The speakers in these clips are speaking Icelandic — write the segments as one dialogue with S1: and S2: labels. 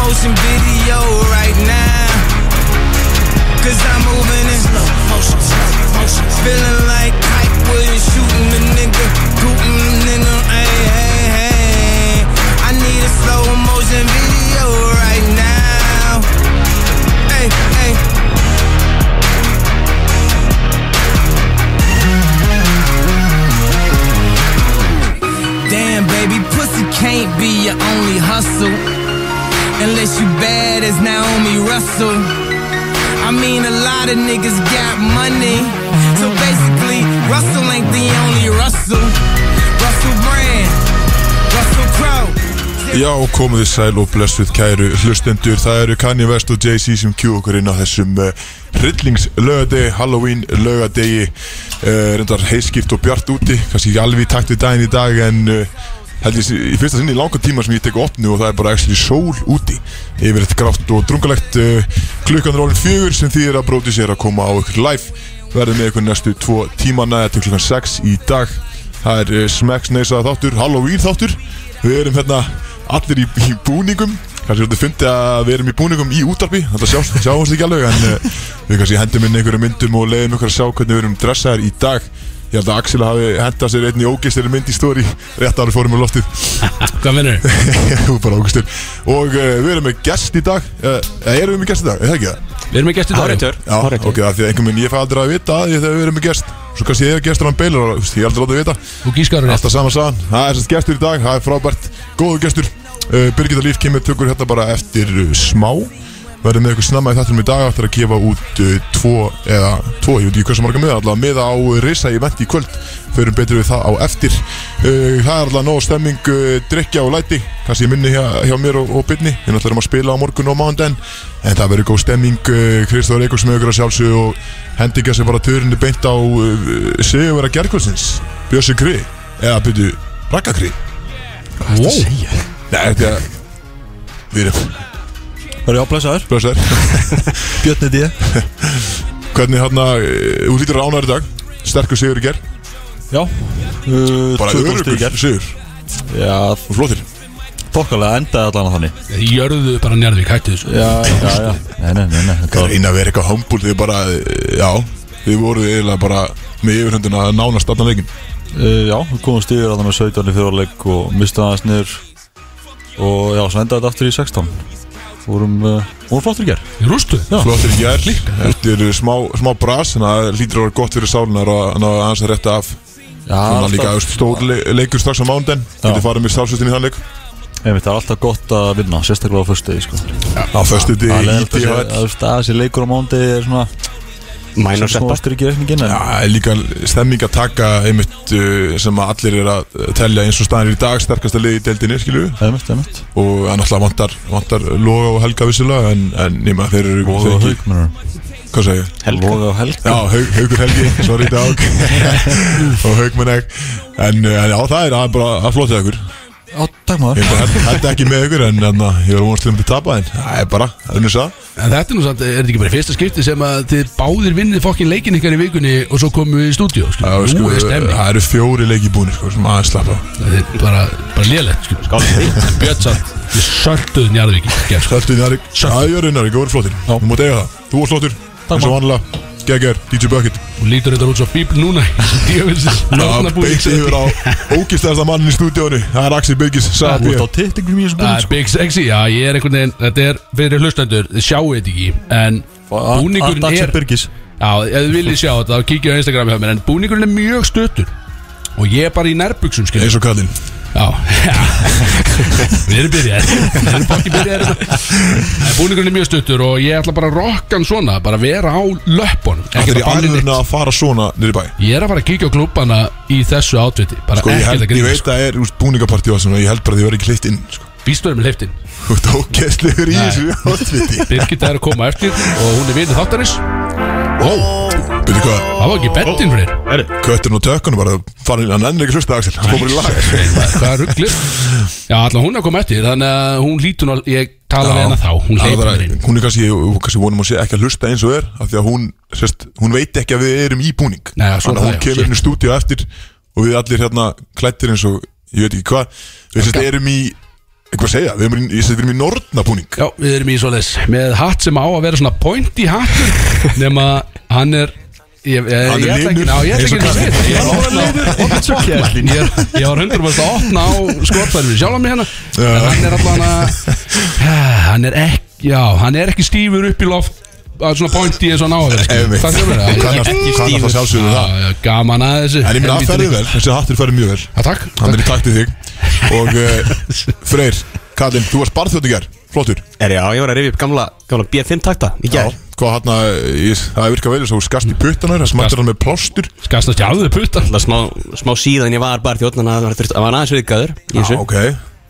S1: motion video right now. Cause I'm moving in slow motion, slow motion. Feeling like Kite Williams shooting a nigga, shooting a nigga. Hey, hey, hey. I need a slow motion video right now. Hey, hey. Damn, baby, pussy can't be your only hustle. Unless you bad as Naomi Russell. I mean, a lot of niggas got money. So basically, Russell ain't the only Russell. Russell Brand, Russell Crowe.
S2: Já, komið þið sæl og blessuð kæru hlustendur Það eru Kanye West og Jay-Z sem kjú okkur inn á þessum uh, Rillingslögadegi, Halloween lögadegi uh, Reyndar heiskipt og bjart úti Kanski ekki alveg í takt við daginn í dag En uh, held ég sé- í fyrsta sinni í langa tíma sem ég tek opnu Og það er bara actually sól úti Yfir þetta grátt og drungalegt uh, Klukkan er orðin fjögur sem þýðir að bróti sér að koma á ykkur live Verðum með ykkur næstu tvo tímana Þetta er klukkan 6 í dag Það er uh, smekks neysaða þáttur, Halloween þáttur Við erum hérna allir í, í búningum Kanski svolítið fyndi að við erum í búningum í útarpi Þannig að sjáum sjá við ekki alveg En uh, við kannski hendum inn einhverjum myndum og leiðum ykkur að sjá hvernig við erum dressaðir í dag Ég held að Axel hafi hendað sér einni ógeisteri mynd í stóri Rétt ára fórum á loftið
S3: Hvað minnur?
S2: Þú er bara ógeistur Og uh, við erum með gest í dag uh, Erum við með gest í dag, er það ekki það?
S3: Við erum í gestu dag
S4: Áreitur
S2: Já, Korrekt. ok, af því að einhvern veginn ég fæ aldrei að vita að ég þegar við erum með gest Svo kannski ég er gestur hann beilar og þú veist, ég er aldrei látið að vita
S3: Þú gískar hún
S2: Alltaf saman sagan, það er sérst gestur í dag, það er frábært, góðu gestur uh, Birgitta Líf kemur tökur hérna bara eftir uh, smá Verðum með ykkur snemma í þettinum í dag eftir að gefa út uh, tvo, eða tvo, ég veit ekki hversu marga miða Allavega miða á uh, risa í venti í kvöld, förum betur við það á eftir uh, Það er allavega nóg stemming, uh, drikja og læti Kansi ég minni hjá, hjá mér og, og byrni, ég náttúrulega erum að spila á morgun og mándaginn En það verður góð stemming, uh, Kristóður Eikos með ykkur að sjálfsög Og hendinga sem bara törunni beint á uh, Sigurvera Gerkvöldsins, Bjössi Kri eða byrju rakkakri
S3: Hvað er það að segja?
S2: Nei, þetta er Við erum
S4: Það eru áblæsaður
S2: Blöðsar
S4: Björn er ég
S2: Hvernig hann að Þú lítur ránar í dag Sterkur sigur í ger
S4: Já uh,
S2: Bara
S4: tvö komst í
S2: örugur
S4: gær.
S2: sigur
S4: Já,
S2: Og flottir
S4: þokkalega endaði allan á þannig
S3: Jörðu bara njörðvík, hættu þessu
S4: Já, já, já Nei, nei, nei, nei þetta var-
S2: Einn að vera eitthvað humble Þið bara eh, Já Þið voruð eiginlega bara Með yfirhundina nánast allan leikin
S4: uh, Já, við komumst yfir allan á 17 í fjóraleg og mistið aðeins niður og já, svo endaði þetta aftur í 16 Vorum, uh, vorum flottur í ger
S3: Rústu? Já
S2: Flottir í ger Eftir smá, smá bras Þannig að það lítur að vera gott fyrir sálunar Og hann að hans að rétta af
S4: Já,
S2: Þannig að líka
S4: alltaf,
S2: þú veist, Stór le- leikur strax á mándaginn Getur farið með sálsustin í þann leik
S4: einmitt, það er alltaf gott að vinna, sérstaklega á föstu sko.
S2: Á föstu
S4: Það er
S2: í
S4: leiðilegt að sé-
S2: DHL
S4: að þú veist, að þessi leikur á mándi er svona
S5: Mænur
S4: sem
S5: seppa
S4: komast ekki í reikningin en
S2: Já, það er líka stemming að taka einmitt uh, sem að allir er að tellja eins og staðan er í dag sterkasta lið í deildinni, skilju
S4: einmitt, einmitt
S2: og það náttúrulega vantar, vantar Loga og Helga vissilega en, en nema þeir eru
S4: Loga
S2: þeir
S4: og
S2: ekki-
S4: Hauk, mennur
S2: Hvað segja ég?
S5: Helga
S4: Loga og Helg
S2: Já, haug, Haugur Helgi, sorry dag og Haugmann Egg en, uh, en já, það er að bara að flotja ykkur
S4: Já, takk maður
S2: ég bara held ekki með ykkur en, en ég var vonast til að tapa en það er bara, það er nýsa
S3: En þetta er nú samt, er þetta ekki bara fyrsta skipti sem að þið báðir vinnið fokkin leikin ykkar í vikunni og svo komum við í stúdíó sko. Nú er stemmi
S2: það eru fjóri leiki búinir sko, sem aðeins slappa af.
S3: Það er bara, bara lélegt sko. En Björn samt, við sölduð njörðvík sko.
S2: Söldu Njarðvík Æjörðu Njarðvík, þú verður flottir Þú mátt eiga það, þú varst flottir eins og vanlega, geggjör, DJ Bucket
S3: og lítur þetta út svo bíbl núna Djöfisins,
S2: Það
S3: nornabúið
S2: beint yfir á ógistæðasta mannin í stúdíónu Það er Axel Byrgis,
S4: Þú
S2: sagði
S4: ert á
S2: ég
S4: tittingum í þessum sko.
S3: Það er
S4: búning
S3: Big Sexy, já, ég er einhvern veginn Þetta er fyrir hlustendur, þið sjáu þetta ekki En búningurinn er
S4: Byrgis
S3: Já, ef þið viljið sjá þetta, þá kíkja á Instagram hjá mér En búningurinn er mjög stöttur Og ég er bara í nærbuksum, skil
S2: Eins og kallinn
S3: Já, já Við erum byrjaðir Við erum bóki byrjaðir þetta. En búningurinn er mjög stuttur og ég ætla bara að rokka hann svona Bara vera á löppunum
S2: Það
S3: Ekkert
S2: er í
S3: að banni
S2: alveg
S3: neitt
S2: að fara svona niður í bæ
S3: Ég er að fara að kíkja á klúbana í þessu átviti Bara
S2: Sko ég,
S3: ekkert
S2: held,
S3: að
S2: ég
S3: gríma
S2: veit að það er úst búningapartí og svona Ég held bara að þið verður ekki hlitt inn sko.
S3: Býstöður með hliftin
S2: Þú ert ógæstlegur í
S3: Nei.
S2: þessu átviti
S3: Birgitta er að koma eftir og hún er vinið þáttarins
S2: Ó, byrju hvað
S3: Það var ekki bettin fyrir þér.
S2: Kötturinn og tökkunum bara farin Hann ennir ekki að hlusta Axel, hann komur í lag
S3: Hvað er rugglir? Já, allan hún er að koma eftir Þannig að hún lítur ná Ég tala við hana þá Hún
S2: Það
S3: leipur
S2: var
S3: mér
S2: að-
S3: inn
S2: hún er kannski, hún kannski vonum að sé ekki að hlusta eins og er af því að hún, sérst, hún veit ekki að við erum í búning
S3: Nei, já, svo
S2: Þannig að
S3: það,
S2: hún
S3: já,
S2: kemur
S3: shit.
S2: inn í stúdíu eftir og við allir hérna klættir eins og ég veit ekki hvað við sérst erum í Hvað segja, við erum í, ég segi, við erum í nornabúning
S3: Já, við erum í svoleiðis Með hatt sem á að vera svona pointy hattur Nefn að hann er Ég, ég,
S2: Hann er
S3: ég ætla ekki,
S2: linur.
S3: ná, ég ætla
S2: Eins og
S3: ekki
S2: kallinn.
S3: að segja þetta. Ég var bara linur, eins og kallinn. Ég er- ég var hundur að opna á skotfæri við sjálfan mig hérna En hann er allan að Hann er ekki, já, hann er ekki stífur upp í loft að Svona pointy eins og hann á að vera skilur.
S2: Einmitt.
S3: Hvað skilur
S2: Hann
S3: það?
S2: kannast- kannast að sjálfsögðu það
S3: Já, já, Gaman að þessu
S2: En ég minna að
S3: Helvíti
S2: ferði
S3: líka.
S2: vel, þessi hattur ferði mjög vel
S3: Já, Takk
S2: Hann er
S3: takk.
S2: í takt við þig Og uh, Freyr, Kallinn, þú varst barþjótt í ger Flottur
S5: Er já, ég var að rifja upp gamla, gamla B5 takta í gær
S2: Hvað hann að, það virkar vel þess að þú skast í puttana Það smattir hann með plástur
S3: Skast að sjálfu putta
S5: Það smá, smá síðan ég var bara þjóðn Þannig að það var aðeins viðgæður í
S2: Já,
S5: þessu
S2: ok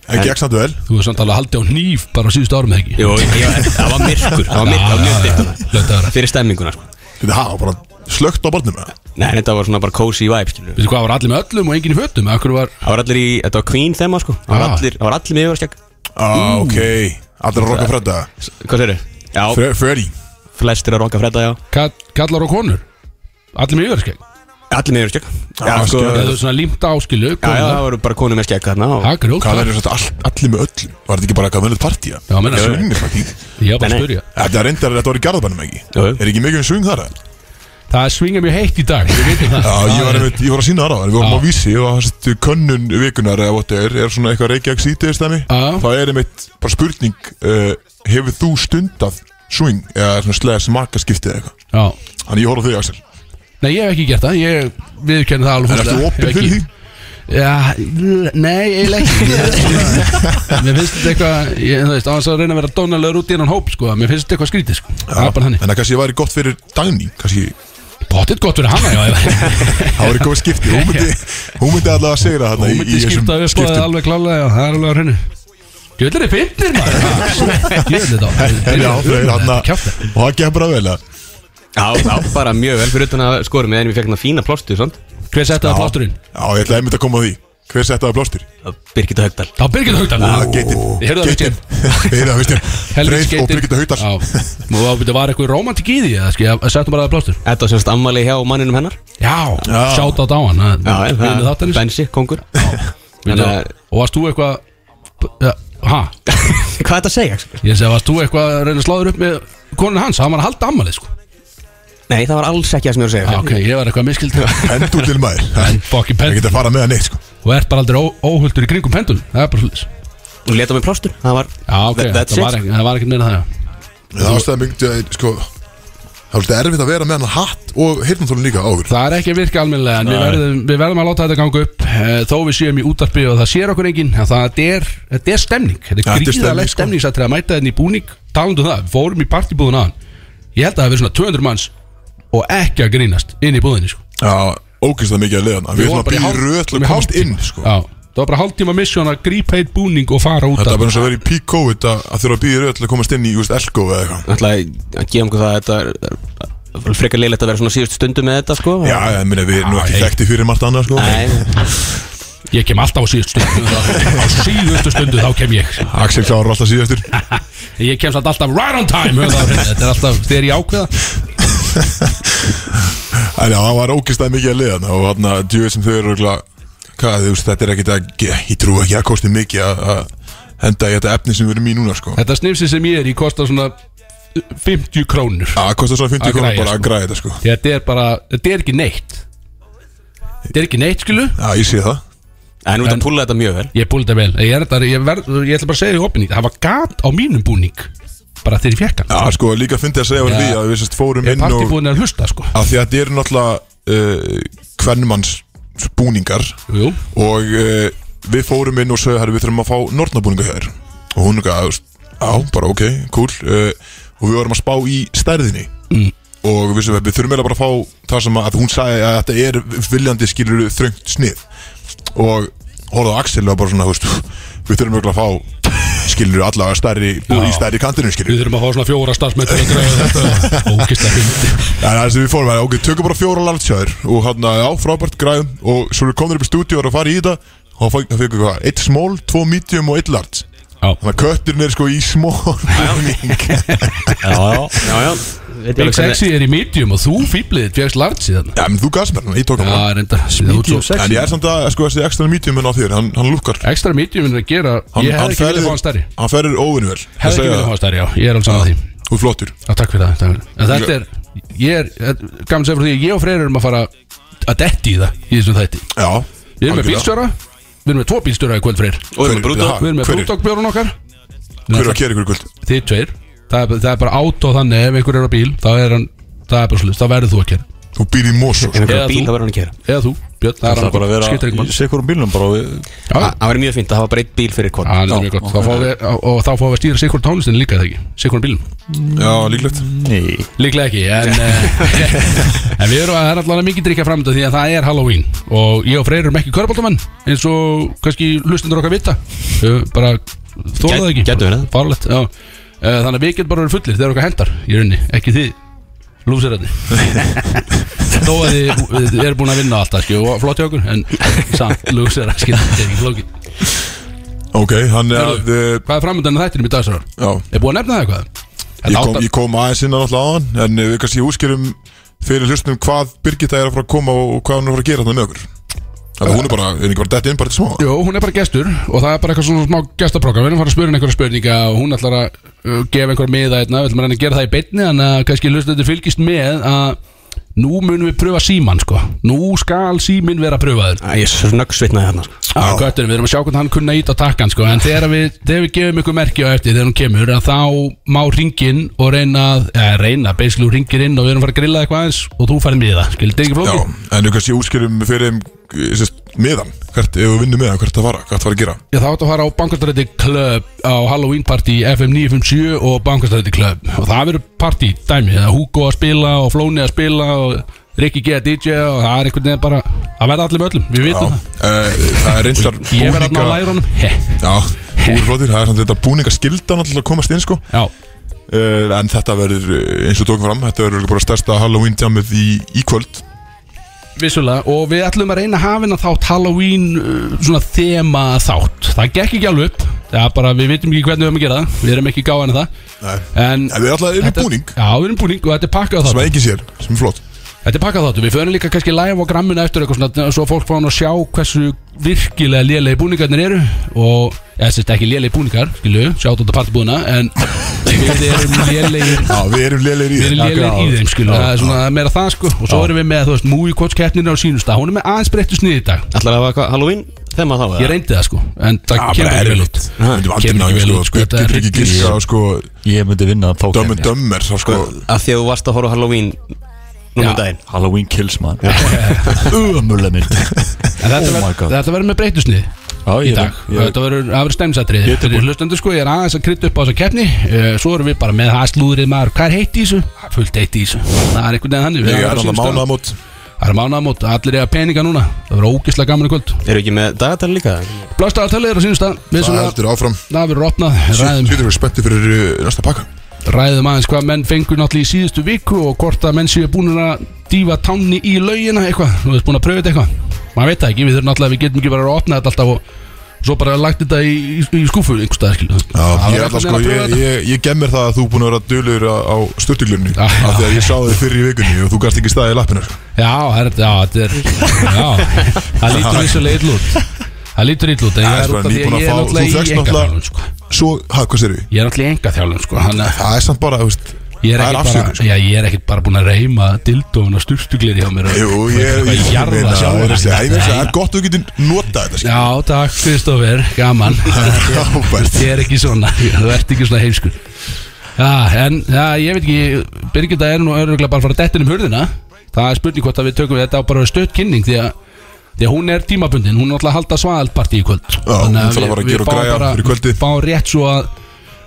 S2: En gegn samt vel
S3: Þú er samt alveg að haldi á nýf bara á síðustu árum eða ekki
S5: Jú, ég, það var myrkur, það var myrkur, það var mjög dyrt
S3: Blöndaðara.
S5: Fyrir stemminguna, sko
S2: Þetta hafa bara slögt á barnum eða?
S5: Nei, þetta var svona bara cozy vibe, skilur
S3: Veistu hvað, var allir með öllum og enginn í fötum Akkur var,
S5: Það var allir í, þetta var Queen þema, sko Það var
S3: Ah.
S5: allir, það var allir með yfirskegg
S2: Á, Ah, ok Allir að rokka fredda
S5: Hvað segir Já,
S2: Fre- Freyri
S5: flestir að rokka fredda, já
S3: kall, kallar og konur Allir með yfirskegg
S5: Allir með yfirskegg Já,
S2: Ah,
S5: sko,
S2: skjöld.
S5: já,
S3: Það er svona límt áskilu
S5: já, það voru bara konur með skegg þarna og-
S3: Það er grjótt
S2: Hvað er þetta all, allir með öllum? Var þetta ekki bara eitthvað meðlut partíja?
S3: Já, meina,
S2: það
S3: já.
S2: Svingir fucking
S3: Ég var bara að
S5: Nei, nei.
S3: spyrja
S2: Þetta er reyndar, þetta var í garðabænum ekki
S5: Jú, jú.
S2: Er ekki mikið um sving þar? eða?
S3: Það er svinga mjög heitt í dag Við veitum það
S2: Já, ég var, einmitt, ég var að sína þar á Við vorum
S3: Já.
S2: á vísi og þessi könnun vikunar eða what er, er svona eitthvað reykjag sítiðist dæmi
S3: Já.
S2: Það er einmitt bara spurning uh, Hefur þú stundað swing eða svona slegðis makaskiptið eða eitthvað
S3: Já.
S2: Þannig ég horf á þig Axel
S3: Nei, ég hef ekki gert það Ég viðurkenni það alveg
S2: Er
S3: fúslega.
S2: þetta
S3: Ég hef
S2: opið fyrir
S3: ekki-
S2: því?
S3: Já, l- nei, eiginlega ekki Ég- Mér finnst þetta eitthvað Ég þú veist, á þess að reyna að vera dónalegur út í hennan hóp sko. Mér finnst þetta eitthvað skrítið sko. Það er bara
S2: Þannig
S3: þannig
S2: að kannski ég væri gott fyrir dagning Kannski
S3: Pottitt gott fyrir hana, já ef-
S2: það væri góð skipti Hún myndi, hún myndi allavega að segja það
S3: Þú myndir skipta upp á það alveg klálega já, Það er alveg á hreinu Gjöldin er fyndir maður Gjöldin þá
S2: Já, Freyr, hann að
S3: Kjátt
S2: Og það gefur bara vel að
S5: Já, já, bara mjög vel fyrir utan að skorum Við erum við fekk hérna fína plostu, svont
S3: Hver setti það
S2: Já.
S3: plásturinn?
S2: Já, ég ætlaði einmitt að koma að því Hver setti það blástur?
S5: Birgitta Högdal
S3: Þá Birgit Haugdal
S2: Já, geitin
S3: Ég heyrðu það við tjum
S2: Heyrðu það við tjum Freyð og Birgitta Hautar
S3: Já Nú þá byrja var eitthvað romantik í því eða skil, Ég settum bara það plástur
S5: Þetta var semst ammali hjá manninum hennar
S3: Já Sjátt á dáan
S5: Já,
S3: Vinnu
S5: það er
S3: þáttanins
S5: bensi, kongur
S3: Vinnu-
S5: Þannig að-
S3: Og varst þú eitthvað ja, Ha?
S5: Hvað er þetta að segja? sko?
S3: Ég segi, varst þú eitthvað að reyna að sláður upp með konun hans Hann var að halda ammalið sko
S5: Nei, það var alls ekki það sem ég var að segja
S3: Já, ok, ég var eitthvað miskild
S2: Pendur til maður
S3: En fucking
S2: Það
S3: pendul
S2: getur að fara með það neitt sko
S3: Og ert bara aldrei ó- óhultur í kringum pendul Það er bara hlutis
S5: Hún leta mig plástur Það var
S3: Já, ok,
S5: That- that's
S3: það var,
S5: it.
S3: ekki, það var ekkert meira það já.
S2: Það ástæði myndi að sko Það er svolítið erfitt að vera með hann hatt Og hirtnatólun líka áður
S3: Það er ekki að virka almennilega en við
S4: Nei.
S3: verðum, við verðum að láta þetta ganga upp eh, Þó við séum í útarpi og það sér okkur enginn en Það er, þetta er stemning
S2: Ja,
S3: Þetta er
S2: þetta er
S3: gríðarlega
S2: stemning, sko.
S3: stemningsatrið að mæta þenni í búning Talandu um það, við fórum í partibúðun aðan Ég held að það hefur svona 200 manns Og ekki að grínast inn í búðinni sko.
S2: Já, ógist það mikið að leiðana Við erum að býja röðl að komast inn sko
S3: Já, Það var bara hálftíma misjón að grípa eitt búning og fara út
S2: Þetta er
S3: að
S2: bara eins og að vera í peak COVID að að þurfa að býja röðl að komast inn í Þú veist, Elko eða eitthvað
S5: Þannig að gefa okkur það að Þetta er- það er frekar leilegt að vera svona síðustu stundu með þetta sko
S2: Já, ég minna við erum nú ekki þekkti fyrir margt annað sko
S5: Nei,
S3: Ég kem alltaf á síðustu stundu Á síðustu stundu þá kem ég sko.
S2: Axel klárar alltaf síðastur
S3: Ég kem samt alltaf right on time höfðu það á hreinu. Þetta er alltaf þegar ég ákveða
S2: En já, það var ógistað mikið að leiðan og hann að djöð sem þau eru örugglega- hvað, þú veist, þetta er ekkit að ég trú ekki að kosti mikið að- að henda í þetta efni sem við erum í núna, sko
S3: Þetta snifsi sem ég er í kostar svona 50 krónur
S2: að kosta svona 50
S3: Að
S2: krónum
S3: græja,
S2: bara að
S3: sko.
S2: græja þetta, sko
S3: Þetta er bara, þetta er ekki neitt Þetta er ekki neitt skilu
S2: Já, ég sé það
S5: en út að púla þetta mjög vel
S3: Ég búið þetta vel Ég, er, þetta- ég, verð, ég ætla bara að segja því opinni Það var gat á mínum búning Bara þegar ég fekk hann
S2: Já, sko, líka fyndi að segja var
S3: Já.
S2: því að við sérst fórum
S3: Ég
S2: inn
S3: parti
S2: og
S3: búin að hlusta sko
S2: að því að þetta eru náttúrulega uh, kvennmanns búningar
S3: Jú,
S2: og uh, við fórum inn og sögðu herri, við þurfum að fá nornabúninga hér og hún ekki að, á, bara ok, cool uh, og við vorum að spá í stærðinni
S3: Mm.
S2: og við, sem, við þurfum eiginlega bara að fá það sem að, að hún sagði að þetta er viljandi skilur þröngt snið og horfðu á Axel og var bara svona, þú veist, við þurfum eiginlega að fá skilur allavega stærri, búið í stærri kantinu skilur
S3: við þurfum að fá svona fjóra starfsmöntur að draga þetta Ókislega fyndi
S2: Já, það er sem við fórum að, ok, tökum bara fjóra lartsjáður og hann að, já, frábært, græðum og svo erum við komin upp í stúdíu og erum að fara í þetta og þá fengum við hvað, eitt smól, tvo medium og eitt larts
S3: Já.
S2: Þannig að kötturinn er sko í smól búning
S4: Já, já
S5: Já, já veit ég
S3: Big
S5: alveg hvernig-
S3: Sexy er í medium og þú fýblið fjækst large í þarna
S2: Já, menn þú gafst mér hann, ég tók hann bara.
S3: Já, reynda
S4: Medium sexy.
S2: En ég er samt að, sko, þessi extra medium en á þér, hann, hann lukkar
S3: Ekstra medium er að gera
S2: hann,
S3: Ég hefði ekki viljað fá hann stærri
S2: Hann ferir óvinni vel
S3: Hefði ekki viljað fá hann stærri, já Ég er alveg saman því
S2: Þú er flottur
S3: Já, takk fyrir það takk fyrir. það. En þetta er Ég er þetta- Gaman sem frá því að Ég og Freyr erum að fara að detti í það Í þessum þætti
S2: Já
S3: Við erum með bílstjóra Við erum með tvo bílstjóra í kvöld Freyr
S5: Og erum við brúta
S3: Við erum með
S2: Hver er
S3: brúdokbjórun okkar
S2: hver er að kera ykkur í kvöld?
S3: Þið tveir Það er, það er bara át og þannig Ef einhver er á bíl Þá er hann Það er bara slust Það verður þú að kera
S2: Þú býr í Mosó
S5: En einhverja
S3: Eða
S5: bíl
S3: þú.
S5: það verður hann að kera
S3: Eða þú Björn
S4: Það er bara að vera
S3: Skiptir ekki
S4: í sekurum bílnum bara og við-
S3: mál
S5: Það væri mjög fínt að hafa bara eitt bíl fyrir hvort
S3: Ah, Það er mjög gott Þá fáum við og- Og þá fáum við að stýra sikur tónlistin líka er það ekki Sikur bílum
S2: Já, líklegt
S4: Nei
S3: Líklega ekki, en, eh, en við erum að það er allavega mikið drikja framönda því að það er Halloween og ég og Freyr erum ekki körbóltamenn eins og kannski hlustundur okkar vita Við bara þólaðu það ekki
S5: Gæ- gætu verið það.
S3: Fárlegt, já Eh, Þannig að við getum bara verið fullir þegar okkar hendar í rauninni, ekki þið lúsirarni Þó að þið er búin að vinna alltaf skil, og flott hjá okkur, en samt lúsirar skil, þetta er ekki flókið.
S2: Ok, hann er að
S3: Heyrðu.
S2: eh,
S3: Hvað er framöndan þættinum í dag, Sárar?
S2: Já
S3: Er búin að nefna það eitthvað?
S2: Ég
S3: Þetta
S2: kom,
S3: átta-
S2: ég kom aðeins inn á náttúrulega aðan En eh, við kannski útskýrum fyrir hlustum hvað Birgitta er að fara að koma og og hvað hún er að fara að gera þarna með okkur Það hún er bara, er ekki bara dætt inn bara til smá
S3: Jó, hún er bara gestur og það er bara eitthvað svona smá gestaprogram Við erum fara að spyrja henni einhverja spurninga og hún ætlar að uh, gefa einhverja miða einna Við ætlum að reyna að gera það í beinni Þannig að kannski hlustu þetta fylgist með að nú munum við pröfa síman sko Nú skal símin vera pröfaður
S5: Æ, Ég snöggsvitnaði hérna sko.
S3: ah, Kötturinn, við erum að sjá hvernig hann kunna ít á takkan sko En þegar við, þegar við gefum ykkur merki á eftir þegar hún kemur að Þá má ringin og reyna, að- eða reyna, basically hún ringir inn og við erum að fara að grilla eitthvað aðeins Og þú færð miða, skil, þetta er
S2: Já,
S3: ekki flókið
S2: en við kannski útskýrum fyrir þeim eh, sérst, meðan, hvert, ef við vinnum meðan, hvert það fara, hvert það fara að gera
S3: Ég þá átt að fara á Bankastræti Club á Halloween party FM 957 og Bankastræti Club og það verður party dæmi það er Hugo að spila og Flóni að spila og Rikki G að DJ og það er einhvern veginn bara það verða allir með öllum, við vitum
S2: Já, eh, það er reynslar
S3: það Ég verða allir á
S2: búninga
S3: lærunum He,
S2: Já, úrflóðir, það er samt þetta búninga skildan alltaf að komast inn sko
S3: Já,
S2: uh, En þetta verður, eh, eins og tókum fram, þetta verður bara stærsta Halloween jammið í, í kvöld
S3: vissulega og við ætlum að reyna að hafa hennar þátt Halloween uh, svona þema þátt það gekk ekki alveg upp það er bara, við vitum ekki hvernig við höfum að gera það við erum ekki gáðan að það
S2: Nei.
S3: en
S2: En við alltaf erum
S3: þetta-
S2: þetta... búning,
S3: Já, við erum búning og þetta er pakkað
S2: sem
S3: þátt
S2: að enginn sér, sem er flott
S3: Þetta er pakkað þáttu, við förum líka kannski live á grammuna eftir eitthvað svona Svo fólk fáin að sjá hversu virkilega lélegi búningarnir eru Og, eða sérst ekki lélegi búningar, skilju, sjátt út að partibúðina En við erum lélegir
S2: Já, við erum lélir í
S3: Við erum
S2: þeim.
S3: lélegir í þeim, skilju, það er svona meira það sko Og svo erum við með, þú veist, movie quotes keppninu á sínumsta Hún er með aðeins breyttu sniði í dag
S5: Ætlar að hafa eitthvað Halloween þema þá eða?
S3: Ég reyndi það sko, en það
S2: Já,
S3: kemur
S2: bara
S3: ekki
S2: erfitt Við myndum aldrei ná því, sko,
S3: vel út Kemur ekki vel út, sko,
S2: sko,
S3: þetta er
S2: getur ekki
S3: hryllis-
S2: gíska á, sko,
S4: Ég myndi vinna þá
S2: Dumb and Dumber þá, sko,
S5: Af því að þú varst að horfa á Halloween núna
S3: Já.
S5: um daginn
S4: Halloween kills man Ömulega mynd
S3: En þetta
S4: Oh my
S3: verður-
S4: God.
S3: þetta verður með breyttu sniði
S4: Já,
S3: í
S4: ég
S3: dag
S4: veit- ég veit-
S3: Þetta verður afur stæmsatrið
S4: Ég er
S3: Fyrir
S4: tilbúinn.
S3: hlustendur sko, ég er aðeins að krytta upp á þessa keppni Eh, Svo erum við bara með haslúðrið maður Hvað er heitt í þessu? Fullt heitt í þessu Það er einhvern veginn þannig Við
S2: Ég er
S3: erum á
S2: alltaf
S3: sínum stað.
S2: mánaðamót
S3: Það er mánamót, allir eiga peninga núna Það verður ógislega gaman í kvöld
S5: Eru ekki með dagatal líka?
S3: Blástaðartalið er á sínum stað Við
S2: Það
S3: sem að
S2: heldur áfram
S3: það verður opnað Ræðum,
S2: Sýtur við spenntið fyrir uh, næsta pakka
S3: ræðum aðeins hvað menn fengur náttúrulega í síðustu viku Og hvort að menn séu búin að dýfa tánni í laugina eitthvað Nú erum búin að pröfa þetta eitthvað Maður veit það ekki, við þurfum náttúrulega Við getum ekki bara að opna þetta alltaf og Svo bara lagt þetta í, í, í skúfu einhvers staðar, skilur. Það
S2: Já, ég
S3: verður
S2: ætla
S3: einhvern
S2: sko,
S3: veginn að pröfa
S2: ég,
S3: þetta.
S2: ég, ég gemmir það að þú búin að vera dölur á, á störtuglunni
S3: Já,
S2: Af því
S3: já.
S2: að ég sá þig fyrir í vikunni og þú gast ekki staðið í lappinu
S3: Já, það er, já, þetta er Já, það lítur vissulega ill út Það lítur ill út en
S2: Það
S3: ég
S2: er
S3: er
S2: bara
S3: út af því
S2: nýbúin
S3: að
S2: að
S3: ég er
S2: fá- þú fékkst
S3: náttúrulega í engaþjálun sko.
S2: Svo, hæ, hvað sér við?
S3: Ég er náttúrulega í engaþjálun sko. Þannig að
S2: Það er samt bara, þú veist
S3: Ég er
S2: Það er
S3: ekkert bara,
S2: afsökun, sko.
S3: já, ég er ekkert bara búin að reyma dildófun og styrstuglir hjá mér og-
S2: Jú,
S3: og
S2: ég
S3: eitthvað
S2: ég-
S3: jarða
S2: meina,
S3: sjálfan.
S2: það er að segja, ég veit að það er gott að þú getur notað þetta skilur.
S3: Já, takk Kristoffer, gaman
S2: Frábært.
S3: Ég er ekki svona, þú ert ekki svona heimskur Já, en já, ég veit ekki Birgitta er nú öruglega bara að fara dettin um hurðina Það er spurning hvort að við tökum þetta á bara stödd kynning því að, því að hún er tímabundin Hún er náttúrulega að halda svaðalparti í kvöld Já,
S2: hún þarf að fara að gera og græja fyrir kvöldið.
S3: Fá rétt svo að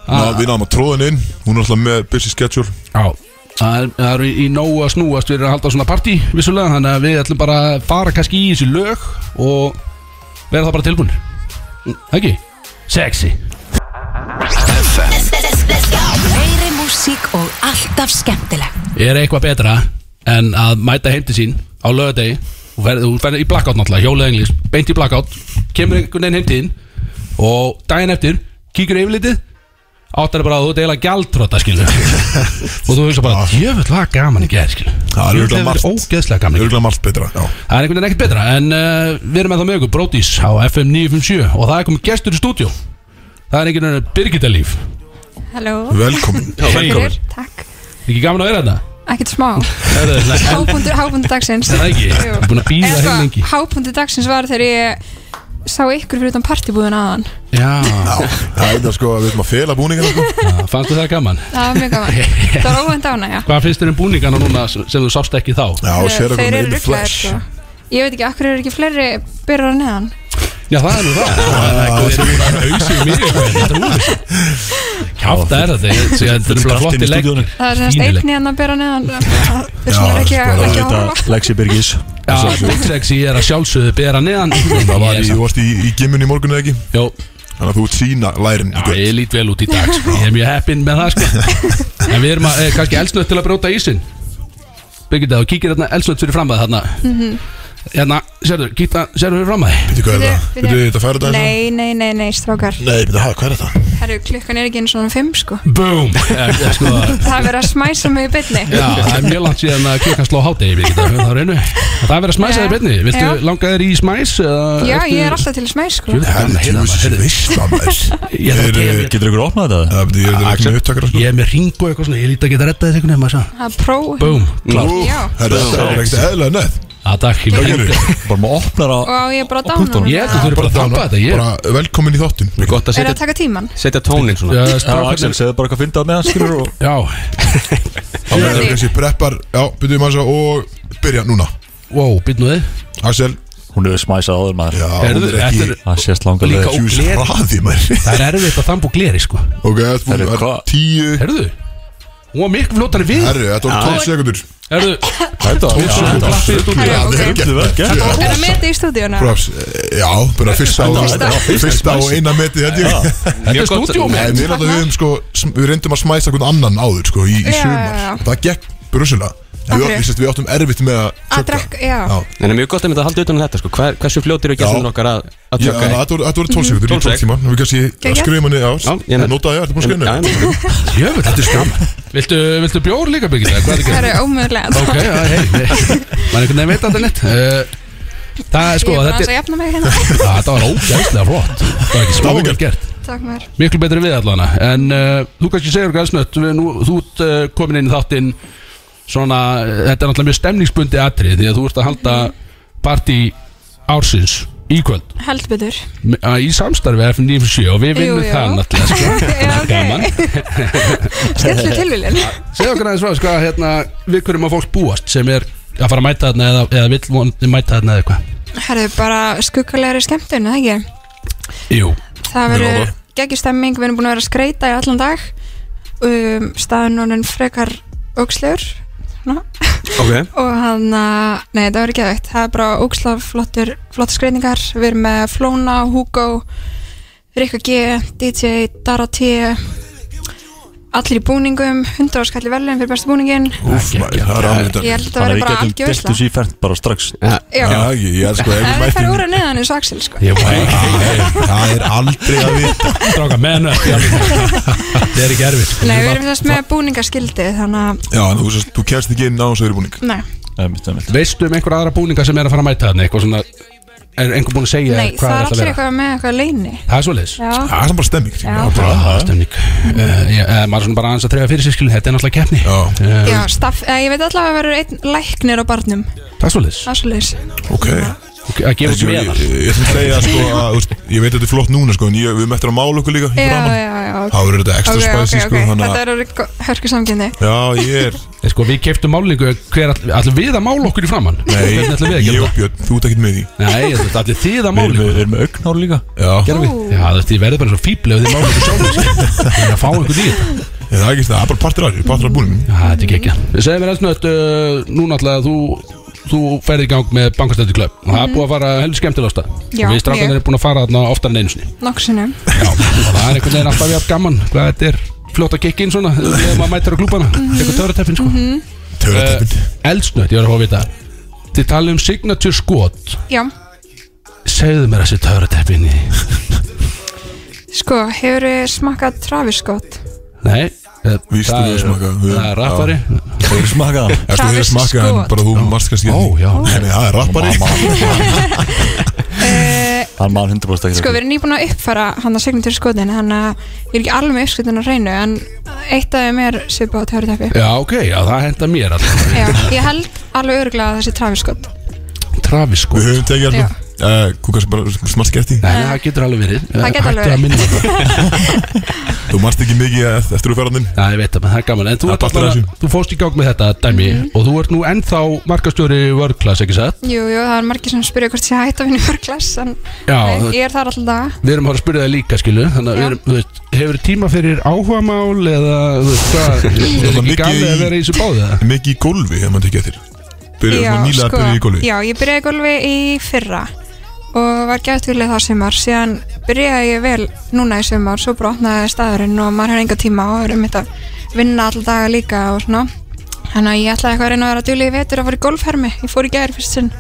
S2: Ná, Við náðum að tróðan inn, hún er alltaf með busy schedule
S3: Já Það er, það er í nógu að snúast við erum að halda svona partí vissulega þannig að við ætlum bara að fara kannski í þessi lög og vera það bara tilbúin Ekki? Sexy
S6: Meiri músík og alltaf skemmtileg
S3: er eitthvað betra en að mæta heimti sín á lögadegi og ferð, þú ferði í blackout náttúrulega, hjólað englis beint í blackout, kemur einhvern veginn heimtiðin og daginn eftir, kíkur yfirlitið áttar bara að þú ert eiginlega gjaldróta skilu og þú hugsa bara jöfull var gaman í gerð skilu
S2: Það er örugglega
S3: Jöfull hefur verið
S2: margt.
S3: ógeðslega gaman í gær.
S2: Örgulega margt betra Já,
S3: Það er einhvern veginn ekkert betra En uh, við erum með það með ykkur Brótis á FM 957 Og það er komið gestur í stúdjó Það er einhvern veginn Birgitta Líf
S7: Halló,
S2: velkomin
S3: Já,
S7: fyrir, takk
S3: Ekki gaman að vera hérna? þetta?
S7: Ekkert smá,
S3: Herðu, nei, en-
S7: hápundur, hápundur dagsins
S3: Er það ekki? Ég er búin að bíða heil lengi.
S7: Hápundur dagsins var þegar ég sá ykkur fyrir utan partibúðun aðan
S3: Já,
S2: Það er það sko að við erum að fela búningar sko.
S3: já, fannstu það gaman?
S7: Það var mjög gaman, það var óvænt ána, já
S3: Hvað finnst þér um búningana núna sem sem þú sást ekki þá?
S2: Já,
S7: Þeir-
S2: sér að
S7: þeir
S2: koma inn
S7: eru
S2: í
S7: rugglaðir,
S2: flash
S7: sko. Ég veit ekki, akkur eru ekki fleiri byrjar að neðan
S3: Já, það er nú það Það er auðsig mér Kjátt er þetta ég- Þetta er bara
S4: Skratt inn
S3: flott
S4: í
S3: í legg
S4: stúdíónu.
S7: Það er semst
S3: Fínileg.
S7: einn neðan að byrja neðan Það er svona
S2: Já,
S7: ekki að
S2: bara
S7: ekki að horfa
S4: Þetta Lexi Birgis
S3: Já, Big Sexy er að sjálfsögðu bera neðan
S2: Það var í, þú varst í, í gimmun í morgun eða ekki
S3: Jó,
S2: Þannig að þú ert sína lærin
S3: Já, ég lít vel út í dag sko. Ég er mjög heppinn með það sko. En við erum að, eh, kannski elsnött til að bróta ísin Birgitta, þú kíkir hérna elsnött fyrir framæði þarna Hérna, sérðu, kíkta, sérðu fyrir framæði
S2: Býttu hvað er það?
S7: Bíddu,
S2: Býttu
S7: bíddu.
S2: þetta færa þetta?
S7: Nei, nei, nei, nei, strákar
S2: Nei, býttu hvað, hvað er það?
S7: Herru, klukkan er ekki eins og um fimm, sko
S3: Boom ja, ja, sko,
S7: Það er verið að smæsa mig í byrni
S3: Já, það er mjög langt síðan að klukkan sló hátegi Birgitta, höfum það á reynu Það er verið að smæsa
S7: Já.
S3: þér byrni, viltu
S7: Já.
S3: langa þér í smæs? eða
S7: Já,
S3: ertu-
S7: ég er alltaf til að smæs, sko
S3: Jú, það er gaman að heyra það,
S2: Þessi
S3: heyrðu.
S2: veistla maður
S3: Ég þarf
S2: Þeir,
S3: að tegja
S2: eh,
S3: mér.
S4: Getur ykkur opnað þetta?
S2: Það býttu, ég er ekki með sko. upptakar
S3: Ég er með ringu eitthvað svona, ég líti að geta reddað þér einhvern veginn maður sá.
S7: Það er pró
S3: Boom, klart
S2: Ú,
S7: Já.
S2: herra, Það er ekkert eðlega nöð
S3: Já, takk, ég
S2: Hvað
S3: meina.
S2: gerir
S4: Bara maður opnar á
S7: Og á ég bara að dána
S4: punktunum.
S7: hana?
S3: Ég held að þú eru bara að dampa þetta Ég er
S2: Bara velkomin í þóttin
S5: Gott að
S7: Er það að
S5: setja,
S7: taka tíman?
S5: setja tónin svona
S3: Já,
S4: Já,
S3: strákarnir-
S4: Axel, segðu bara hvað fyndað með hann skilur og
S3: Já,
S2: Þá verður það kannski breppar Já, býttu maður svo og byrja núna
S3: Wow, býtnum við
S2: Axel
S4: Hún hefur smæsað áður maður
S2: Já, hún
S3: Heyrðu,
S2: er
S3: þetta
S2: ekki
S3: er-
S4: Það sést langar
S3: Líka
S4: leiðir.
S3: ó-
S2: Hjús
S3: gleri.
S2: hraði maður
S3: Það er erfitt að þambu gleri sko
S2: Ok, þetta
S4: Herru,
S2: er búin
S4: hvað-
S2: tíu
S3: Herðu, hún var miklu flótari við
S2: Herru, þetta voru 12 sekundur
S3: Herðu,
S4: Þetta var
S3: hún klappið út úr
S7: Herru,
S2: Já, vel
S7: ok.
S2: gert,
S4: Þetta er vel gert.
S2: Já,
S7: Er það metið í stúdíuna?
S2: Props, já, bara fyrsta á
S4: Fyrsta.
S2: Fyrsta á eina metið held ég
S3: Þetta er
S5: Mjög gott-
S3: stúdíó
S2: En
S3: með
S2: við náttúrulega höfum sko sm- Við reyndum að smæsa einhvern annan áður sko Í, í
S7: Já, já, já.
S2: sumar Það gekk brusulega En
S7: Af
S2: við,
S7: hverju?
S2: við, við áttum erfitt með að
S7: Að
S2: tjögga.
S7: drekka, já.
S2: Já.
S5: En það er mjög gott að mynda að halda utan um þetta sko Hver, Hversu fljótir eru
S2: Já.
S5: gæstunum okkar að, að
S2: Já,
S5: tjöka
S2: þannig að
S5: þig?
S2: Þetta voru- þetta voru 12 sekundur í 12
S5: sekúndur.
S2: tíma Við kannski
S7: Mhm. Geggjað.
S2: skrifum henni á
S5: Já, ég meina-
S2: Nóta, já, þetta er búin að skrifa
S5: Já,
S2: henni
S5: já, já.
S3: Jöfn, þetta er skam Viltu, viltu bjór líka byggja það? Hvað er
S7: Það
S3: það?
S7: er ómöðulega
S3: Ok, já, hei Man einhvern veginn veit aldrei neitt Uh, Það er
S7: Ég
S3: sko,
S7: er bara
S3: þetta
S7: aðeins
S3: er
S7: að jafna mig hérna
S3: Já, Þetta var ógæðslega flott Það var ekki smá vel gert
S7: Takk mér
S3: Miklu betri en við allan En uh, þú kannski segir okkar snött við nú, Þú ert uh, komin inn í þáttinn Svona, uh, þetta er náttúrulega mjög stemningsbundi atrið Því að þú ert að halda partí ársins í kvöld
S7: Held betur
S3: Me- að í samstarfi F957 og við vinnum
S7: Jú, jú.
S3: það náttúrulega sko.
S7: Já, ok
S3: Gaman.
S7: Skellu tilvílin
S3: segja okkur aðeins frá sko, hérna, við hverjum að fólk búast sem er að fara að mæta þarna eða, eða vill vonandi mæta þarna eða eitthvað
S7: Það er bara skuggalegri skemmtun, eða ekki?
S3: jú,
S7: Það verður geggjustemming, við erum búin að vera að skreita í allan dag um, staðan honum frekar ókslegur svona.
S5: Ok,
S7: og hann að, nei það verður geðvægt það er bara óksla flottur, flottur skreitingar við erum með Flóna, Hugo Rikka G, DJ Dara T allir í búningum, 100 áskalli velin fyrir bestu búningin
S2: Úf, maður, það er aðvitað
S7: ég held að
S4: Þannig að
S7: verður
S4: við
S7: bara
S4: getum
S7: algjör
S4: gert þessu
S7: veisla.
S4: í fernt bara strax
S7: Já,
S2: Já, ég, ég er sko ef við
S7: það er
S2: mættum-
S7: fyrir úr að neðan eins og Axel sko
S3: ég var
S2: Það er aldrei að vita
S3: stráka menn það er ekki erfitt sko.
S7: Nei, við erum þess með búningaskildi þannig að,
S2: Já, en þú, sérst, þú kemst ekki inn á þessu yfirbúning
S7: nei,
S4: Nei, mitt, nei, mitt.
S3: veistu um einhver aðra búninga sem er að fara að mæta þarna eitthvað svona er einhver búin að segja
S7: nei
S3: hvað ætla
S7: það er
S3: að
S7: allir
S3: vera?
S7: eitthvað með eitthvað leini
S3: það er svoleiðis
S7: Já,
S2: Það er samt bara stemming Já,
S3: bara stemning uh, ég, uh, maður er svona bara aðeins að treyja fyrir sér skilin þetta er náttúrulega keppni
S2: Já.
S3: Eh,
S7: Já, staff, eh, ég veit allavega að verður einn læknir á barnum
S3: það er svoleiðis
S7: Ásleis
S2: ok
S3: Ok, að gefa
S2: Ég, ég,
S3: út meðal
S2: ég, ég ætlum að segja sko að þú veist, Ég veit að þetta er flott núna sko En ég, við mættum að mála okkur líka í
S7: Já,
S2: framan.
S7: já, já ok.
S2: Það verður þetta ekstra
S7: Ok, ok,
S2: spicy
S7: ok,
S2: sko Þannig
S7: þetta
S2: að
S7: er orðið hörku samkynni
S2: Já, ég er
S3: Eh, sko, við keftum málingu hver all, allir við að mála okkur í framann Hvernig ætlum við að
S2: Nei,
S3: gera
S2: ég
S3: það?
S2: og Björn, þú ert ekkert með í
S3: Nei, þetta er allir þið að
S4: Við erum
S3: máli
S4: með- við erum með augnár líka
S2: Já,
S3: Já, þetta þið verður bara svo fíbli ef þið máli ykkur sjálf Það er að fá einhvern í þetta
S2: ég, það er ekki það, það er bara partur af því, partur af búningum
S3: Já, Ah, þetta er
S7: Mhm.
S3: ekki ekki Við segjum mér elsnött, uh, núna alltaf að þú Þú ferði í gang með bankastættu klöp og það er búið að fara heldur skemmtilegasta
S7: Mhm. Já,
S3: og við strákanir
S7: mjög.
S3: erum búin að fara þarna oftar en einu sinni
S7: Nokksinum
S3: og það er einhvern veginn alltaf jafn gaman hvað þetta er fljótt að kikka inn svona þegar maður mætir á klúbana
S7: Mhm.
S3: tekur töfrateppin sko
S2: Töfrateppin
S3: uh, Elsnött, ég var að fá að vita þið talið um signature skot
S7: Já,
S3: segðu mér þessi töfrateppin í
S7: Sko, hefur þið smakað Travis Scott?
S3: Nei eh,
S2: Vístu
S3: það
S2: við
S3: er-
S2: smakað, við-
S3: Það er rappari
S4: Þú hefur smakað hann
S2: Eftir því að
S7: Travis
S2: smaka en
S7: Scott.
S2: bara þú marst kannski
S3: Ó,
S2: ekki.
S3: já.
S2: Nei, nei, það er rappari
S7: Uh,
S4: Hann man 100% ekki
S7: sko, við erum nýbúin að uppfæra hann að segna til skotin Þannig að ég er ekki alveg með uppskritin að reynu En eitt af þeim er svipað á teóritæpi
S3: Já, ok, já, það henda mér alltaf
S7: Já, ég held alveg öruglega að þessi Travis Scott
S3: Travis Scott
S2: Við höfum tekið hérna Þú kannski bara smalt gert í
S3: sko. Nei, það getur alveg verið
S7: Það getur alveg
S3: Hættu að
S7: verið.
S3: minna það
S2: Þú marst ekki mikið eft- eftir úrferðaninn
S3: Já, ég veit það, menn það er gaman En þú,
S2: Það
S3: ert
S2: partur af
S3: allavega-
S2: þessu.
S3: þú fórst í gang með þetta, dæmi
S7: Mhm.
S3: Og þú ert nú ennþá markastjóri vörglas, ekki satt?
S7: Jú, jú, það er margir sem spyrja hvort ég hætti að vinna í vörklass En
S3: Já,
S7: nei, ég er þar alltaf daga.
S3: við erum að fara að spyrja það líka, skilu Þannig að við
S7: Já.
S3: erum, þú veist, hefur tíma fyrir áhugamál Eða, þú veist, hvað Er
S2: Það var
S3: ekki
S2: mikið
S3: galið að
S2: í-
S3: vera í þessu báði það?
S2: Mikið í gólfi, ef maður tekið eftir Byrjaði
S7: Já, sko,
S2: svona nýlega að byrja í gólfi
S7: Já, ég byrjaði í gólfi í fyrra og var gætvilið það sumar síðan byrjaði ég vel núna í sumar svo brotnaði staðurinn og maður hefði enga tíma og erum mitt að vinna alltaf daga líka og svona þannig að ég ætlaði eitthvað að reyna að vera að djúli í vetur að fara í golfhermi ég fór í gæri fyrst sinn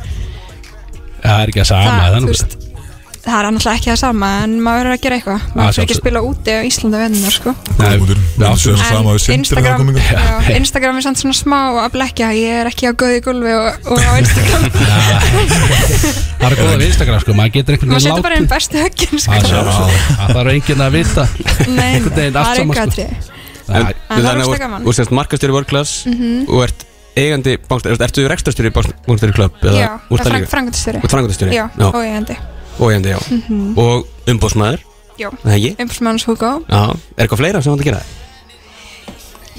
S3: Já, Það er ekki að sama
S7: það,
S3: það er
S7: þú
S3: nú-
S7: veist, það er annars ekki það sama en maður verður að gera eitthvað
S3: Ah,
S7: maður fyrir ekki
S3: sjálfsögðu.
S7: að spila úti á Íslanda vennar sko
S3: Nei,
S2: Góður,
S3: já,
S2: við séum
S3: þú-
S2: sama við
S7: en
S2: Sindri þegar hann kom
S7: Instagram,
S2: hingað.
S7: já, Instagram er samt svona smá að blekja ég er ekki á góði gólfi og, og á Instagram
S3: það er góða við Instagram, sko Maður getur einhvern
S7: maður
S3: veginn
S7: setur bara
S3: látið
S7: inn bestu höggin sko.
S3: Það það þarf enginn að vita
S7: Nei,
S3: einhvern veginn allt
S7: það er
S3: saman, sko.
S7: enga atrið
S5: En
S3: Það-
S7: það er
S5: þannig
S7: rosa
S5: að
S7: gaman. Mhm.
S5: þú- þú sérst markastjóri World Class og ert eigandi bankstjóri, ertu rekstastjóri bankstjóri klubb?
S7: Já, það er frang, frangundastjóri
S5: Og frangundastjóri?
S7: Já,
S5: já.
S7: og Mhm. ég endi
S5: Og eigandi, já. Og umbósmaður,
S7: Já,
S5: það ekki?
S7: umbúrsmanns Hugo
S5: Já. Er eitthvað fleira sem hann að gera?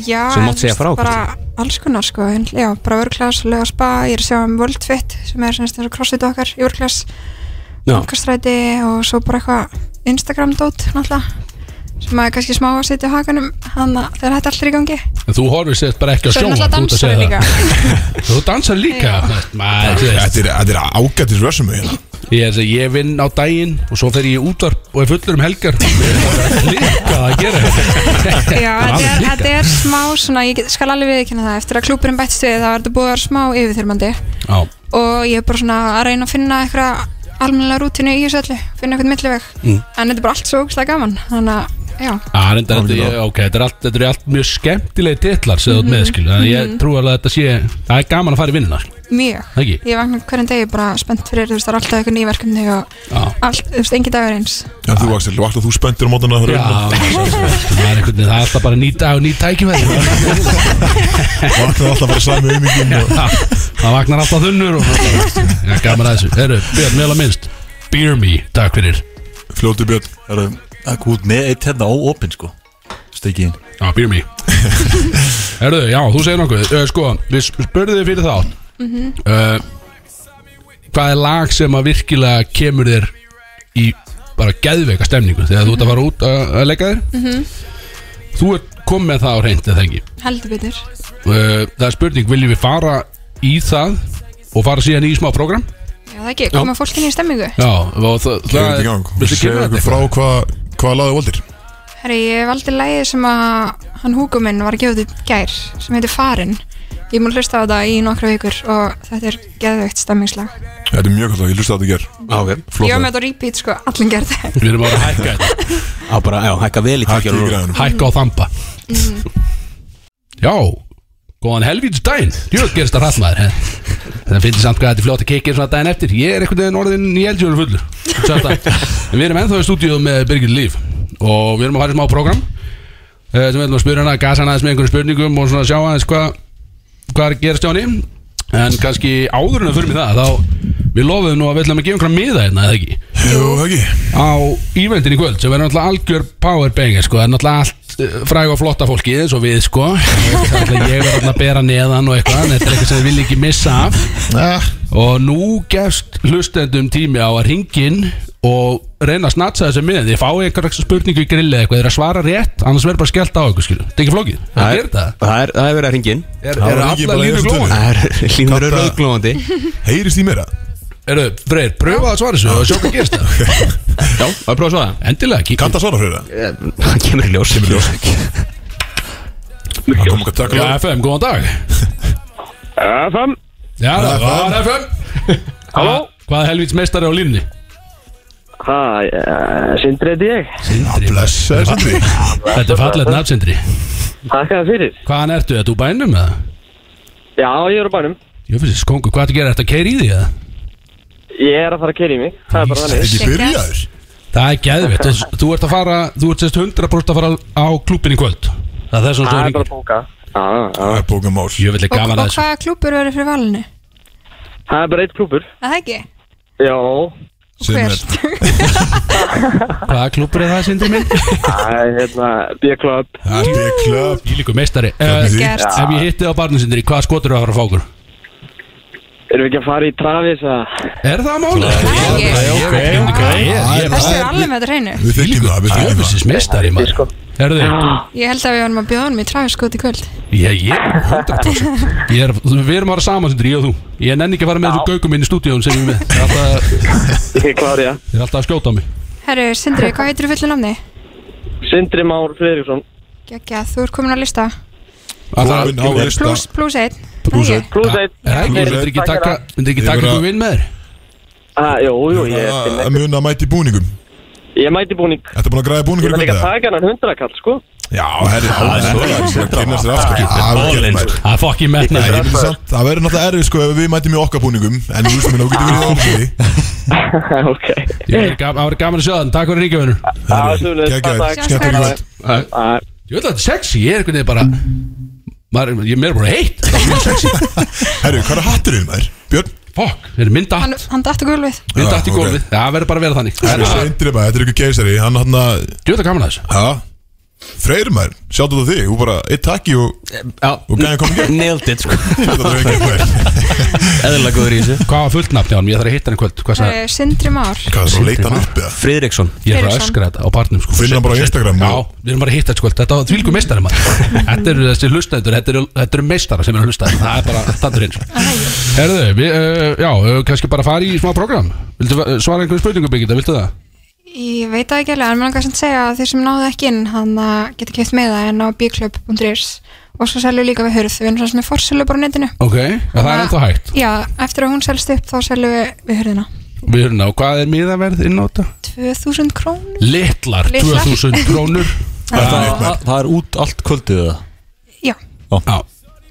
S7: Já,
S5: Sem
S7: en
S5: mátt segja
S7: þú veist,
S5: frá,
S7: bara alls konar sko en- Já, bara vörklass, lög og spa Ég er að sjá um Worldfit sem er sem þess að crossfit okkar í vörklass
S5: Já.
S7: Bankastræti og svo bara eitthvað Instagram-dót náttúrulega sem maður er kannski smá að setja á hakanum þannig að þegar þetta er allir í gangi
S3: En Þú horfir sett bara ekki á
S7: Svo er
S3: sjóa
S7: náttúrulega dansar líka
S3: Þú dansar líka Maður, þú veist,
S2: Þetta er- þetta er ágættis resume hérna
S3: Ég, þessi, ég vinn á daginn og svo fer ég í útvarp og er fullur um helgar Líka að gera þetta. Það er
S7: Já, þetta er,
S3: alveg
S7: þetta er smá svona, ég get- skal alveg viðkynna það eftir að klúpurinn bættist við þá er þetta búið að vera smá yfirþyrmandi
S3: Já,
S7: og ég er bara svona að reyna að finna eitthvað almennilega rútinu í þessu öllu finna eitthvað milliveg
S3: Mm.
S7: en þetta er bara allt svo ógæslega gaman þannig að já,
S3: Á, reyndar, þetta, ég, ok, þetta er allt, þetta er allt mjög skemmtilegi titlar sem þú ert
S7: Mhm.
S3: með skil Þannig að ég trú alveg að þetta sé Það er gaman að fara í vinnuna sko.
S7: mjög
S3: Það ekki?
S7: ég vakna hverjum degi bara spennt fyrir þú veist það er alltaf eitthvað nýverkefni og
S3: Já,
S7: allt, þú veist, engi dagur eins
S2: Já, þú Axel, vaknað þú spenntir á mótana
S3: já það er einhvern veginn Það er alltaf bara nýt á nýt tækifæði
S2: Vaknað alltaf bara sami umingin og
S3: Já, Það vagnar alltaf þunnur og Já, Gaman að þessu Heru, Björn, vel að minnst Beer me, takk fyrir
S2: fljótu björn
S4: Herru, Það er gúð með eitt hérna óopinn sko Stekiðin
S3: Já, beer me Herðu, já, þú segir nokkuð uh, Sko, við spurðum þig fyrir þátt uh, Hvað er lag sem að virkilega kemur þér í bara geðveika stemningu þegar þú ert að fara út að, að leika þér Þú ert kom með það á reynd eða ekki
S7: heldur betur
S3: uh, Það er spurning, viljum við fara í það og fara síðan í smá program
S7: já það ekki, koma fólkinni í stemmingu
S3: Já, og það,
S2: Kemur þetta í gang
S3: Viltu
S2: Segðu
S3: kemur þetta
S2: okkur frá
S3: eitthvað?
S2: hvað hva laðið valdir
S7: herri, ég valdi lægi sem að hann húku minn var að gefa út í gær sem heitir Farin ég mun hlusta á þetta í nokkra vikur og þetta er geðveikt stemmingslag
S2: Þetta er mjög kallt að ég lusta að þetta ger
S5: Já, ok.
S7: ég
S2: Flott
S7: var
S2: lag.
S7: með þetta á repeat sko, allir gerði
S3: Við erum að vera að hækka þetta
S5: Já, bara, já, hækka vel í
S2: Hækki í
S5: takkjörnum.
S2: græðunum
S3: hækka og þampa Já, góðan helvítus daginn Jú, gerist það hrattmaður Það finnst samt hvað þetta er fljótt að keikir svona daginn eftir Ég er einhvern veginn orðin í eldjóður fullur Sagt það. En Við erum ennþá í stúdíu með Birgit Líf Og við erum að fara í smá program eh, Sem við ætlum að spyrja hana, gasa hana aðeins með einhverjum spurningum Og svona sjá aðeins hvað Hvað er að gerast hjá henni En kannski áður en að fyrir mig það Þá við lofum nú að við ætlum að gefa einhverja miða hérna eða ekki
S2: Jú, ekki
S3: á íventin í kvöld sem verður náttúrulega algjör powerbanger sko, það er náttúrulega allt eh, fræg og flotta fólki eins og við sko Það er náttúrulega ég verður náttúrulega að bera neðan og eitthvað en þetta er eitthvað sem við viljum ekki missa af og nú gefst hlustendum tími á að ringin og reyna að snatsa þessu miðan þið fáið eitthvað spurningu í grilli eða eitthvað þið er að svara rétt annars verður bara skellt á ykkur skilu þetta er ekki flókið, það er þetta
S5: Það er, það er verið að hringin.
S3: er,
S2: Það
S3: er
S2: var ekki
S3: alla
S2: bara í
S3: línu
S2: þessum
S3: glóðan
S2: tölum.
S5: Það er línur
S2: Þetta-
S5: rauðglóðandi.
S2: Heyrist í mér að
S3: eru, Freyr, pröfa að svara þessu og sjá hvað gerst það
S5: Já, það er prófað svo það.
S3: endilega, kíkja
S2: Kanta svara fyrir það
S5: Það kemur í ljós. Kemur í ljós.
S2: Það kom okkar takk
S3: Já, FM, góðan dag
S8: FM,
S3: Já, það var FM
S8: Halló?
S3: Hvað helvits meistari á línni?
S8: Hvað, uh, sindri heiti ég
S3: Sindri
S2: Ah, Blessaður Sindri
S3: Þetta er fallet nafn Sindri
S8: Takk að fyrir
S3: Hvaðan ertu? Ertu úr bænum eða?
S8: Já, ég er á bænum
S3: Ég finnst þessi skongu, hvað ertu að gera? Ertu að keira í því eða?
S8: Ég er að fara að keri mig Það er bara
S3: Þetta er ekki
S8: þannig
S2: Byrjaður
S3: Það er geðvitt þú, þú ert að fara, þú ert sérst 100% að fara á klúbin í kvöld Það er svona
S8: Það
S3: svo
S8: er bara
S3: ringir
S8: að bóka Já, já.
S2: Það er bókamál
S3: Ég vil ekki
S7: Og,
S3: gaman að
S7: og
S3: þessu
S7: hvaða klúpur verður fyrir valinu?
S8: Það er bara eitt klúpur
S7: Er Það ekki?
S8: Já,
S7: Og
S2: Sem
S7: hver?
S2: er-
S3: Hvaða klúbur er það Sindri minn?
S8: það er hérna B-klub
S2: Það er B-klub
S3: Ég líku meistari uh,
S2: Hvernig því?
S7: Gert.
S3: Ef ég hitti á barnum Sindri, hvaða skotur er að fara að fá okkur?
S8: Erum við ekki að fara í Travis að
S3: Er það málið?
S7: Það er ekki?
S3: Ég veit ekki hvað það er Ég er
S7: Þessi er
S3: bara
S7: alveg með þetta hreinu
S2: Við þykjum það, við þykjum það
S3: Jöfisins meistari
S8: sko.
S3: maður Herðu,
S7: Ég held að við varum að bjóða honum í trafiskóti í kvöld
S3: ég, ég, 100% ég er, þú- Við erum að vera saman Sindri, ég og þú Ég nenni ekki að fara með þessu gaugum inn í stúdíón sem ég er með Það er alltaf,
S8: Ég klári það
S3: það er alltaf að skjóta á mig
S7: Herru, Sindri, hvað heitir þú fullu namni?
S8: Sindri Már Friðriksson
S7: Gekja, þú ert komin á lista
S2: Þú
S3: Alltaf-
S2: vinn á lista
S7: Plus, plus einn
S3: Plús
S7: Það
S3: einn.
S7: ekki?
S8: Plus
S3: Ja,
S8: eitt
S3: Er það ekki, myndir ekki
S8: Takk
S3: taka
S8: fyrir
S3: Myndir ekki
S2: Ég
S3: taka
S2: verð að-
S3: einhver vinn með þér
S8: það. Jú, jú, ég er
S2: Að
S8: til-
S2: muna að mæti búningum
S8: Ég mæti búning
S2: Þetta er búin að græða
S8: Ég
S2: búningur í
S8: ætla líka
S2: kvölda
S8: að taka hennan hundrakall, sko
S2: Já, herri, það er svo Kynnast þér aftur Það er gert maður
S3: Það er fokkin metna
S2: Nei, ég myndi samt, það verður náttúrulega erfið sko ef við mætum í okkar búningum En þú veist mér, þú getur verið í okkar
S8: Ok
S3: Það var gaman að sjá það, en takk fyrir ríkjavinnur
S8: Já, sömuleiðis. Takk,
S2: Gægæð,
S8: takk.
S2: skemmt ekki völd
S3: Ég
S8: Æ,
S3: veit að þetta er sexy, ég er einhvern veginn bara maður, Ég er meira bara heitt Það er mjög sexy
S2: Herru, hvað er hatturinn maður? Björn?
S3: Fokk, þetta er mynd
S7: Hann,
S3: dætt
S7: hann datt á gólfið
S3: Mynd
S2: Já,
S3: dætt í
S2: ok.
S3: gólfið, það verður bara að vera þannig
S2: Það er seindir maður, þetta er ykkur keisari Hann hann að,
S3: Þú veit að gaman að þessu
S2: ha? Freyr maður, sjáttu þetta þig Þú bara, eitt takki og
S5: Já,
S2: Og gæði kom í gegn.
S5: Nailed it, sko
S2: þetta er ekki maður
S5: Eðlilega góður í þessu
S3: Hvað var fullt nafn hjá hann, ég þarf að hitta hann í kvöld Hvað sagði
S7: Herru, Sindri Már
S2: Hvað, svo leita hann upp eða?
S5: Friðriksson
S3: Ég er bara að
S7: Friðriksson.
S3: öskra þetta á barnum sko
S2: Finn hann bara á Instagram
S3: Já,
S2: og-
S3: við erum bara að hitta þetta sko Þetta var þvílgu meistari maður Þetta eru þessi hlustendur, þetta eru- þetta eru meistara sem eru hlustaði Það er bara standur eins Herðu, við, uh, já, uh, kannski bara fara í smá program Viltu uh, svara einhverjum spurningum byggjum viltu það?
S7: Ég veit það ekki alveg, en mér langar samt að segja að þeir sem náðu ekki inn, hann uh, getur kæft með það en á bíklöp.is og svo selju líka við hurð, við erum svona sem er forsölu bara á netinu.
S3: Ok, ja, það er ennþá hægt
S7: Já, eftir að hún selst upp þá selju við, við hurðina.
S3: Við erum ná, hvað er miðaverð inn á þetta?
S7: 2000 krónur?
S3: Littlar,
S7: Litlar.
S3: 2000 krónur
S4: Er það, það, það er út allt kvöldið eða?
S7: Já,
S3: Já,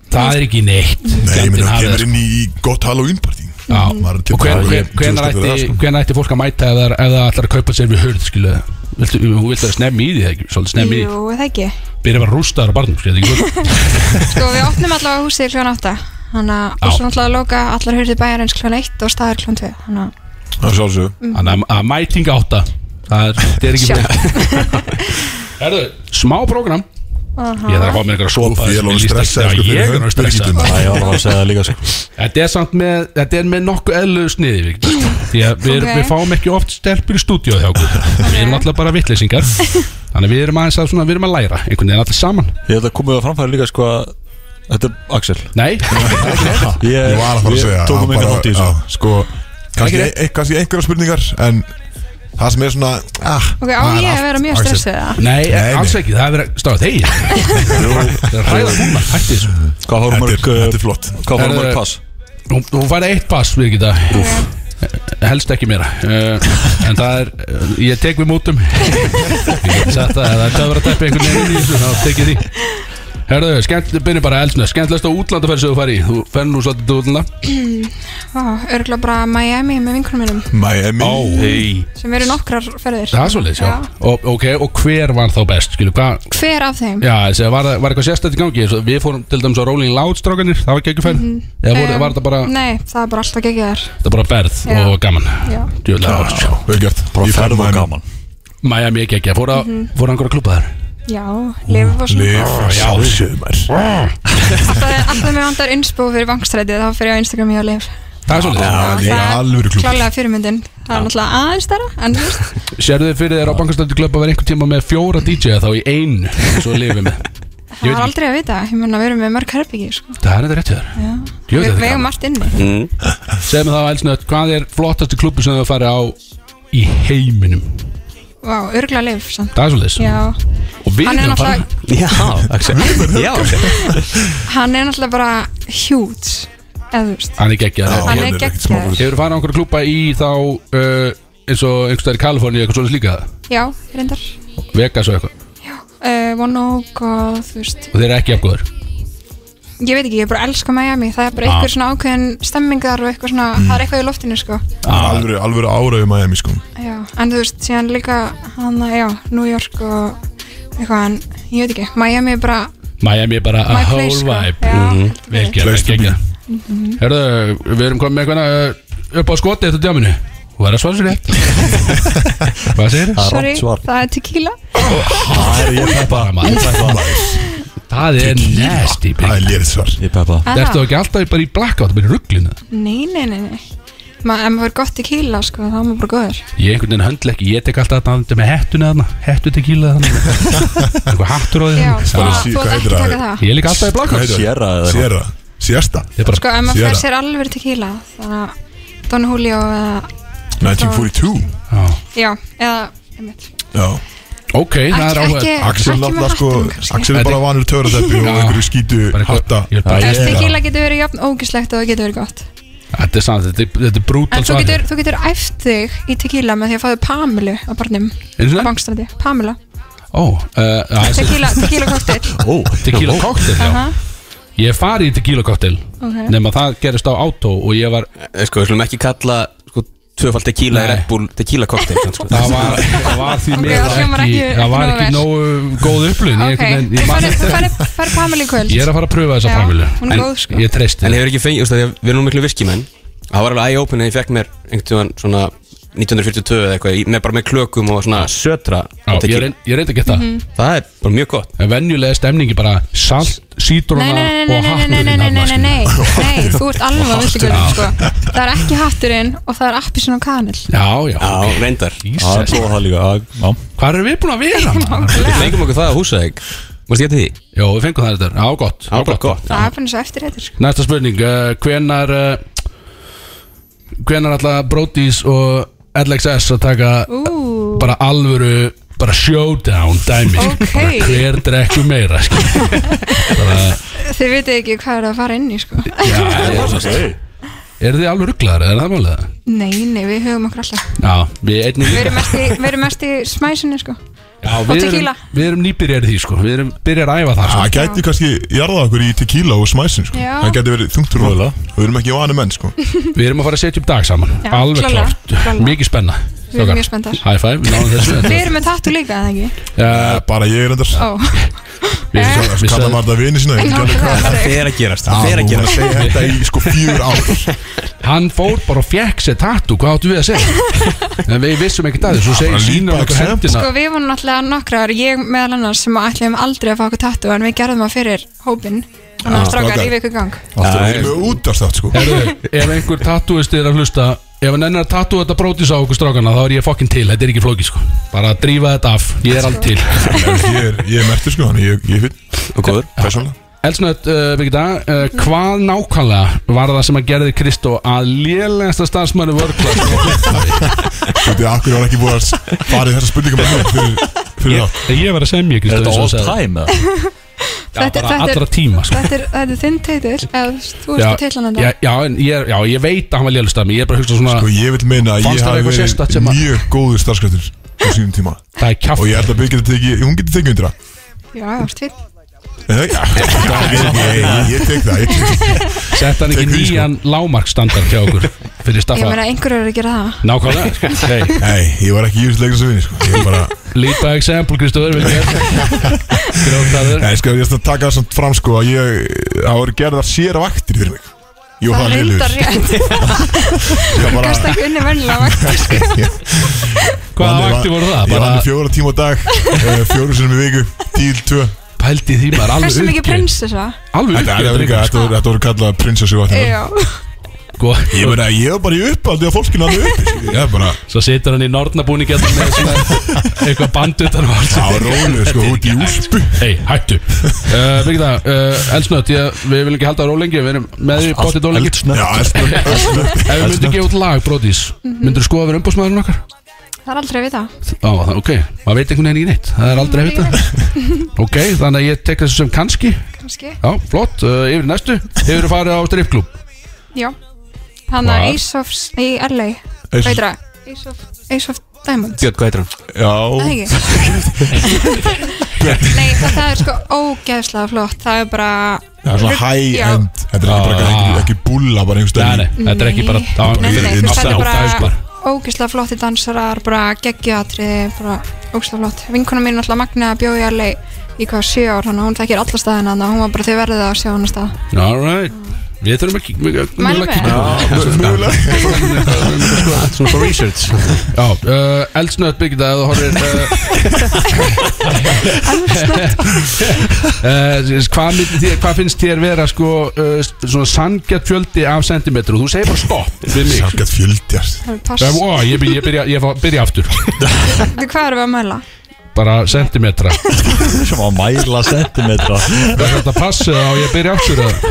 S3: það er ekki neitt
S2: Nei, ég
S3: Skemmtinn
S2: meina,
S3: hafið,
S2: kemur inn í gott Halloween party
S3: Já. sko. Og hven- hven- hvenær ætti,
S2: sko.
S3: hven ætti fólk að mæta ef það, ef það ætlar að kaupa sér við hurð skilu Viltu, hún vilt að snemmi í því, eða ekki, svolítið snemmi í
S7: jú,
S3: því
S7: það ekki.
S3: Byrja bara rústaður á barnum, skilu, þetta er ekki gott
S7: Sko, við opnum allavega húsið kljóðan átta, þannig að, og
S3: Já.
S7: svo náttúrulega að loka allar hurði bæjarins kljóðan 1 og staðar kljóðan 2, þannig að,
S2: Það er sjálfsög
S7: Mm.
S3: Þannig að- að mæting átta Það er, það er ekki
S7: Sjá.
S3: fyrir Herðu, smá program Ég þarf að fá mér einhver að sopa
S2: Úff, ég er alveg
S3: sem líst ekki-
S2: stressaður,
S3: Já,
S2: sko, fyrir
S3: ég er alveg
S2: höndbyrgituna.
S3: stressað
S4: Það ég var að fara að segja það líka sko
S3: Þetta er samt með, þetta er með nokkuð eðlu sniði Viktor. sko. Því að við,
S7: Ok.
S3: við fáum ekki oft stelpur í stúdíu hjá okkur Við erum alltaf bara vittleysingar Þannig að við erum aðeins að svona, við erum að læra Einhvern veginn allir saman
S4: Ég held að komið á framfæri líka sko að Þetta er Axel
S3: Nei,
S4: Ég,
S2: Ég var að fara að segja
S4: Tókum
S2: hann
S4: minni
S2: bara-
S4: hátt í
S2: já,
S4: þessu
S2: Sko, kannski
S3: Ekki
S2: ein- ein- kannski einhverjar spurningar En það sem er svona ah,
S7: ok,
S2: það er
S7: á ég að
S2: allt-
S7: vera mjög
S2: Axel.
S7: stressið það?
S3: nei,
S2: nei.
S3: alls ekki Það er verið að stáða þeir Það er að ræða húnar, hætti þessu
S4: Hvað fórum
S2: Þetta er-
S4: mörg
S2: þetta er
S4: uh,
S2: flott
S4: Hvað
S3: Herðu,
S4: fórum mörg pass?
S3: Hún, hún fær eitt pass við geta Helst ekki meira uh, En það er, uh, ég tek við mútum Sætta, það er töfra teppi einhvern veginn inn í þessu, þá tek ég því Herðu, skemmt, byrjum bara elsna Skemmtilegst á útlandaferð sem þú fær í Þú fer nú svolítið til útlanda
S7: Vá, örgulega bara Miami með vinkunum minnum,
S2: Miami
S3: Ó, hei
S7: sem eru nokkrar ferðir.
S3: Það er svolítið, já og, Ok, og hver var þá best, skilu, hvað
S7: Hver af þeim?
S3: Já, þessi, var, það- var eitthvað sérstætt í gangi Svo Við fórum til dæmis á Rolling Loud strákanir Það var ekki ekki færð
S7: Mhm.
S3: Eða voru,
S7: Em,
S3: var þetta bara,
S7: Nei, það er bara alltaf ekki þar
S3: þetta bara berð
S7: Já.
S3: og gaman
S7: Já.
S3: Djúlega ára
S2: Vel gert Ég fer
S4: Ferð og
S2: Miami.
S4: gaman
S3: Miami ekki ekki, fóru á
S7: Mhm.
S3: mm -hmm. einhverja klúpa þar
S7: Já, lif og svona
S2: Lif, sjálfsög maður
S7: Alltaf, alltaf með vandar innspó fyrir vangstrætið Þá fyrir ég á Instagram ég á lif
S3: Það er svolítið
S2: Já. það er alvöru klúbbur.
S7: Klálega fyrirmyndin Það er náttúrulega aðeins stærra En þú veist
S3: Sérðu þið fyrir þér á bankastöldu klubba verið einhvern tíma með fjóra DJ-a þá í einu Svo lifið með Ég
S7: það
S3: veit
S7: er
S3: ekki.
S7: aldrei að vita Ég mun að vera með mörg herbyggi sko.
S3: Það er þetta rétt hjá þér
S7: Já.
S3: Jú,
S7: Við
S3: þetta er
S7: við eigum
S3: gaman.
S7: allt inni
S3: Segð mér þá elsnöð, hvað er flottasti klubbu sem þau farið á í heiminum
S7: Vá, örgla lif samt
S3: Það er svolítið
S7: Já,
S3: Og við
S7: Hann er
S3: erum að fara
S7: náttúrulega-
S5: Já, Axel Já, Axel
S7: hann er náttúrulega bara huge Eða þú veist
S3: Hann er ekki að
S2: Já,
S3: það
S7: Hann er
S2: ekkert
S7: geggjaður.
S2: smáfugl.
S3: Hefur farið á einhverja klúpa í þá uh, eins og einhvers staðar í Kaliforni eitthvað svona líka
S7: já, reyndar
S3: Vegas og eitthvað
S7: uh, One Oak og þú veist
S3: og þeir eru ekki afgóður
S7: ég veit ekki, ég bara elska Miami það er bara
S3: Ah.
S7: einhver svona ákveðin stemmingar og eitthvað svona, það
S3: Mm.
S7: er eitthvað í loftinu sko
S2: Alvöru, alvöru ára um Miami sko
S7: já, en þú veist, síðan líka hann, já, New York og eitthvað, en ég veit ekki, Miami er bara
S3: Miami er bara a
S7: my
S3: whole
S7: place sko,
S3: vibe
S7: já,
S3: Mhm.
S7: heldur
S3: Vel
S7: betur.
S3: gert,
S2: Place to
S3: vel gert. Herðu, við erum komið með eitthvað uh, upp á skoti eftir djáminu Þú er að svara sér rétt Hvað segir þið?
S7: sorry,
S4: svar.
S7: það er tequila
S3: Ég peppa það Það er nasty
S2: Það er lérið svar
S4: Ég peppa það
S3: Ertu þá ekki alltaf bara í blackout bara í rugglinu?
S7: nei, nei, nei, nei Ma, ef maður er gott tequila, sko, þá er maður bara góður
S3: Ég einhvern veginn höndla ekki, ég tek alltaf þetta með hettuna þarna Hettu tequila þarna Eitthvað hattur á því
S7: já,
S3: þarna.
S7: þú
S2: Bara
S7: þú
S2: sí-
S7: þú
S2: hvað
S7: ert ekki
S2: heitir
S7: að
S2: það?
S7: taka það
S3: Mm. Ég er líka alltaf í blackout
S2: heitir það?
S4: Sierra eða eitthvað.
S2: Sierra Sierra
S3: Ég er bara,
S7: sko, ef maður
S2: Sierra.
S7: fær sér alveg tequila þannig að Don Julio eða,
S2: 1942
S3: já.
S7: já, eða einmitt.
S2: Já
S3: Ok, það er
S7: ekki, ekki,
S3: áhugað
S2: Axel
S7: Eh, ekki með
S2: náttúrulega sko
S7: hattum kannski.
S2: Axel er bara vanur törateppi og
S3: Já.
S2: einhverju skýtu
S3: Bara eitthvað-
S2: hatta
S3: ég er bara-
S2: Já,
S7: Þú veist,
S2: ég-
S7: Tequila getur verið jafn ógislegt og það getur verið gott
S3: Þetta er sant, þetta er- þetta er brútal
S7: En þú getur, þú getur æft þig í tequila með því að fáðu Pamilu á barnum á
S3: Getur...
S7: bankstræti, Pamila
S3: Ó, uh, já,
S7: Tequila, tequila cocktail
S4: Ó,
S3: tequila cocktail já.
S7: Aha,
S3: Ég fari í tequila cocktail
S7: ok.
S3: Nefn að það gerist á átó og ég var
S5: Eh, Sko, við slum ekki kalla sko, Tvöfald tequila
S3: Nei.
S5: í Red Bull Tequila cocktail sko.
S3: Það var, það var því
S7: Ok,
S3: mér
S7: það hljómar
S3: ekki,
S7: ekki-
S3: Það var
S7: ekki
S3: ekki nógu góð upplun
S7: Ok, þú farið- þú farið farið Pamilu í kvöld
S3: Ég er að fara að pröfa þessa
S7: Já,
S3: framölu
S7: hún er góð, sko.
S3: Ég treysti
S5: En
S3: þér.
S5: hefur ekki fengið, þú veist, af því að við erum nú miklu virkimenn Það var alveg eye-open að ég fekk mér einhvern tíðan svona 1942 eða eitthvað, í- með bara með klökum og svona sötra
S3: Já,
S5: og
S3: Ég
S5: tequila.
S3: reynd- ég reyndi að geta það
S7: Mhm.
S5: Það er bara mjög gott
S3: En venjulega er stemningi bara salt, sítruna
S7: Nei, nei, nei,
S3: og
S7: nei, nei, nei, nei, nei, nei, nei,
S3: hatturinn
S7: nei, nei, þú ert alveg að viltu sko. Það er ekki hatturinn og það er appisinn og kanil.
S3: Já, já,
S5: Já, reyndar
S4: það er
S3: Jesus
S4: prófað það líka Já, já.
S3: Hvað erum við búin að vera? maður?
S5: Við fengum okkur það á húsæk Varst ég til því?
S3: Jó, við fengum það þetta, á gott, á
S5: Það var bara
S3: gott.
S5: gott
S7: Það er bara eins og eftir þetta, sko.
S3: Næsta spurning, uh, hvenar uh, hvenar alltaf Brody's og LXS að taka
S7: Ú,
S3: bara alvöru bara showdown dæmi
S7: Ok.
S3: bara hver drekku meira skil. bara,
S7: þið vitið ekki hvað er að fara inn í, sko.
S3: já, er, er þið alveg rugglaðar, er það málið?
S7: Nei, nei, við höfum okkur alltaf.
S3: Já, við einnig
S7: Við erum mest í, við erum mest í smæsinu, sko.
S3: já, við, erum,
S7: tequila.
S3: við erum nýbyrjar í því sko, við erum byrjar að æfa það sko.
S2: Það gæti kannski jarða okkur í tequila og smæsin sko.
S7: Já.
S2: Það gæti verið þungtur og við erum ekki vani menn sko.
S3: við erum að fara að setja upp dag saman,
S7: Já,
S3: alveg
S7: klálega,
S3: klárt
S7: klálega.
S3: mikið spenna
S7: Við
S3: Strákar,
S7: erum mjög spenntar.
S3: high five, við náðum þessu
S7: Við erum með tattu líka, eða ekki?
S3: uh,
S2: Eh, Bara ég er endar
S7: Ó,
S3: við,
S7: Eh?
S3: við, við,
S2: Kallar maður það vini sína ég gerði hvað.
S7: nákvæmlega.
S5: Það er að gerast,
S2: Já,
S5: það
S2: hún
S5: er að
S2: var að
S5: gerast
S2: segja þetta í sko fjör ár
S3: Hann fór bara og fekk sér tattu Hvað áttu við að segja? En við vissum ekkert að því Svo segir
S2: bara
S3: sínur
S2: lípa
S3: okkur
S2: example.
S3: hendina
S7: Sko, við vorum náttúrulega nokkrar, ég meðal annars sem ætlum aldrei að fá okkur tattu, en við gerðum það fyrir hópinn. Þannig að strákar,
S2: strákar.
S7: í viku gang.
S2: Það er með útastátt sko
S3: Herðu, Ef einhver tattuist er að hlusta Ef hann ennur að tattu þetta brótis á okkur strákana Þá er ég fokkin til, þetta er ekki flóki sko Bara að drífa þetta af, ég er allt til
S2: Ég er, ég er mertur sko, þannig ég, ég finn
S5: Og góður
S2: Persónlega
S3: Elsnöð, uh, Birgitta uh, Hvað nákvæmlega var það sem að gerði Kristó Að lélegasta starfsmannu vörkla
S2: Þú veit, akkur var ekki búið að s- fara í þessa spurningum með mér fyrir, fyrir það
S3: Ég var að semja
S4: Er
S3: Kristó
S4: þetta
S3: eins og
S4: all
S3: sagði.
S4: time eða?
S3: Já,
S7: Þetta-
S3: bara
S7: þetta er-
S3: allra tíma sko
S7: Þetta er, þetta er þinn teitil, eða þú veist
S3: Já,
S7: að teitlan þetta.
S3: já, já, en ég er- já, ég veit að hann var lélegast að mér Ég er bara að hugsa svona,
S2: Og Sko, ég vil meina að
S3: Fannst
S2: ég
S3: þér
S2: hafi
S3: eitthvað sérstakt
S2: verið
S3: sem að-
S2: mjög góður starfskræftur á sínum tíma
S3: það er kjátt
S2: Og ég held að Birgit að teki, hún getur tekið undir það
S7: Já, já, stvít.
S2: Nei, nei, ég- ég- ég- Ég tek það, ég tek það
S3: Sett hann ekki
S2: Tek því, sko.
S3: nýjan lágmarkstandard hjá okkur fyrir
S7: Ég meina,
S3: staffa
S7: einhverju eru að gera það.
S3: Nákvæmlega sko. hey,
S2: Nei, ég var ekki júst leikur sem vinni sko Ég var bara
S3: Lead by example, Kristofur Grótaður
S2: Nei, sko, ég skal taka það samt fram sko að ég, það voru gerðar sér vaktir fyrir mig Ég var
S7: Það
S2: það
S7: er reyndar
S2: liður
S7: rétt.
S2: Ég var
S7: Gast
S2: bara
S7: ekki unni vennilega vakt.
S3: Hvaða
S2: Vann-
S3: vakti voru það?
S2: Ég vann í
S3: Bara
S2: fjóra tíma á dag, eh, fjóru sinni í viku, tíl tvö
S3: pældi því maður alveg
S7: Hversu mikið
S3: uppgefinn.
S7: prinsessa?
S3: Alveg
S2: Þetta er
S3: uppgefinn,
S2: líka, þetta voru- þetta voru kallað prinsessu vaktina
S7: Já.
S3: sko.
S2: Ég meina, ég var bara í uppaldi að fólkinu að uppi sko. Ég er bara,
S3: Svo situr hann í nornabúni með svona eitthvað band utan á alls
S2: það var rólega sko, út í úlpu
S3: Hei, hættu uh, Birgitta, uh, elsnött, ég, við viljum ekki halda það rólengi Við erum með því bóttið rólengi
S2: Já, elsnögt
S3: Ef við myndum gefa út lag, Brodís
S7: Mhm.
S3: Myndur þú skoða að vera umbúsmaðurinn okkar?
S7: Það er aldrei að vita.
S3: Já, það- ok, maður veit einhvern veginn ekki neitt Það er aldrei að vita Ok, þannig að ég tek þessu sem kannski
S7: Kanski.
S3: Já, flott, uh, yfir í næstu Hefur þú farið á stripklub
S7: Já. Þannig
S3: Hvar?
S7: að Ace of S- í LA.
S2: Ace of-
S7: Veitur það? Ace of, Ace of Diamonds
S5: Björn, hvað heitir hann?
S7: Það
S2: Já,
S7: ekki Nei, það er sko ógeðslega flott Það er bara
S2: það er svona
S7: Rugg-
S2: high
S7: já.
S2: end Þetta er
S3: Ah.
S2: ekki, ekki, ekki búlla bara einhvers
S3: Nei, nei,
S2: dag
S3: þetta er ekki bara Það
S7: Nei, nei, nei, þú veist, þetta er
S3: Það er
S7: bara
S3: bara
S7: ógeðslega flotti dansarar bara geggjuatriði, bara ógeðslega flott Vinkona mín alltaf Magna bjóði í LA í hvað sjö ár, þannig að hún þekkir alla staðina þannig að hún var bara þau verðið að sjá hann að stað
S3: Alright Við þurfum að kíkja mjög-
S7: Mælum
S3: mjög að
S7: við.
S3: kíkja á það. Sko,
S5: Svona for research
S3: Já, uh, eldsnött byggjum það að þú horfir uh, uh, hvað, myndi þér, hvað finnst þér vera sko, uh, svona sangjart fjöldi af sentimetru þú segir bara stopp við mig
S2: Sangat fjöldjar
S7: Það er
S3: Eh,
S7: pass,
S3: ó, ég, byrja, ég, byrja, ég fá- byrja aftur
S7: Þú, hvað erum við að mæla?
S3: bara sentimetra
S4: sem að mæla sentimetra
S3: það er þetta pass eða á ég að byrja aftur eða?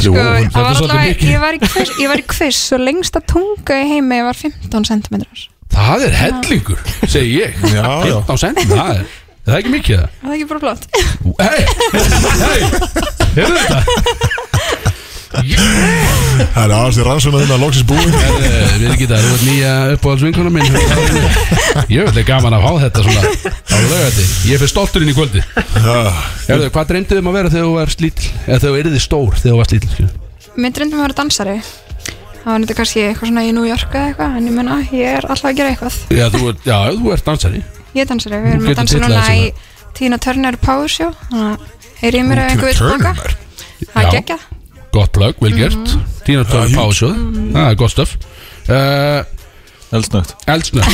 S3: Jú,
S7: Sko, það
S3: þetta
S7: var
S3: er svolítið
S7: allavega-
S3: mikið
S7: ég var í quiz- ég var í quiz og lengsta tunga í heimi var 15 cm
S3: það er hellingur, segi ég
S2: Já, já
S3: 15 cm, það er það er ekki mikið það
S7: Það er ekki bara flott
S3: hei, hei, hefur þetta
S2: Það er aðeins rannsónaðin að loksins búin
S3: Eh, Við erum ekki það, þú ert nýja uppáhaldsvinkona minn Ég veit, það er gaman að fá þetta svona á lögati Ég fyrir stoltur inn í kvöldi Erðu, hvað dreymdu um að vera þegar þú varst lítil eða þegar þú erði stór þegar þú varst lítil skilur?
S7: Mér dreyndum að vera dansari Það var þetta kannski eitthvað svona í New York eða eitthvað En ég menna, ég er alltaf að gera eitthvað
S3: Já, þú ert, já, þú ert dansari
S7: Ég er dansari, við
S3: Þú
S7: erum að
S3: getur
S7: dansa
S3: titlað
S7: núna
S3: þessu
S7: í Tina Turner Power Show Þannig að heyri ég mér ef einhver vill
S2: Turner
S7: baka Það
S3: Já.
S7: er geggja
S3: Gott plögg, vel gert
S7: Mhm.
S3: Tína
S2: Það
S3: Törn
S2: er
S3: Pásjóð Það er gott stöf uh,
S4: eldsnögt
S3: Eldsnöð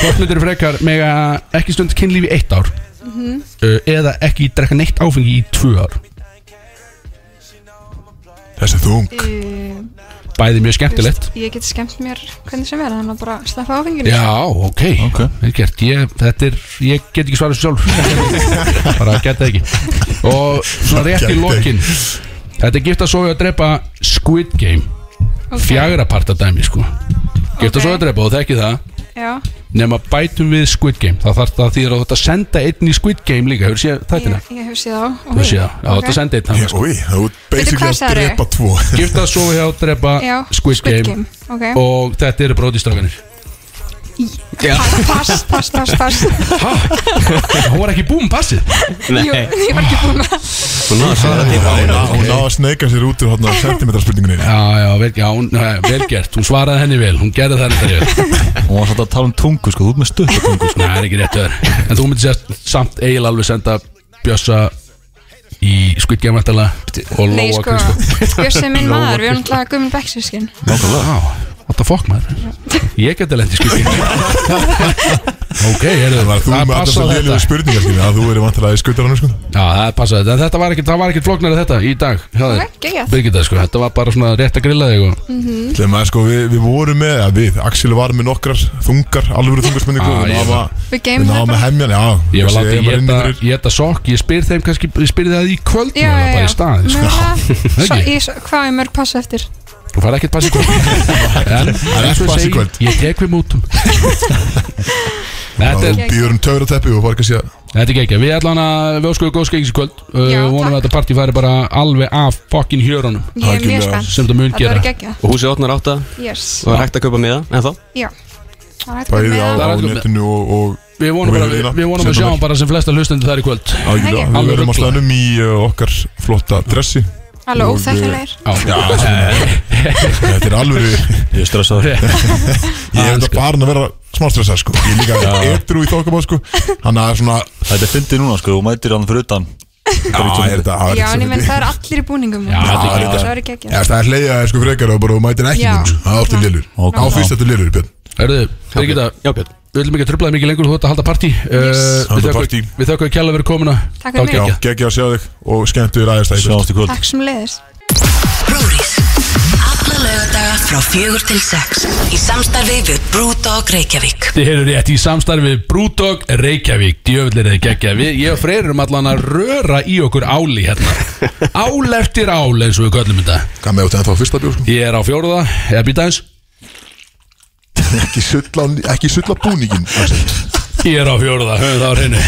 S3: Hvort myndir frekar mega ekki stund kynlífi í eitt ár
S7: Mhm.
S3: uh, Eða ekki drekka neitt áfengi í tvö ár
S2: Þessi þung
S3: Bæði mjög skemmtilegt
S7: Ég get skemmt mér hvernig sem er Þannig að bara sleppa áfenginu
S3: Já, ok,
S4: Ok.
S3: Vel gert. Ég, þetta er, ég get ekki svarað þessu sjálfur Bara get það ekki Og svona rétt í
S2: Gæti.
S3: lokin Þetta er gift að sofa og drepa Squid Game
S7: Ok.
S3: Fjagra parta dæmi sko Gift að
S7: Ok.
S3: sofa og drepa og þekki það
S7: Já,
S3: Nefn að bætum við Squid Game Það þarf það þýðir að þú ætti að senda einn í Squid Game líka Hefur séð
S7: ég,
S3: þættina?
S7: ég hef séð á
S3: Þú hefur séð það, Já, þú ætti að senda einn þangað, sko.
S2: Úi, þú ert basically
S7: hvað
S2: að
S7: sagðirðu?
S2: drepa tvo
S3: Gift að sofa og drepa
S7: Já,
S3: Squid Game
S7: Ok,
S3: Og þetta eru brótistrakanir
S7: pass, pass, pass, pass
S3: Hæ? Hún var ekki búin passið
S5: Nei,
S7: Jú, ég var ekki búin með
S5: hún náður svarað því
S2: Hún ná- hún ná að sneika sér út úr hodna sentimetarspurningunni
S3: Já, já, vel, já, hún, já, vel gert Hún svaraði henni vel, hún gerði það henni vel
S4: hún var svolítið að tala um tungu sko, þú ert með stutt tungu
S3: Nei, það er ekki rétt öður En þú myndir sér samt eiginlega alveg senda Bjössa í skvittgæmvættala Og
S7: Nei,
S3: Lóa
S7: sko, Bjössi er minn maður, við erum alltaf gummið bekksískin
S3: Nákvæmlega Já, what the fuck, maður Ég geti lendi skvittgæmvættala Ok, heyrðu,
S2: Þannig að þú
S3: það
S2: með alltaf
S3: passaði
S2: sem
S3: þetta
S2: lélega spurningar skilur, að þú eru vantilega í skautaranu sko
S7: Mm.
S3: Já, það passaði þetta En þetta var ekki, það var ekki flóknar þetta í dag hjá þér.
S7: Ok, geggjað.
S3: Birgitta, sko, þetta var bara svona rétt að grilla þig og
S2: Þegar maður sko, við, við vorum með, að við, Axel var með nokkrar þungar, alvöru þungarspurningu
S3: Ah,
S2: og
S3: ég
S2: við
S3: var-
S2: náðum að-
S7: Við
S2: við
S7: geymum það
S2: náðum að
S7: bara
S2: hemmja hann, já
S3: Ég var
S2: þessi Emma
S3: látið að
S2: inn í
S3: geta,
S2: fyrir-
S3: geta sokk Ég spyr þeim kannski, ég spyr það í kvöld
S7: Já, já,
S3: Bara
S7: já
S3: í staðin sko.
S7: Mögulega. Svo-
S3: Ekki?
S7: í- svo- Hvað er mörg pass eftir?
S3: Þú fara ekkert pass í kvöld En
S2: er
S3: eins
S2: ekki pass í
S3: og ég segi,
S2: kvöld.
S3: ég tek við mútum
S2: Já,
S3: Þetta er,
S2: Þú býður um töfrateppi og borgar sér
S3: þetta er gekkja Við ætlum að við óskuðu góð skeggis í kvöld uh,
S7: Já,
S3: Vonum að
S7: takk.
S3: þetta partí færi bara alveg af fucking hjörunum
S7: Ég er mjög
S2: Algjörlega.
S7: spennt
S3: Sem þetta mun
S7: Þetta
S3: gera
S7: verður geggja
S5: Og húsið opnar átta
S7: Yes
S5: og er hægt að kaupa miða En þá?
S7: Já Það er hægt að
S2: bæði
S7: koma
S2: á,
S7: með
S2: á
S3: Það er allt með-
S2: netinu og, og
S3: Við vonum,
S2: Og
S3: bara,
S2: við
S3: við,
S2: erum
S3: við vonum að
S2: hérna.
S3: sjáum bara sem flesta hlustendur þar í kvöld Já,
S2: algjörlega. Við
S3: Alveg
S2: verðum á
S3: ruglað.
S2: slanum í uh, okkar flotta dressi
S7: Alveg
S2: Og, uh,
S7: óþekkilegir
S2: Þetta er alvöru, Ah,
S4: ég er stressaður
S2: ég hef
S3: Aðeins,
S2: þetta
S3: sko.
S2: bara að vera smá stressað sko Ég er líka etru í þokkabáð sko Þannig að svona,
S4: þetta er fyndið núna sko, þú mætir hann fyrir utan
S2: já, er þetta það er
S7: Já,
S2: ekki
S7: en ég menn
S2: svo-
S7: það er allir í búningum
S3: Já, þetta er
S7: það
S2: geggjað. Já,
S7: Það verður geggja
S2: Það er hleyja sko frekar og bara þú mætir ekki
S7: Já.
S2: núna, sko. Það er ofta lélur
S4: Ok.
S2: Á fyrst þetta lélur, Björn
S3: Erðu, Birgitta,
S5: Já, Björn
S3: við viljum ekki að trubla þig mikið lengur Þú ætti að halda partí
S7: Yes.
S2: Halda
S3: uh,
S2: partí.
S3: Við þökkum kjalla verið komuna
S7: Takk fyrir
S3: Já,
S7: mig.
S2: Já, geggja að sjá þig og skemmtu þér aðeins það í kvöld.
S4: sjáumst í kvöld
S7: Takk sem leiðis
S6: Brúðið. Alla lögadaga frá fjögur til sex. Í samstarfi við Brúdog Reykjavík.
S3: Þið hefur rétt í samstarfi við Brúdog Reykjavík Djöfullir eða geggja Við, ég og Freyr erum allan að röra í okkur áli hérna Ál eftir ál eins og við köllum þetta
S2: Hvað með áttu ennþá fyrsta bjór sko?
S3: Ég er á fjóruða, eða býta eins
S2: Ekki sulla, ekki sulla búningin
S3: Ég er á fjóruða, höfum það á hreinu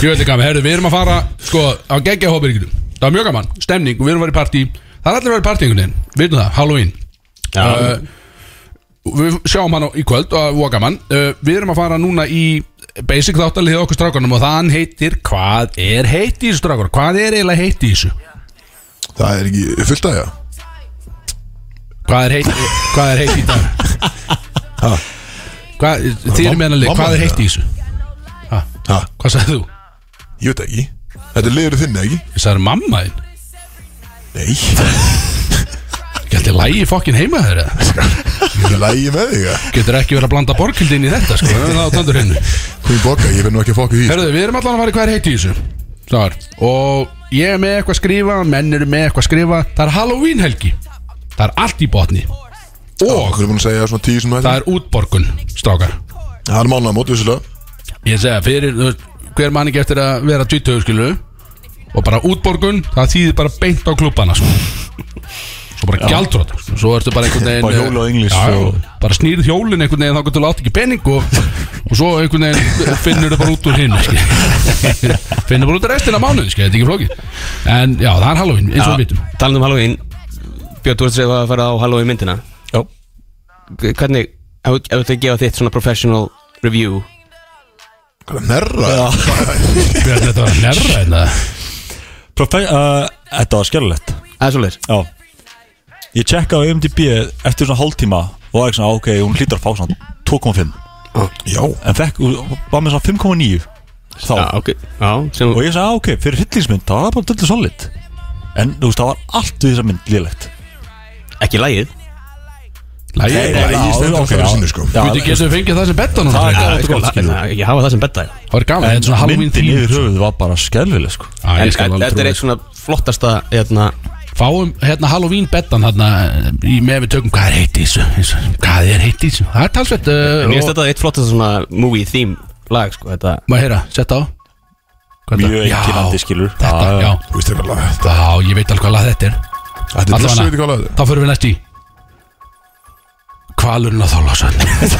S3: Djöfullir gaman, herru, við erum að fara Sko, á geggja hópirikinu Það var mjög gaman, stemning, við erum að fara í partí Það er allir að vera í partí einhvern veginn, veitum það, Halloween
S5: Já,
S3: uh, við sjáum hann á- í kvöld og voka mann uh, Við erum að fara núna í basic þáttalið okkur strákunum og þann heitir Hvað er heitt í þessu strákur? Hvað er eiginlega heitt í þessu?
S2: Það er ekki fullt að já
S3: Hvað er heitt, hvað er heitt í dag? Hvað, þið erum meðan að lið,
S2: Mamma
S3: hvað er
S2: þín,
S3: heitt í þessu? Ha,
S2: Ha,
S3: hvað sagði þú?
S2: Ég veit það ekki Þetta er liður þinn, eða ekki?
S3: Ég sagði mamma þinn
S2: Nei
S3: Gæti lægi fokkin heima þér eða?
S2: Ég er lægi með þig eða?
S3: Getur ekki verið að blanda borgildin í þetta sko Það er það á tandur hennu
S2: Hún boka, ég verð nú ekki að fokka í því sko.
S3: Herðu, við erum allan að fara í hvað er heitt í þessu Þar. Og ég er með eitthvað að skrifa Menn eru með eitthvað að skrifa Það er Halloween helgi Það er allt í botni Og
S2: Okkur er búin að segja það svona tíu sem
S3: það er útborgun Strákar
S2: Það er mánuða mót, vissulega
S3: Ég segja, fyrir, þú veist, hver mann ekki eftir að vera 20 skilu Og bara útborgun Það þýðir bara beint á klubbana sko. Svo bara gjaldrótt Svo ertu bara einhvern veginn eh,
S4: Bara hjól á English
S3: Já, já,
S4: og-
S3: Bara snýrð hjólin einhvern veginn Þá getur látt ekki pening og, og svo einhvern veginn finnur það bara út úr hinn Finnur bara út úr restina af mánuði Þetta er ekki flókið En já, það er Halloween, eins og við vitum
S5: Talandi um Halloween Björn, þú ert að segja að fara á Halloween myndina
S4: Já.
S5: G- Hvernig, ef þú- ef þú ert að gefa þitt svona professional review
S2: Hvað er nerra?
S3: Björn, Þetta var nærra hérna
S4: Profe- uh, Þetta var skerlegt
S5: Það er svolítið
S4: Já Ég tjekka á IMDb eftir svona hálftíma og það er svona, ok, hún hlýtur að fá svona 2,5
S2: Já
S4: en fekk, hún var með svona 5,9 þá
S5: Já, ok Já, sem
S4: og ég sagði, ah, ok, fyrir hryllingsmynd það var bara döllu solid en þú veist, það var allt við þessa mynd lélegt
S5: ekki lægið
S3: Lægir
S2: Nei, ég stendur
S4: ok,
S2: fyrir
S4: já.
S2: sinni, sko.
S4: Já,
S3: Við getum fengið það sem betta núna
S4: Það er
S3: frekar?
S4: gaman. þetta gott, skilur.
S5: sko, Ég hafa það sem betta já.
S3: Það er gaman, þetta er svona
S4: en
S3: Halloween
S4: myndin
S3: þýð
S4: yfir höfuð var bara skelvileg sko.
S5: En þetta er eitt svona flottasta hérna,
S3: fáum hérna Halloween bettan hérna í með við tökum hvað er heitt í þessu eins og, hvað er heitt í þessu það er talsvett uh,
S5: Mér finnst
S3: og
S5: þetta eitt flottasta svona movie theme lag sko, þetta
S3: maður heyra setta á Hvað er
S4: mjög
S3: þetta?
S4: einkennandi
S3: já,
S4: skilur
S3: þetta, já,
S2: Þú veist ekki hvað lag þetta
S3: já, ég veit alveg hvað lag þetta er
S2: er Þetta er
S3: Allavega.
S2: blessu, veit hvað lag þetta
S3: þá förum við næst í Kvalurinn á Þorlásöld
S2: er?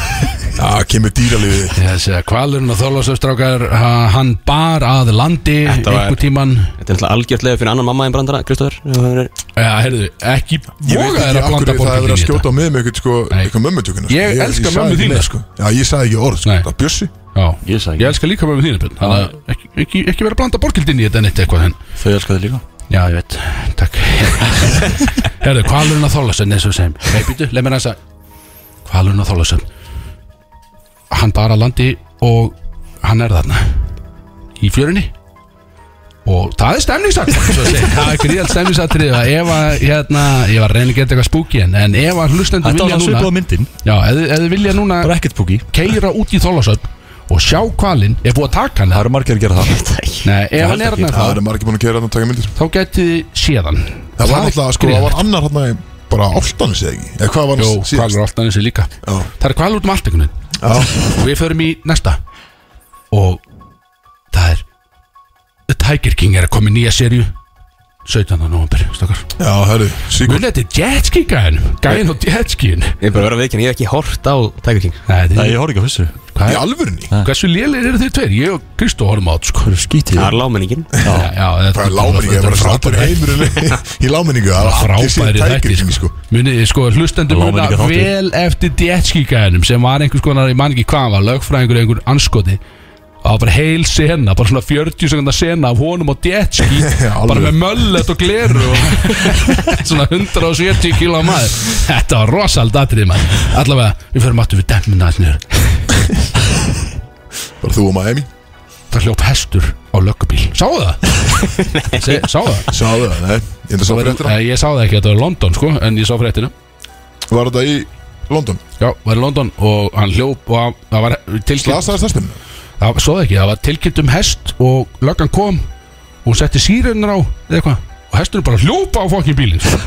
S2: Já, kemur dýralífið
S3: yes, Kvalurinn á Þorlásöld strákar ha- hann bar að landi
S5: Þetta var-
S3: einhver tíman
S5: Þetta er alltaf algjörlega fyrir annan mamma en brandara Kristoffer Ég
S3: ja, heyrðu, ekki
S2: Ég veit
S3: voga
S2: ekki
S3: þér að
S2: af hverju það
S3: blanda
S2: er
S3: borgin
S2: verið
S3: í
S2: að
S3: þetta
S2: skjóta á mig með eitthvað sko,
S3: Nei.
S2: eitthvað mömmutökuna sko.
S3: Ég elska
S2: sagði
S3: mömmu
S2: ekki
S3: þína,
S2: neitt, sko. Já, ég sagði ekki orð, sko,
S3: Nei.
S2: það er bjössi
S3: já,
S4: Ég sagði ekki.
S3: ég elska líka með þínu Björn, þannig að ekki, ekki, ekki vera að blanda borgildin í þetta neitt eitthvað henn
S4: þau elskar það líka
S3: Já, ég veit, takk Herðu, hvalurinn á Þorlasöfn eins og við segjum Nei, býtu, leið mér aðeins að Hvalurinn á Þorlasöfn Hann bara landi og hann er þarna Í fjörunni Og það er stemningsatrið Það er gríðalt stemningsatrið að Ef að, hérna, ég var að reyna að geta eitthvað spooky En, en ef að hlustendur
S4: þetta var
S3: vilja
S4: svona
S3: núna
S4: svipað á myndin
S3: Já, ef þið- ef þið vilja núna
S4: bara ekkert púki
S3: keira út í Þorlasöfn Og sjá hvalinn, ef búið að taka hann
S4: það eru margir að gera það
S3: Nei, ef
S4: Ég
S3: hann
S4: held
S3: er
S4: ekki.
S3: þarna
S2: Það
S3: þá
S2: eru margir búin að gera þarna og taka myndir
S3: Þá getið þið séðan
S2: Það var náttúrulega, sko, það var annar hérna í- bara áltanis eða ekki Eða hvað var
S3: Jó,
S2: hann
S3: hvalur alltaf eins og líka
S2: Já.
S3: Það er hvalur út um allt einhvern veginn
S2: Já,
S3: Og við förum í næsta Og það er The Tiger King er að koma í nýja serju 17. november, stokkar
S2: já, herru, síkur
S3: Muna þetta er jetski gæðin Gæðin og jetskiin
S5: er bara að vera viðkynni, ég hef ekki hort á Tiger King
S4: nei, ég horf ekki á fyrstu
S2: Í
S3: hvað er
S2: alvörunni
S3: Hversu lélir eru þið tveir? Ég og Kristó horfum á þetta sko
S4: það eru skítið
S5: Það er lámenningin
S3: Já, já þetta
S2: Það er láminningu, það
S3: þetta
S2: er frábæri
S3: frábær-
S2: heimurinn í láminningu Það er allir síðan
S3: frábæri
S2: tækir
S3: þætti sko.
S2: sko
S3: Munið, þið, sko, hlustendur muna
S4: Lágmenninga þáttur.
S3: vel eftir djetskíkaðinum sem var einhvers konar, ég man ekki hvað hann var lögfræðingur eða einhver anskoti það var bara heil sena, bara svona 40 sekundar sena af honum á djetskí bara
S2: alveg.
S3: með möllet og gleru og svona 170 kíló maður þetta var rosald atrið maður allavega, við förum aftur við demmuna aðsniður
S2: Bara þú og Miami
S3: það hljóp hestur á löggubíl sáu það? Se, sáu það?
S2: Sáðu það, nei, ég enda sá fréttina
S3: Nei, ég sá það ekki, þetta var í London sko en ég sá fréttina
S2: Var þetta í London?
S3: Já, var í London og hann hljóp og hann- það var tilkynnt
S2: Slasaði starfsmenn?
S3: það var- Svo ekki, það var tilkynnt um hest og löggan kom og hún setti sírenur á eða eitthvað og hesturinn bara hljópa á fokkin bílinn sko.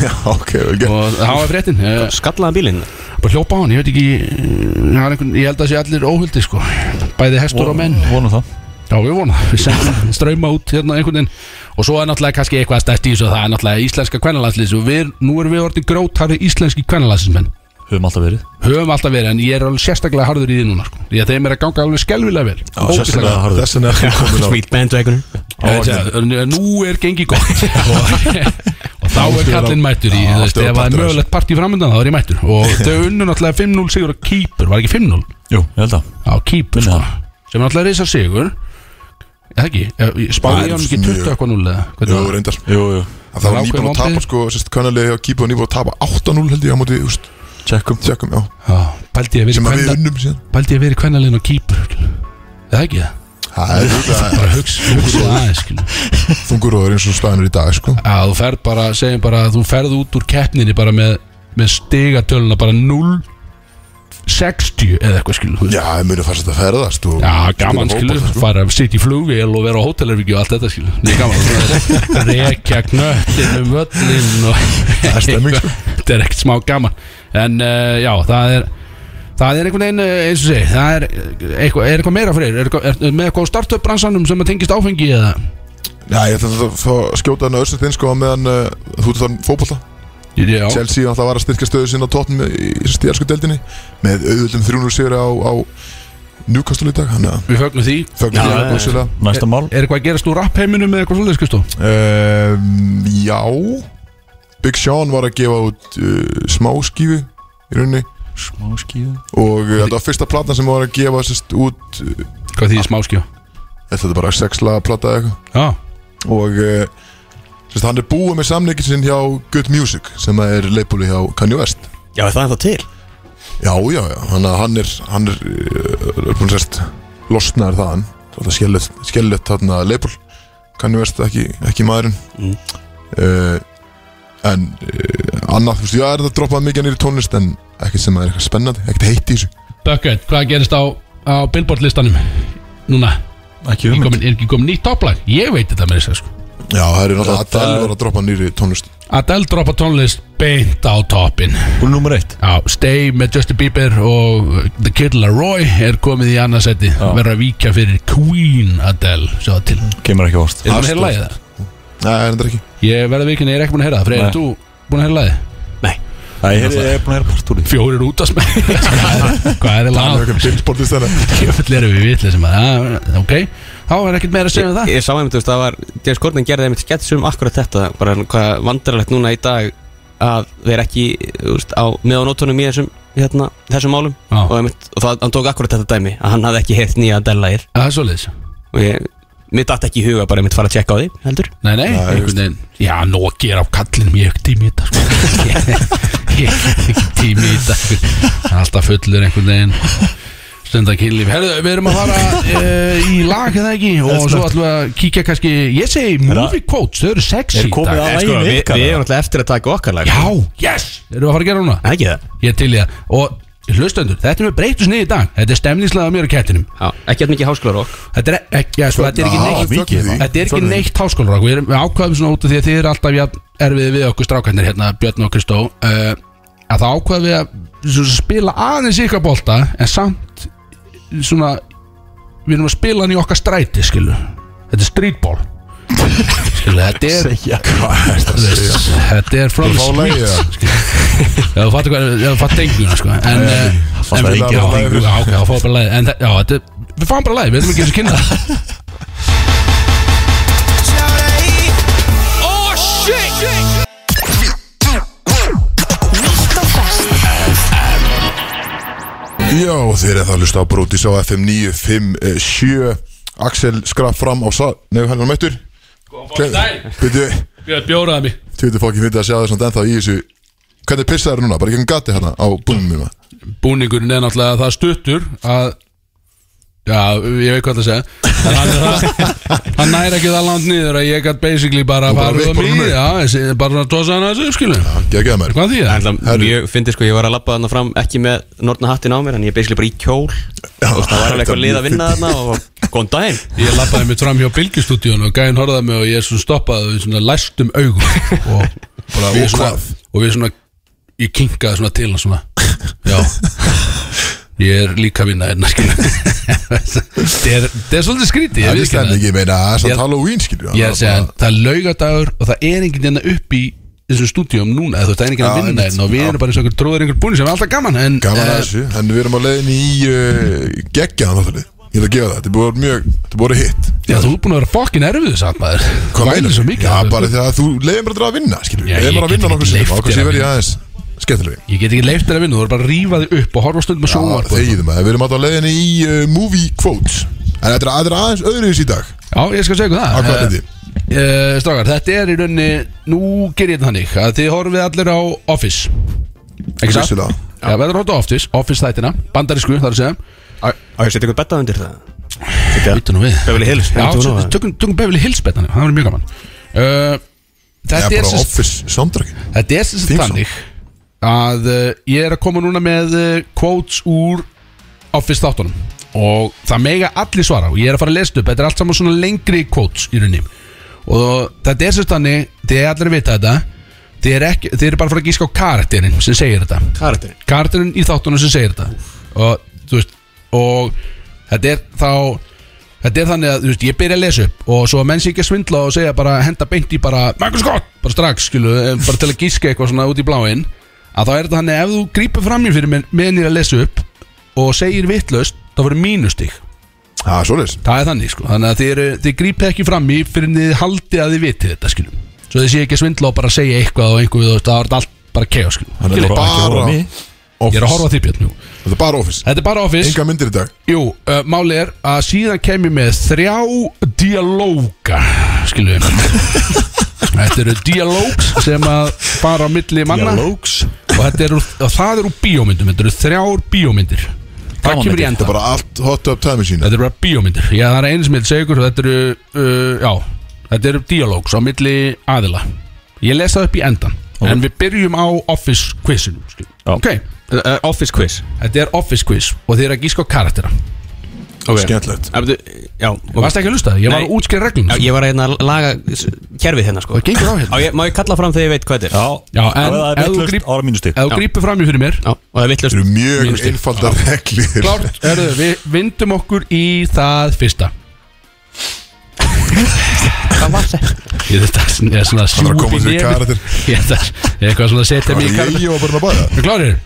S2: Já, ok, vel gert
S3: og það var fréttin eh,
S5: Skallaðan bílinn
S3: bara hljópa á hann, ég veit ekki eh, það er einhvern, ég held að sé allir óhuldi sko bæði hestur og menn
S4: vonum það
S3: Já, við vonum það, við sendum ströyma út hérna einhvern veginn og svo er náttúrulega kannski eitthvað að stæst í þessu og það er náttúrulega íslenska kvennalandsliðs og við, nú erum við orðin grótari íslenski kvennalandsliðsmenn
S4: höfum alltaf verið
S3: höfum alltaf verið en ég er alveg sérstaklega harður í því núna sko. því að þeim er að ganga alveg skelvilega vel Ógeðslega.
S4: sérstaklega harður.
S2: Þess vegna er þú komin á
S5: Sweet bandwagon
S3: Ég veit að, nú er gengið gott og, og Þá er kallinn mættur í,
S2: Já,
S3: þú
S2: allt
S3: veist,
S2: er
S3: ef
S2: partur
S3: það er
S2: af
S3: mögulegt partí framöndan þá er ég mættur Og þau unnu náttúrulega 5-0 sigur á Kýpur, var ekki 5-0?
S4: Jú, ég held að
S3: Á Kýpur,
S4: Minni
S3: sko
S4: það.
S3: Sem er náttúrulega reysa sigur Eða ekki, Ef-
S2: Það
S3: spáði
S2: er
S3: ég hann ekki
S2: mjög-
S3: 20 eitthvað 0 eða
S2: Jú,
S3: Hvernig var?
S2: reyndar
S4: Jú, jú,
S2: En Það var
S3: Ákveðin
S2: nýbúin að tapa
S3: vonbrigði.
S2: sko sérst, Kannarlega hjá Kýpa var nýbúin að tapa 8-0 held ég á móti úst,
S4: checkum
S2: Tjekkum, já
S3: Já, pældi ég að vera í
S2: Sem að við
S3: kvenna-
S2: unnum síðan
S3: pældi ég að vera í kvennaliðin á Kýpur Eða ekki,
S2: Það er þetta
S3: bara hugsa, hugsa aðeins skilu.
S2: Þunguróður eins og staðinur í dag sko
S3: að þú ferð bara, segjum bara að þú ferð út úr keppninni bara með, með stigatöluna bara 0 60 eða eitthvað skilu þú veist.
S2: Já, það munu fannst þetta ferðast og
S3: Já, gaman
S2: spila
S3: skilu,
S2: fótbolta, sko.
S3: fara að sitja í flugvél og vera á hótelherfingi og allt þetta skilu Það er gaman, rekja knöttin um völlin og
S2: Það er stemming, sko.
S3: Þetta er ekkert smá gaman En uh, já, það er Það er einhvern veginn, eh, eins og segi, það er eh, eitthvað, er eitthvað meira fyrir, er, eitthvað- er með eitthvað á startup bransanum sem að tengist áfengi eða
S2: Já, ég ætla að fá að skjóta hann að össut inn sko á meðan uh, þú ert þann fótbolta
S3: Já,
S2: Chelsea var alltaf var að styrkja stöðu sinna á tóttum í stjálsku deldinni með auðvöldum 300 sigri á, á Newcastle í dag, hann að
S3: við fögnum því
S2: fögnum því að búsilega
S4: Næsta mál
S3: Er eitthvað að gerast úr rappheiminum eða eitthvað svolítið skustó?
S2: um, Já Big Sean var að gefa út uh, smáskífu í rauninni
S4: Smá skíðu
S2: og uh, þetta var fyrsta platan sem var að gefa sérst út uh,
S3: Hvað því smáskjá?
S2: þetta er bara sexla plata eða eitthvað
S3: Já,
S2: og uh, sérst, hann er búið með samleikin sinn hjá Good Music sem er leipúli hjá Kanye West
S5: Já, er það er það til
S2: Já, já, já, hann, hann er hann er, uh, er búin sérst losnaður þaðan, þetta skellett skellett þarna leipul, kannu verðst ekki, ekki maðurinn
S5: Mm.
S2: uh, en uh, annað, þú veist, já, er þetta droppað mikið nýri tónlist en ekkert sem er eitthvað spennandi, ekkert heitt í þessu
S3: Bucket, hvað gerist á, á Billboard listanum? Núna,
S4: Ekki
S3: er
S4: um
S3: komin, er ekki komin nýtt topplag? Ég veit þetta með þess að segja, sko
S2: Já, það eru náttúrulega
S4: Þetta-
S2: Adele var að droppa nýri tónlist
S3: Adele droppa tónlist beint á toppin
S4: Hún er nummer eitt
S3: Já, Stay með Justin Bieber og uh, The Kid Laroi er komið í annarsæti Verður að víkja fyrir Queen Adele Sjá það til
S4: Kemur ekki ást
S3: Er það að heyra lagið það?
S2: Nei, það er ekki
S3: Ég verði vikinn, ég er ekki búin að heyra það Freyr,
S4: Nei.
S3: er þú búin að heyra lagið?
S4: Æ, ég hef- ég er búin að heyra partúri
S3: Fjórir út að smæða Hvað er það
S2: Það er
S3: langt?
S2: eitthvað billboardist þennan
S3: Kjöfull erum við vitlega sem að Já, Ok, þá er ekkert meira að segja um það
S5: Ég, ég sá einmitt, þú veist, það var James Corden gerði einmitt skets um akkurat þetta bara hvað vandrarlegt núna í dag að þeir ekki, þú veist, á meðanótonum í þessum, hérna, þessum málum
S3: Já.
S5: og, einmitt, og það, hann tók akkurat þetta dæmi að hann hafði ekki heyrt nýja Adele-lægir
S3: Það er svoleiðis
S5: og ég, mér datt ekki í huga bara einmitt fara að tjekka á því, heldur
S3: Nei, nei, einhvern veginn Já, nú að gera á kallinum, ég hef ekki tími í þetta sko. Ég- Ég hef ekki tími í þetta sko. Alltaf fullur einhvern veginn Stundar kynlíf Herðu, við erum að fara uh, í lag eða ekki Og svo ætlum við að kíkja kannski Ég segi movie quotes, þau eru sexy
S4: Er komið
S3: í dag.
S4: að-
S5: sko,
S4: lagin
S5: við,
S4: ykkar,
S5: við
S4: eða?
S5: erum alltaf eftir að taka okkar lag
S3: Já, yes, erum við að fara að gera núna
S5: Það ekki það?
S3: Ég er til í það Og hlustendur, þetta er með breytus niður í dag Þetta er stemningslega á mér og kettinum
S5: Já, ekki að mikið háskólarokk
S3: Þetta er ekki, já, sko, þetta er ekki
S2: Já,
S3: neitt
S2: mikið það.
S3: Þetta er ekki
S2: Fögnum því.
S3: neitt háskólarokk Við erum við ákvaðum svona út af því að þið eru alltaf jafn erfið við okkur strákarnir hérna Björn og Kristó uh, að það ákvaðum við að svona spila aðeins ykkar bolta en samt svona við erum að spila hann í okkar stræti skilu Þetta er streetball skilu, þetta er This- Þetta er from
S2: Þú
S3: the
S2: fá
S3: street
S2: lagið, ja.
S3: Já, þú fattu hvað, já, þú fattu tenguna, sko En, eh, en
S2: bara
S3: við-
S2: lagið.
S3: já, já, ok, þá fáum við bara lagið En, þa- já, þetta, er- við fáum bara lagið, við ætlum ekki eins og kynna það
S1: E. Oh,
S6: Nýtt og fest
S2: Já, þeir eru það að hlusta á Brótis á FM 957 eh, Axel skraf fram á sað Nei, hann var mættur
S3: daginn.
S2: Byrju,
S3: Björn bjóraði mig
S2: Þú veitur fokkin fyndi að sjá það samt ennþá í þessu Hvernig pissaður núna, bara gegn gati hérna á búnum mínu
S3: Búningurinn er náttúrulega það stuttur að Já, ég veit hvað það að segja En hann, er það, hann næri ekki það langt niður að ég gætt basically bara
S2: Þú bara
S3: farið um
S2: vippar honum
S3: í
S2: upp.
S3: Já, þessi- bara að dosa hann að þessu, skilu
S2: Geggjað mér
S3: Hvað því
S5: Það er
S3: það?
S5: alltaf mjög fyndið sko, ég var að labba þarna fram ekki með nortna hattin á mér, en ég er basically bara í kjól og það var alveg eitthvað lið að vinna þarna og góðan daginn
S3: Ég labbaði mitt fram hjá Bilgjustúdíun og gæðin horfðaði mig og ég svona stoppaði við svona læstum augum og, bara,
S2: Við
S3: og, svona,
S2: hvað?
S3: og við svona ég kinkaði svona til hann svona já ég er líka að vinna einna skilu það er, það er svolítið skrítið ég
S2: Það er
S3: viðurkenni
S2: stæðan ekki, ég meina, það er
S3: Ég-
S2: samt Halloween skilju
S3: Ég er að segja, það er laugadagur og það er enginn enna upp í þessum stúdíum núna, eða þú veist, það er enginn
S2: Já,
S3: að vinna
S2: einmitt.
S3: enn og við erum bara eins og einhver tróður einhver búin sem er alltaf gaman en
S2: Gaman að
S3: eh,
S2: þessu, en við erum á leiðin í uh, eh, geggjaðan þáttalið Ég ætla að gefa það, þetta er búið að vera mjög, þetta er búið að vera hitt
S3: Já, þú er búin að vera fokkin erfið samt maður
S2: Hvað
S3: Vælir
S2: meinar
S3: svo mikið
S2: Já,
S3: alveg.
S2: bara því að þú leiðir mér að draga að vinna, skilur
S3: Já,
S2: við Leiðir
S3: ég
S2: mér að vinna nokkur sinnum og
S3: get ekki leyft þér
S2: kannski
S3: að
S2: verið
S3: vinna.
S2: aðeins skemmtilegri
S3: Ég get ekki leift þér að vinna, þú er bara að rífa þig upp og horfa stundum að sjóa
S2: Já, Þegiðum að við erum alltaf á leiðinni í uh, movie quotes En þetta er, þetta er aðeins öðruvis í dag
S3: Já, ég skal segja ykkur það
S2: Á hvað
S3: Eh,
S2: leiti?
S3: eh, Strákar, þetta er í rauninni Nú ger ég þetta þannig að þið horfið allir á Office Ekki satt?
S2: Vissulega.
S3: Já, við erum horfið á Office, Office þættina Bandarísku, þar að segja
S5: Á ég setja ykkur betta undir það
S3: Býttu nú við
S5: Beverly Hills
S3: Já,
S5: myndum við nú
S3: við
S5: það.
S3: tökum, tökum Beverly Hills betan Það verður mjög gaman uh,
S2: Eða
S3: Þetta er
S2: bara
S3: sem sagt-
S2: office soundtrack
S3: þetta er sem sagt
S2: Theme song.
S3: þannig Að uh, ég er að koma núna með uh, Quotes úr Office þáttunum Og það mega allir svara Og ég er að fara að lesa upp Þetta er allt saman svona lengri quotes í rauninni Og þetta er sem sagt þannig Þið er allir að vita þetta Þið er, ekki, þið er bara að fara að gíska á karakterinn sem segir þetta
S5: Karakterinn.
S3: Karakterinn í þáttunum sem segir þetta Og þú veist Og þetta er þá Þetta er þannig að, þú veist, ég byrja að lesa upp og svo að menn sé ekki að svindla og segja bara henda beint í bara Michael Scott, bara strax, skilu eh, bara til að gíska eitthvað svona út í bláin að þá er þetta þannig að ef þú grípur fram í fyrir mér meðan ég er að lesa upp og segir vittlaust, þá verður mínustig
S2: Já, svoleiðis
S3: það er þannig, sko, þannig að þið, eru- þið grípið ekki fram í fyrir en þið haldið að þið vitið þetta, skilu svo þið sé ekki að svindla og bara segja eitthvað og einhver, þú veist, það er allt bara chaos, skilu
S2: Hann er
S3: Skilurðu?
S2: bara
S3: Ég er
S2: office
S3: að horfa á þig, Björn, jú.
S2: Þetta er bara office
S3: Þetta er bara office
S2: Enga myndir í dag
S3: Jú, uh, máli er að síðan kem ég með þrjá dialóga Skilu Þetta eru dialógs sem að fara á milli manna
S4: Dialogues
S3: Og þetta eru, og það eru bíómyndum Þetta eru þrjár bíómyndir Það
S4: Gamanmyndir.
S3: kemur í
S2: Þetta
S3: enda
S2: er bara allt hot up time machine
S3: Þetta eru bara bíómyndir Já, það er einu sem ég vil segja ykkur Þetta eru, uh, já, þetta eru dialógs á milli aðila Ég lesa það upp í endan En við byrjum á office quizinu skilu.
S4: Já.
S3: Ok,
S5: Eh, eh, Office quiz
S3: þetta er office quiz Og þið eru að gíska á karaktera
S5: Ok.
S2: Skemmtilegt
S5: Eh, veitu, Já
S3: Og
S5: ok.
S3: varst ekki að hlusta? Ég var
S5: Nei.
S3: að útskýra sko. reglum
S5: Já, Ég var að hérna laga s- kerfið hérna sko
S3: Það gengur á
S5: Á
S3: hérna
S5: ég- Má ég kalla fram þegar ég veit hvað þetta er
S3: Já,
S4: Já,
S3: en
S4: ef það er
S3: ef þú
S4: vitlaust,
S3: gríp-
S4: þá er mínustig
S3: Ef þú grípur fram í fyrir mér
S5: Já, og það er
S2: Þetta
S5: vittlust
S2: eru mjög
S3: Mínustig.
S2: einfaldar reglir
S3: Klárt, erðu, við vindum okkur í það fyrsta Ég þetta er svona
S2: Hann er að
S3: sjúpi
S2: koma sér í karakter
S3: Ég þetta er eitthvað svona að setja mig í
S2: Ég
S3: karakter
S2: ég var bara að bæða
S3: Við klárir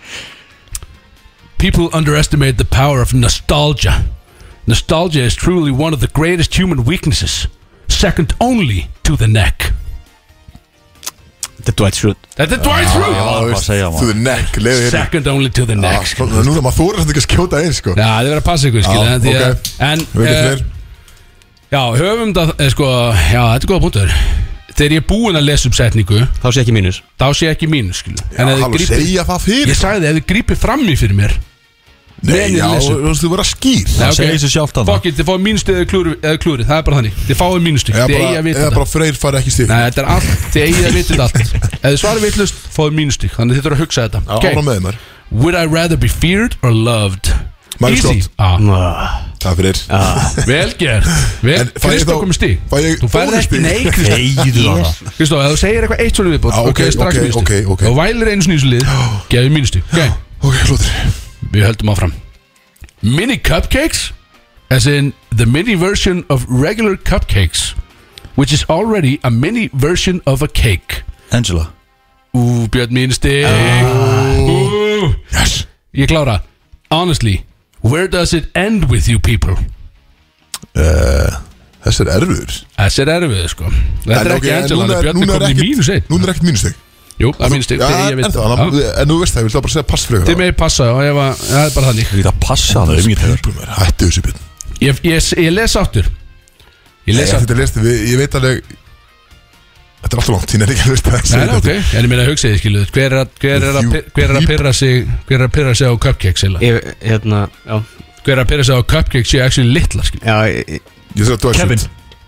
S3: People underestimate the power of nostalgia Nostalgia is truly one of the greatest human weaknesses Second only to the neck
S5: Þetta er Dwight Schrute
S2: Ah,
S3: Þetta er Dwight
S4: já.
S3: Schrute
S4: var bara að segja, maður.
S2: Þú er nekk, leiðu hérna
S3: Second only to the
S2: Ah,
S3: neck
S2: sko, Núna, maður þóra þetta ekki að skjóta eins, sko
S3: Já, þið verður að passa ykkur, skilja
S2: Já,
S3: en því að-
S2: ok.
S3: En
S2: Við
S3: eh,
S2: getum fleiri.
S3: Já, höfum það, eh, sko, já, þetta er góða punktur Þegar ég er búinn að lesa upp setningu
S5: Þá sé ekki mínus
S3: Þá sé ég ekki mínu, skilu
S2: Já, halló, segja það fyrir
S3: Ég sagði, ef þið grípið fram í fyrir mér
S2: Nei,
S3: meðan ég
S2: já,
S3: les upp.
S2: þú veist, þú verður að skýr
S3: Nei, ok.
S4: segir sig sjálft þarna.
S3: Fuck it, þið fáið mínustu eða klúri, eða klúri Það er bara þannig, þið fáið mínustu
S2: Eða
S3: Þið
S2: bara,
S3: eigi að vita
S2: eða
S3: þetta
S2: bara freyr fari ekki stík
S3: Nei, þetta er allt, þið eigi að vita þetta allt Ef þið svarið vitlust, fáið mínustu Þannig þið þurfum að hugsa þetta
S2: okay. Áfram
S3: Ok,
S2: með þeim
S3: Would I rather be feared or loved?
S2: Michael
S3: Easy
S2: Scott.
S3: ah,
S2: Takk fyrir
S3: Vel gert Vel,
S2: En fæ ég
S3: Kristó
S2: þá-
S3: komið stíg
S2: fæ ég
S3: Þú færði ekki,
S2: bónusstig?
S3: nei Kristó
S4: Þegiðu það það
S3: Kristó, ef þú segir eitthvað eitt svona viðbót
S2: Já,
S3: ok,
S2: ok,
S3: strax
S2: ok,
S3: mínustu
S2: ok, ok.
S3: og vælir einu snýsli gefið mínustu ok,
S2: Ok, flottir
S3: við höldum áfram mini cupcakes as in the mini version of regular cupcakes which is already a mini version of a cake
S4: Angela
S3: ú, Björn mínustu
S2: Ah.
S3: ú,
S2: Yes
S3: ég klára honestly, where does it end with you people
S2: uh, Þessi er erfiður
S3: þessi er erfið sko þetta er
S2: En,
S3: ekki
S2: ok, en
S3: Angela,
S2: núna
S3: en Björn er
S2: núna
S3: komin í mínus einn
S2: Núna er ekkert mínus þig
S3: jú, það er mínus einn, þegar ég veit það Já.
S2: En þú veist það, ég vil það bara segja pass fyrir
S3: þið megið passa, já, ég var- það er bara þannig
S4: Ég get að passa það um ég tegur
S2: Búið mér, hættu þessu björn
S3: Ég, ég, ég les áttur Ég les
S2: Ég-
S3: áttur
S2: Þetta lesti við, ég veit alveg Þetta er alltaf langt, ég er ekki að veist það
S3: Nei, nei, ok, en ég meina að hugsa þið, skiluðu Hver er að, hver er að, pir- hver er að pyrra sig Hver er að pyrra sig á cupcakes,
S2: Eh.
S3: eða
S5: Ég, hérna, já
S3: Hver er að pyrra sig á cupcakes séu actually litla, skiluðu
S5: Já, ég-
S3: e,
S5: ég-
S2: Ég segja að þú er
S4: Kevin.
S2: sýnt.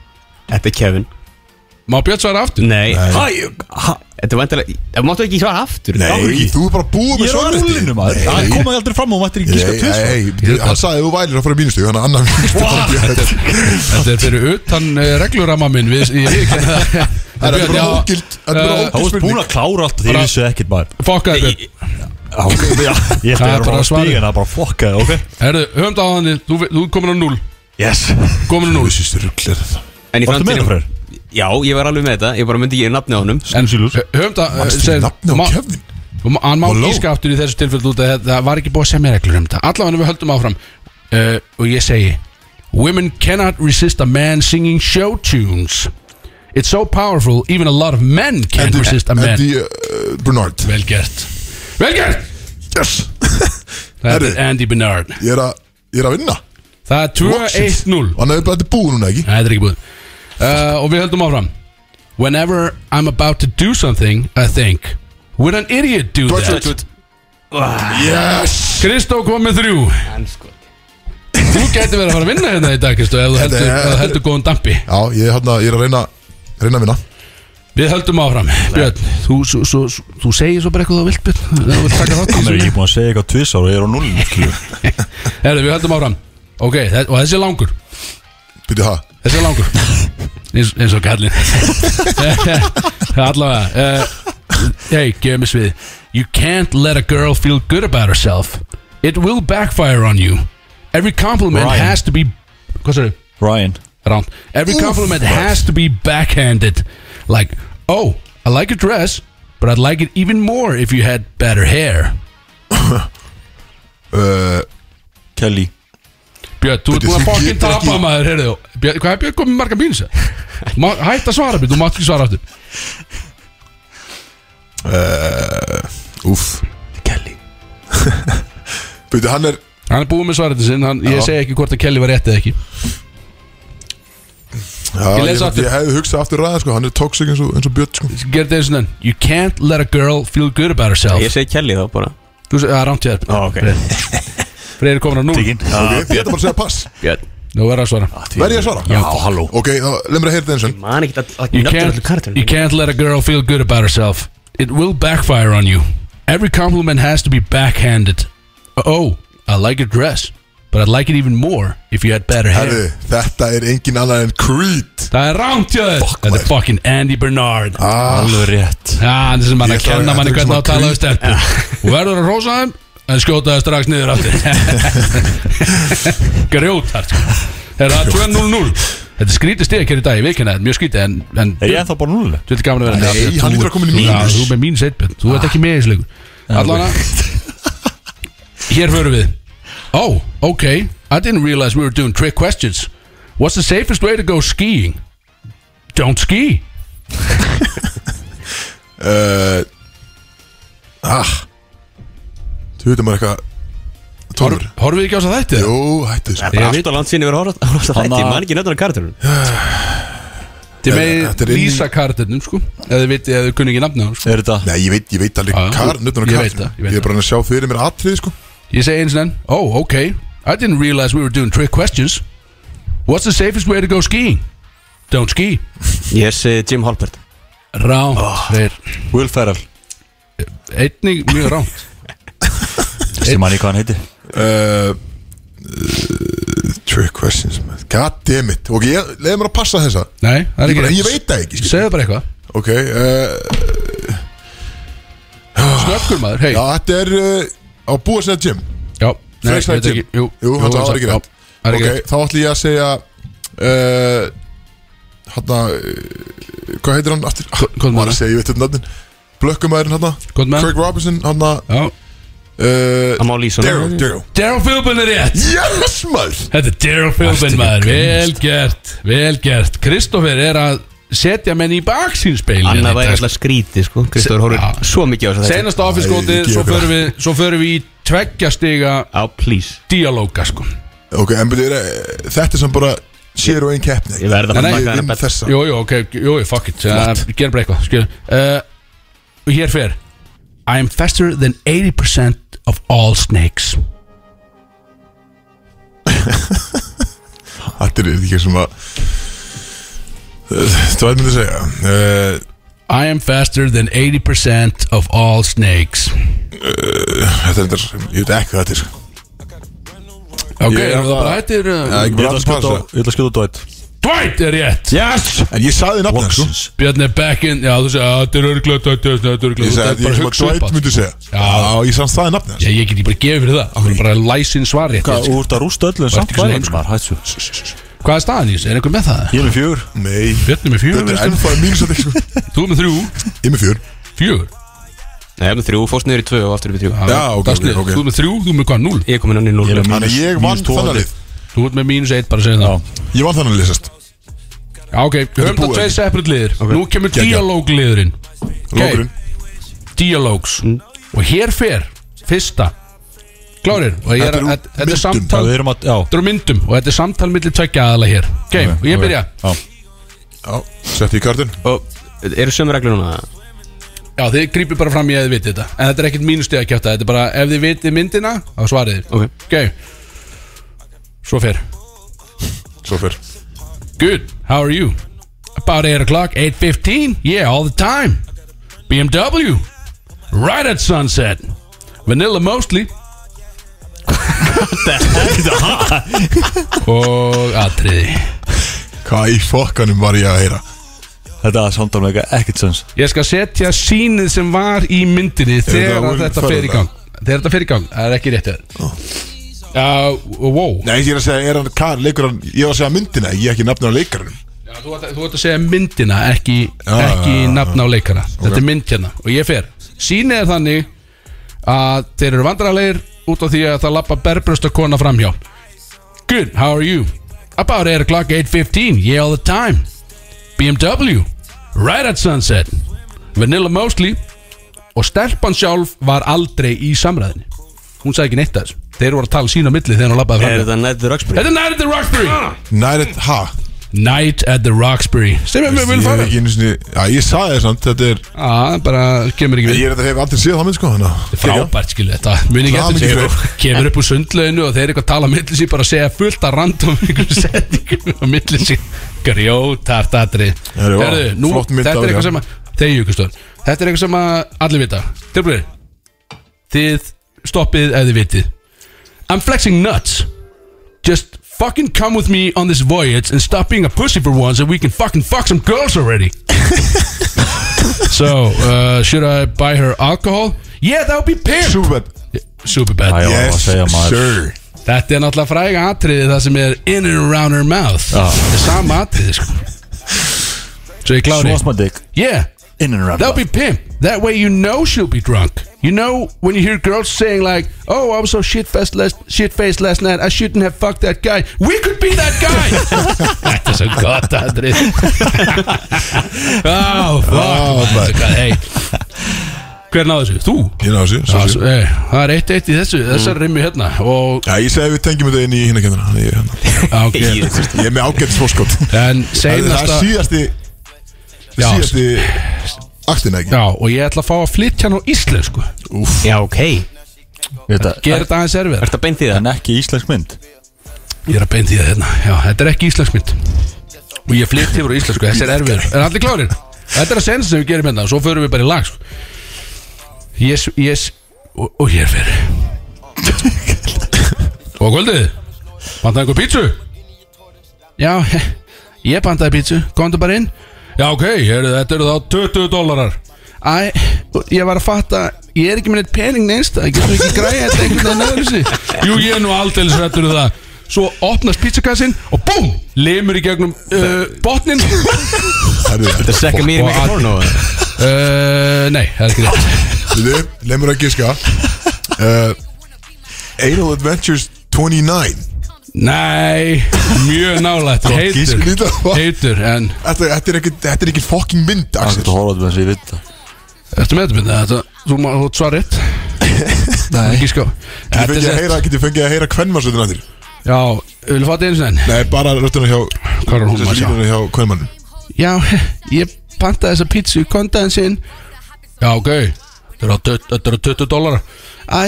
S5: þetta er Kevin
S3: Má Björn svara aftur?
S5: Nei Hæ, ha- Þetta er vantilega Það máttu ekki svara aftur
S2: Nei, þú er bara búið
S4: Ég
S2: með
S4: er á
S2: svarið
S4: rúlinu maður Það
S2: Nei,
S4: komaði aldrei fram og mættir ekki gíska
S2: nei,
S4: tvisvar.
S2: nei, nei, hann sagði að þú vælir að fara í mínustug Þannig að annar mínustug
S3: Þetta er fyrir utan uh, regluramma minn við, Ég við ekki það
S2: Það er
S3: Björn,
S2: bara
S3: já,
S2: ógild Það er bara
S3: Eh,
S2: ógild
S4: Þá varst búin
S2: spurning
S4: að klára allt Þið
S3: Bara-
S4: vissu ekkert maður
S3: Fokkaði Björn
S4: Já, já, Ég ætti
S3: Það er
S4: að vera
S3: bara
S4: bara
S3: svarið.
S4: stígan að bara fokka það, ok?
S3: Herðu, höfum það á þannig Þú, þú komin á núl
S4: Yes
S3: Komin á núl
S2: Sýstur rugglir það
S5: En í
S4: Vartu með
S5: framtíðinu-
S4: það freyr?
S5: Já, ég var alveg með þetta Ég bara myndi ekki nafni á honum
S3: En höfum það eh,
S2: Manstu
S3: segir-
S2: ekki nafni á
S3: má-
S2: Kevin?
S3: Og ma- hann má
S2: Halló?
S3: gíska aftur í þessu tilfellu út að það- það var ekki búið að semja reglur um þetta allavega við höldum áfram uh, Eh, og ég segi Women cannot resist a man singing show tunes It's so powerful Even a lot of men can't resist a man
S2: Andy uh, Bernard
S3: Vel gert Vel gert
S2: Yes
S3: Þetta
S2: Herri.
S3: er Andy Bernard
S2: Ég er að, ég er að vinna
S3: Það er 2-1-0
S2: Hann hefur bara þetta er búið núna ekki
S3: Nei, þetta er ekki búið uh, Og við höldum áfram Whenever I'm about to do something, I think Would an idiot do that?
S2: Brotherhood. Yes
S3: Kristó kom með þrjú Þú gæti verið að fara að vinna hérna í dag Kristó Ef þú heldur,
S2: Þetta er-
S3: ef þú heldur góðan dampi
S2: Já, ég, er hérna, ég er að reyna, reyna að vinna
S3: Við höldum áfram Björn, þú, svo, svo, svo, þú segir svo bara eitthvað þú vilt Björn Ef Þú vilt taka þátt í
S4: Hann er
S3: þessu.
S4: ekki búin að segja eitthvað tvisar og ég er á null
S3: Herðu, við höldum áfram Ok, þe- og þessi er langur
S2: Býtu það
S3: Þessi er langur Eins, eins og kallinn Allavega uh, Hey, gefur mig svið You can't let a girl feel good about herself It will backfire on you Every compliment
S4: Ryan.
S3: has to be Hvað sér
S4: Ryan
S3: Round. Every compliment has to be backhanded. Like, oh, I like your dress, but I'd like it even more if you had better hair.
S2: uh,
S4: Kelly
S3: Björn, þú
S2: Bíddu,
S3: ert búin að
S2: þú
S3: fucking
S2: getur
S3: tapa
S2: ekki-
S3: maður, heyrðu Björn, hvað er Björn komið marga mínus? Hætt að svara, Björn, þú mátt ekki svara aftur
S2: uh, Úff Kelly Býtu, hann er
S3: Hann er búin með svarandi sinn, hann, ég
S2: Já.
S3: segi ekki hvort að Kelly var rétt eða ekki
S2: já,
S3: Ég les aftur.
S2: ég hefði hugsað aftur ræða sko, hann er toxic eins og, eins og björn sko.
S3: Gerð þetta eins og þann You can't let a girl feel good about herself
S5: Ég segi Kelly þá bara
S3: Þú segi, það er rámt ég
S4: Ah, ok.
S3: þér Freyr er komin á núl
S4: Tíkin
S2: okay, Ég ætla bara að segja pass
S5: Björn
S3: Nú verður að svara
S2: Verð ég að svara?
S4: Ah. Já, halló
S2: Ok, þá leið mér að heyra þetta eins og
S5: Man ekki að
S3: You can't, you can't let a girl feel good about herself. It will backfire on you. Every compliment has to be backhanded. Oh, I like your dress, but I'd like it even more if you had better
S2: Herri,
S3: hair.
S2: þetta er engin annar en Creed
S3: Það er rámt hjá þér Þetta er
S2: maður.
S3: fucking Andy Bernard ah,
S2: ah,
S4: Alveg rétt
S3: Það sem mann
S2: Ég ætla
S3: að
S2: að-
S3: kenna manni
S2: þetta er
S3: hvernig að
S2: svona
S3: tala um stelpur Þú verður að rosa þeim en skjóta þeim strax niður aftur Grjótart Það er það 2-0-0 Þetta er skrítið stig hér í dag, ég veikina þetta, mjög skrítið eh? en, en
S4: Er ég ennþá bara null?
S3: Þú ert gaman að vera
S2: Nei,
S3: með
S2: hann
S3: Þú
S2: lítur að
S3: ert-
S2: koma inn í
S3: þú-
S2: mínus.
S3: Já, Þú er með mínus eitt björn, þú ert ekki með í þessu leikur Allána Hér förum við Oh, okay, I didn't realize we were doing trick questions What's the safest way to go skiing? Don't ski
S2: uh, Ah Þú veitum maður eitthvað Tónur
S3: Horfum við ekki á þess að þetta?
S2: Jú, hættu sko. þessu
S5: Bara
S3: Ég veit-
S5: allt á landsinu verið að horfa- að horfa á þetta
S4: Þannig
S5: Ég
S4: að-
S5: man ekki nöfnum karakterunum
S3: Þið
S2: Þetta
S3: með
S2: er inn í-
S3: lýsa karternum sko Ef þið vitið, ef þið kunni ekki nafna sko.
S4: Er þetta?
S2: Nei, ég veit, ég veit alveg
S3: Já, já.
S2: kar, nöfnum
S3: Ég
S2: kar
S3: veit það, ég veit
S2: Ég er bara að sjá fyrir mér atrið sko
S3: Ég segi eins og enn Oh, okay, I didn't realize we were doing trick questions What's the safest way to go skiing? Don't ski
S5: Ég segi Jim Halpert
S3: Ránt
S2: Ah.
S3: Freyr.
S4: Will Ferrell
S3: Einnig mjög ránt
S4: Ég man ekki hvað hann heiti
S2: uh, uh, Trick questions man. God damn it Ok, ég leiði mér að passa þessa
S3: Nei, það er
S2: Ég,
S3: ekki
S2: bara, ég
S3: rétt
S2: veit það ekki skil.
S3: Segðu bara eitthvað
S2: Ok, uh,
S3: Snöggur maður, hei
S2: Ah. já, þetta er uh, á búa sinna Jim
S3: Já, nei,
S2: Frekst
S3: þetta
S2: að
S3: er
S2: Jim
S3: ekki Jú,
S2: jú hann sagði það er ekki
S3: já,
S2: rétt
S3: það er
S2: Ok,
S3: ekki rétt
S2: þá ætlum ég að segja uh, Hanna uh, Hvað heitir hann aftur?
S3: Hvað- hvað er
S2: Maður
S3: það?
S2: að segja, ég veit þetta nöfnin Blökkumæðurinn hanna
S3: Hvað með
S2: Craig Robinson hanna uh,
S3: Já
S5: Það má lýsa honum.
S2: Daryl, Daryl
S3: Daryl Philbin er rétt
S2: Yes, maður
S3: Þetta er Daryl Philbin maður Vel gert, vel gert Kristoffer er að setja menn í baksínspeil
S5: Annað væri alltaf skríti sko Kristóður
S3: Já.
S5: horfir svo mikið á þess að þetta
S3: Senasta
S2: Æ,
S3: offiskóti
S2: ekki
S3: Svo
S2: okkur.
S3: förum við Svo förum við í tveggja stiga
S5: Á, please
S3: Dialóga sko
S2: Ok, en byrju, eh, þetta sem bara Sér og einn keppni
S5: Ég verð að
S3: Nei, nei,
S5: taka
S2: Ég
S5: hana
S2: vinn
S5: bet
S2: þessa
S3: Jú, jú, ok Jú, jú, fuck it uh, Gerum bara eitthvað Skil uh, Hér fer I am faster than 80% of all snakes
S2: Þetta er ekki eh, sem að Þú veit mér að segja uh,
S3: I am faster than 80% of all snakes
S2: Þetta er þetta, ég veit ekki hvað þetta er sko.
S3: Ok,
S2: Ég er
S3: erum við
S2: það-
S3: bara hættir
S2: Já,
S3: uh,
S2: ekki
S4: Ég
S2: bara
S4: ætla að
S2: að
S4: skjóta
S2: passa
S4: á- ég ætla að skjóta á Dwight
S3: Dwight er rétt
S2: Yes En ég sagði nafnið sko.
S4: Loksins
S3: Björn er back in Já, þú segir, "Ah, þetta er örglega Þetta er örglega Þetta er
S2: Ég
S3: örglega
S2: sagði, ég sem að Dwight myndi segja Já, ég sagði það nafnið
S3: Já, ég get ég bara gefið fyrir það Það er bara læsin svar rétt
S4: Hvað, þú ert að rústa öllu en samt
S3: ekki svona
S4: væri
S3: heimskur.
S4: maður, hættu
S3: Hvað er staðan í þessu? Er einhver með það?
S4: Ég er með fjögur
S2: Nei,
S3: Björn er með
S2: þetta
S3: fjögur
S2: er ennþá mínus að sko.
S3: Þú er með þrjú
S2: Ég er með fjör
S3: Fjögur
S5: Nei, ég er með þrjú, fórst niður í tvö og aftur upp í þrjú
S2: Já, ok,
S3: Dagsnið.
S2: ok, ok.
S3: Þú er með þrjú, þú er með hvað, núl
S5: Ég er komin hann í núl
S4: Ég er með
S2: Þannig að ég vann
S4: mínus
S2: þannig
S4: tóðandi
S2: lið
S3: Þú ert með mínus eitt bara að segja það
S2: Ég vann þannig að leysast
S3: Já, ok, höfum
S2: búið,
S3: það tveið
S2: ekki?
S3: separate liðir Nú kemur
S2: Geggjað.
S3: dialógliðurinn
S2: Lókurinn
S3: Dialógs Og hér fer, fyrsta Klárir, og ég
S2: Þetta
S3: er,
S2: er úr
S3: þetta þetta er
S2: myndum.
S3: samtal
S4: Við erum um að, já
S3: Þetta eru myndum og þetta er samtal millir tveggja aðala hér Ok, og ég byrja
S4: Já,
S2: Já, setti í kartinn
S5: Og eru sömu reglur núna?
S3: Já, þið grípið bara fram í að þið vitið þetta En þetta er ekkert mínustið að kjáta Þetta er bara ef þið vitið myndina, þá svarið þið
S5: Ok.
S3: Ok Svo fer
S2: Svo fyrr
S3: Good, how are you? About 8 o'clock, 8.15 Yeah, all the time BMW Right at sunset Vanilla mostly Og atriði
S2: Hvað í fokkanum var ég að heyra?
S4: þetta samtal með eitthvað ekkert sens
S3: Ég skal setja sínið sem var í myndinni Þegar
S2: þetta
S3: að
S2: Will
S3: þetta
S2: Ferrell
S3: fer í gang Þegar þetta fer í gang, það er ekki rétt hjá þér Já, wow
S2: Nei, ég er að segja, er hann, hvað, leikur hann Ég var að segja myndina, ég er ekki nafnir á leikarunum
S3: Já, þú ert, þú ert að segja myndina, ekki,
S2: Já,
S3: ekki
S2: já, já,
S3: nafn á leikana Þetta er mynd hérna og ég fer Sýnið er þannig að þeir eru vandralegir út af því að það lappa berbrösta kona framhjá Good, how are you? About 8 o'clock, 8.15, yeah all the time BMW, right at sunset Vanilla mostly Og stelpan sjálf var aldrei í samræðinni Hún sagði ekki neitt að þessu Þeir voru að tala sín á milli þegar hún lappaði
S5: Er
S3: framhjá
S5: þetta nættur Roxbury?
S3: Þetta er Night at the Roxbury
S2: Nærið, ha?
S3: Night at the Roxbury Sem er með vil
S2: Ég
S3: fara
S2: er ekki einu sinni Já, ég saði þér samt, þetta er
S3: Já, það bara kemur
S2: Ég
S3: ekki við
S2: er þetta hef aldrei séð það mynd, sko þannig að-
S3: Frábært skilu þetta, muni ekki
S2: Það
S3: eftir
S2: mikið
S3: þessu. Kemur upp úr sundlauginu og þeir eitthvað tala á milli sín bara að segja fullt að random einhverjum setningum á milli sín Grjótart atri
S2: Herru, vá,
S3: Herru, nú,
S2: flott mynd af
S3: þetta er
S2: þér.
S3: eitthvað sem að Þegju ykkur stór Þetta er eitthvað sem að allir vita Tilbúinir Þið stoppið ef þið vitið I'm flexing nuts Just fucking come with me on this voyage and stop being a pussy for once and we can fucking fuck some girls already. so, uh, should I buy her alcohol? Yeah, that would be pimp.
S2: Superbad
S3: Super bad.
S4: Já,
S2: Yes,
S4: að segja maður
S2: sir
S3: Þetta er náttúrulega fræga atriði það sem er in and around her mouth.
S4: Já.
S3: Þetta er sama atriði, sko. Svo ég klári.
S4: Svast maður dick
S3: Yeah,
S4: In and around
S3: that would be pimp. That way you know she'll be drunk. You know when you hear girls saying like, "Oh, I was so shit faced last shit faced last night. I shouldn't have fucked that guy. We could be that guy." Þetta er svo gott aðrið. oh fuck.
S2: Oh,
S3: Oh,
S2: man.
S3: hey. Hver náðu þessu? Þú?
S2: Ég náðu sér, svo
S3: Ah,
S2: sér
S3: svo- eh, Það er eitt eitt í þessu,
S2: Mm.
S3: þessar rimmi hérna og
S2: Já, ég segi við tengjum þetta inn í hinna kemdina Ég,
S3: á, okay.
S2: ég er með ágætt fórskot
S3: en
S2: Það er
S3: seinasta
S2: síðasti
S3: Já.
S2: Síðasti Aktin ekki
S3: Já, og ég ætla að fá að flytja hann á íslensku
S2: Úff,
S5: Já, ok
S4: Þetta
S3: Gerð þetta aðeins erfið
S5: Ertu að beint í það?
S4: En ekki íslensk mynd
S3: Ég er að beint í það hérna Já, þetta er ekki íslenskmynd Og ég flytt yfir á íslensku Þessi er erfiður Er allir klárir? Þetta er að sensa sem við gerum hérna og Svo förum við bara í lag sko. Yes, yes Og, og hér fyrir Og kvöldið Bantaði einhver pítsu? Já, ég bantaði pítsu Komdu bara inn Já, ok, er, þetta eru þá 20 dólarar Æ, ég var að fatta Ég er ekki með neitt pening neins Það getur ekki græja þetta einhvern veginn öðru sig Jú, ég er nú aldeilis rættur um það Svo opnast pítsakassin og búm Lemur í gegnum uh, botnin uh,
S2: herðu,
S5: Þetta er second meeting make a porno
S3: Uh, Nei, það er ekki rétt
S2: Við, lemur að giska uh, Anal Adventures 29
S3: Nei, mjög nálægt
S2: Gott
S3: Heitur,
S2: gísk, líta.
S3: heitur En,
S2: Þetta, þetta, er ekki, þetta er ekki fucking mynd,
S4: Það er
S2: Axel
S4: þetta horfað með þess að ég veit það
S3: ertu með þetta mynda? Þetta, þú má, þú ert svar rétt Nei Ekki sko
S2: Getur
S3: Þetta er
S2: fengið að
S3: rétt.
S2: heyra, getur fengið að heyra kvennmarsöndin að þér
S3: Já, vilja fá þetta einu sinni
S2: Nei, bara röttuna hjá
S3: Hvað er hún að sjá?
S2: Línuna hjá kvennmannum
S3: Já, ég pantaði þessa pítsu Kontaðin sinn Já, ok, þetta eru á tut- þetta eru á 20 dólar Æ,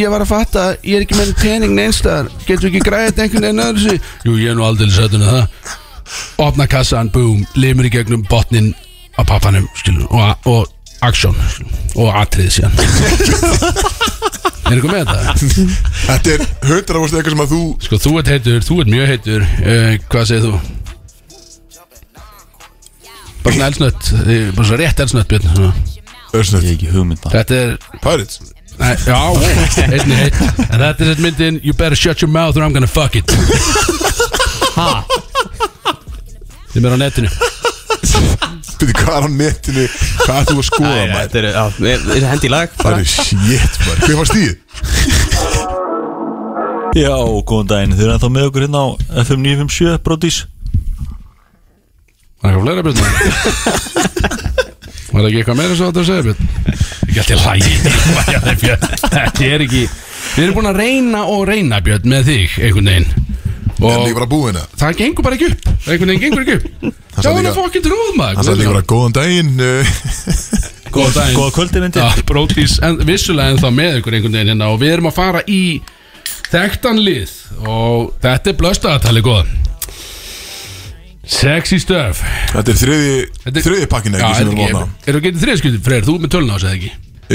S3: ég var að fatta Ég er ekki með pening neinstaðar Getur ekki græðið þetta einhvern veginn öðru sig Jú, ég er nú aldrei sættun að það Opna kassan, búm, limur í gegnum botnin Á pappanum, skilur Og, og aksjón Og atriðið síðan Er eitthvað með þetta?
S2: Þetta er 100% eitthvað sem að þú
S3: Sko, þú ert heitur, þú ert mjög heitur uh, Hvað segir þú? Bara svona elsnött eh, Bara svona rétt elsnött, Björn svona.
S4: Ég er
S2: Örsnett,
S4: ekki um hugmynda
S3: Þetta er
S2: Pirates
S3: Nei, Já, einnig heitt En þetta er þetta myndin You better shut your mouth or I'm gonna fuck it Ha? Þið mér á netinu
S2: Býttu, hvað er á netinu Hvað er þú að skoða, maður?
S5: Þetta er, já, er- er hendi í lag
S2: Það er shit, maður Hver fannst því?
S4: Já, góðan daginn, þið eru ennþá með okkur hérna á FM 957 Brodís
S3: Það er eitthvað fleira björn Var ekki eitthvað meira svo að þetta að segja björn Ekki alltaf lægi Lægja þig, Björn. Þetta er ekki Við erum búin að reyna og reyna björn með þig einhvern veginn
S2: En líka
S3: Og
S2: bara búin að hérna.
S3: það gengur bara ekki upp Einhvern veginn gengur ekki upp
S2: Það
S3: Já,
S2: sagði
S3: hann
S2: líka-
S3: er fokkin trúð
S2: Hann sagði líka
S3: maður
S2: bara góðan daginn uh,
S3: Góða daginn
S4: Góða kvöldi myndi
S3: Já, Brótis en, vissulega en það með ykkur einhvern veginn hérna og við erum að fara í þekktan lið og þetta er blöstaðatali góða Sexy stuff
S2: Þetta er þriði,
S3: Þetta er-
S2: þriði pakkin
S3: Já,
S2: ekki sem
S3: er
S2: við
S3: ekki,
S2: móna
S3: er það getið þriðskipti, Freyr, þú með tölun á þessu eða ekki?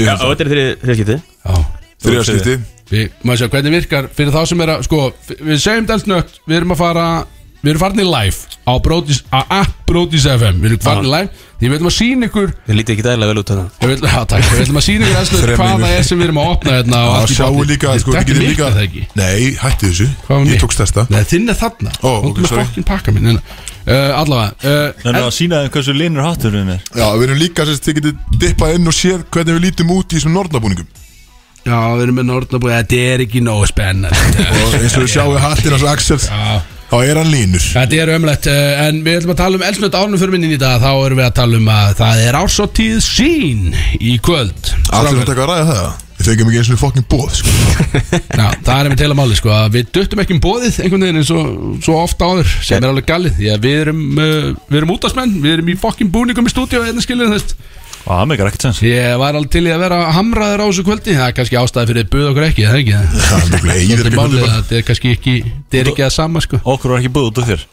S5: Já, og þetta er þrið, þriðskipti
S3: Já
S2: Þriða skipti
S3: Við, maður sjá hvernig virkar fyrir þá sem er að, sko, við segjum deltnögt, við erum að fara, við erum farin í live á Brodís, á app Brodís FM, við erum farin í live, því við ætlum að sína ykkur,
S5: Við lítið ekki dæla vel út þarna
S3: við ætlum, já, takk, við ætlum að sína ykkur aðstöður
S2: Þrem
S3: hvað það
S2: mínútur.
S3: er sem við erum að opna hérna og
S2: Já,
S3: allt í
S2: sjáum
S3: botni.
S2: líka, sko, við
S3: Þetta
S2: getum
S3: er mitt,
S2: líka
S3: er það ekki?
S2: Nei, hætti þessu
S3: Hvað var
S2: Ég
S3: mitt?
S2: tókst þesta
S3: Nei, þinn er þarna,
S2: Ó,
S3: þú
S2: ok,
S3: erum að
S2: sorry.
S3: fokkin pakka minn, hérna. uh, allavega, uh,
S4: Það er að sína þeim hversu linur hatturinn er
S2: Já, við erum líka sérst, þið getið dippað inn og séð hvernig við lítum út í þessum norðnabúningum
S3: já, við erum með norðnabúið, þetta er ekki nógu spennandi.
S2: Og eins og við sjáum við hattin hans Axels
S3: Já.
S2: Þá er hann línur
S3: Þetta er ömlegt, uh, en við ætlum að tala um elsnött árnum fyrir minni í dag, þá erum við að tala um að það er ársóttíð sín í kvöld
S2: Allir
S3: Strákar.
S2: þetta eitthvað að ræða það Við fengjum ekki eins og fokkin bóð sko.
S3: Já, það er einmitt heila máli, sko, að við duttum ekki um bóðið einhvern veginn eins og svo ofta áður sem er alveg galið, því að við erum uh, við erum útastmenn, við erum í fokkin búningum í hérna, stúdíu og einnig skiljum þess
S4: Og það megar ekkert sens
S3: Ég var alveg til í að vera hamraður á þessu kvöldi það er kannski ástæði fyrir að buða okkur ekki, það er ekki það
S2: Það er miklu eigið
S3: Þetta
S2: ekki
S3: er
S2: hvernig
S3: málið
S2: bara
S3: að þetta er kannski ekki, þetta er ekki að sama, sko
S4: Okkur var ekki búið út af þér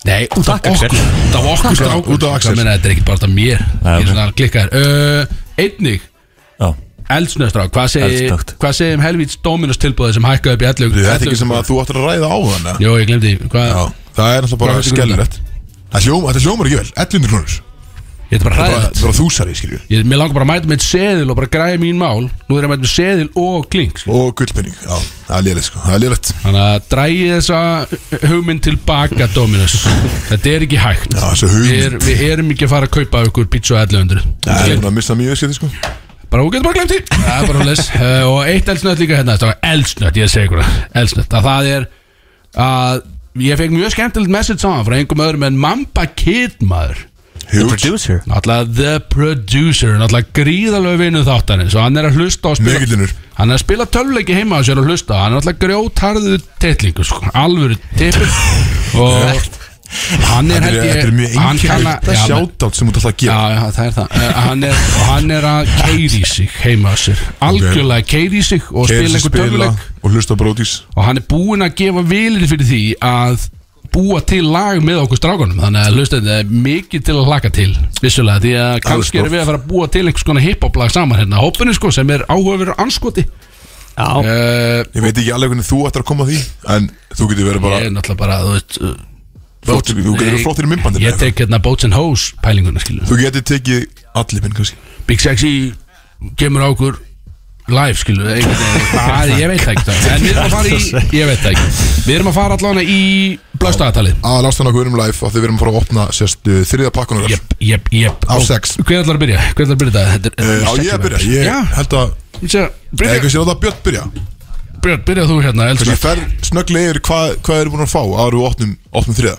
S3: Nei, út af
S4: Takk,
S3: okkur
S4: Axel.
S3: Út af okkur strákur
S2: Út af Axel.
S3: Ég meina, Þetta er ekki bara út af mér
S4: Nei,
S3: Ég er
S4: ok.
S3: svona klikkar uh, Einnig,
S4: Já,
S3: eldsnöðstrák Hvað segi-
S4: Eldsnöggt.
S3: hvað segir um helvíts Dominos tilbúðið sem hækkaði upp í ellu
S2: Þetta er ekki sem að þú áttir að ræða á þann
S3: Jó, ég glemdi Hvað
S2: Já, það er alltaf bara
S3: Hvað veistu hvernig
S2: skellrætt Það hljóm, þetta hljómar ekki vel, 1100 krónur
S3: Ég er bara
S2: Það er bara-
S3: hræðið
S2: það er bara þúsari, skiljum
S3: Ég, mér langar bara að mæta með eitt seðil og bara græði mín mál Nú er ég að mæta með seðil og kling
S2: Og gullpenning, já, það er lélægt, sko, það er lélægt
S3: Þannig að drægi þessa hugmynd tilbaka Dominus Þetta er ekki hægt
S2: Já, þessu
S3: Við,
S2: hugmynd
S3: er, við erum ekki að fara að kaupa ykkur pizza og 1100
S2: Það er búin að missa mjög skipti, sko
S3: bara hún getur bara glemt því það er bara les uh, og eitt elsnött líka hérna strákar. elsnött, ég segi ykkur það elsnött, að það er að ég fekk mjög skemmtilegt message á hann frá einhverjum öðrum en Mamba Kid maður
S2: Huge,
S3: náttúrulega The Producer náttúrulega gríðalög vinnu þáttanins og hann er að hlusta og spila
S2: mikillinur
S3: hann er að spila töluleiki heima á sér og hlusta hann er náttúrulega grjótarðu titlingu sko, alvöru tippur og hann er
S2: Þetta
S3: held
S2: er- þetta er mjög
S3: ég hann kann að-
S2: einhverjum
S3: Já, menn-
S2: Sjátátt sem út alltaf að gera
S3: Já, já, það er það uh, hann, er, og hann er að keiri sig heima á sér Algjörlega keiri sig og
S2: Keyrið
S3: spila
S2: sem
S3: einhver töluleik
S2: og hlusta brótis
S3: Og hann er búinn að gefa vilir fyrir því að búa til lag með okkur strákunum Þannig að hlusta þetta er mikið til að hlaka til Vissulega, því að kannski erum við að fara að búa til einhvers konar hiphop lag saman hérna Hópinu sko, sem er áhugaverður anskoti
S5: Já,
S3: uh,
S2: Ég veit ekki alveg hvernig þú ættir að koma að því En þú getur verið bara
S3: Ég er náttúrulega bara, þú veist uh,
S2: flottur- Þú getur verið flottir í myndbandinu
S3: Ég tek hérna Boats and Hoes pælinguna skilur
S2: Þú getur tekið allir minn kannski
S3: Big Sexy kemur á okkur live skilu það, Ah, ég veit það ekki það. en við erum að fara í ég veit það ekki við erum að fara allavega í blöstaðatalið
S2: Að lasta hann okkur um live af því við erum að fara að opna sérst uh, þriðja pakkunum þar.
S3: jep, jep, jep
S2: Á sex.
S3: hver ætlar að byrja hver ætlar að byrja þetta Þetta
S2: Uh,
S3: er-
S2: Á ég að byrja,
S3: já
S2: ég held að
S3: ég sé-
S2: Eða
S3: byrja,
S2: kannski láta Björn byrja
S3: byrja, byrja þú hérna
S2: Kannski
S3: elsku.
S2: fer snögglega yfir hvað hva erum búin að fá áður við opnum, opnum þriða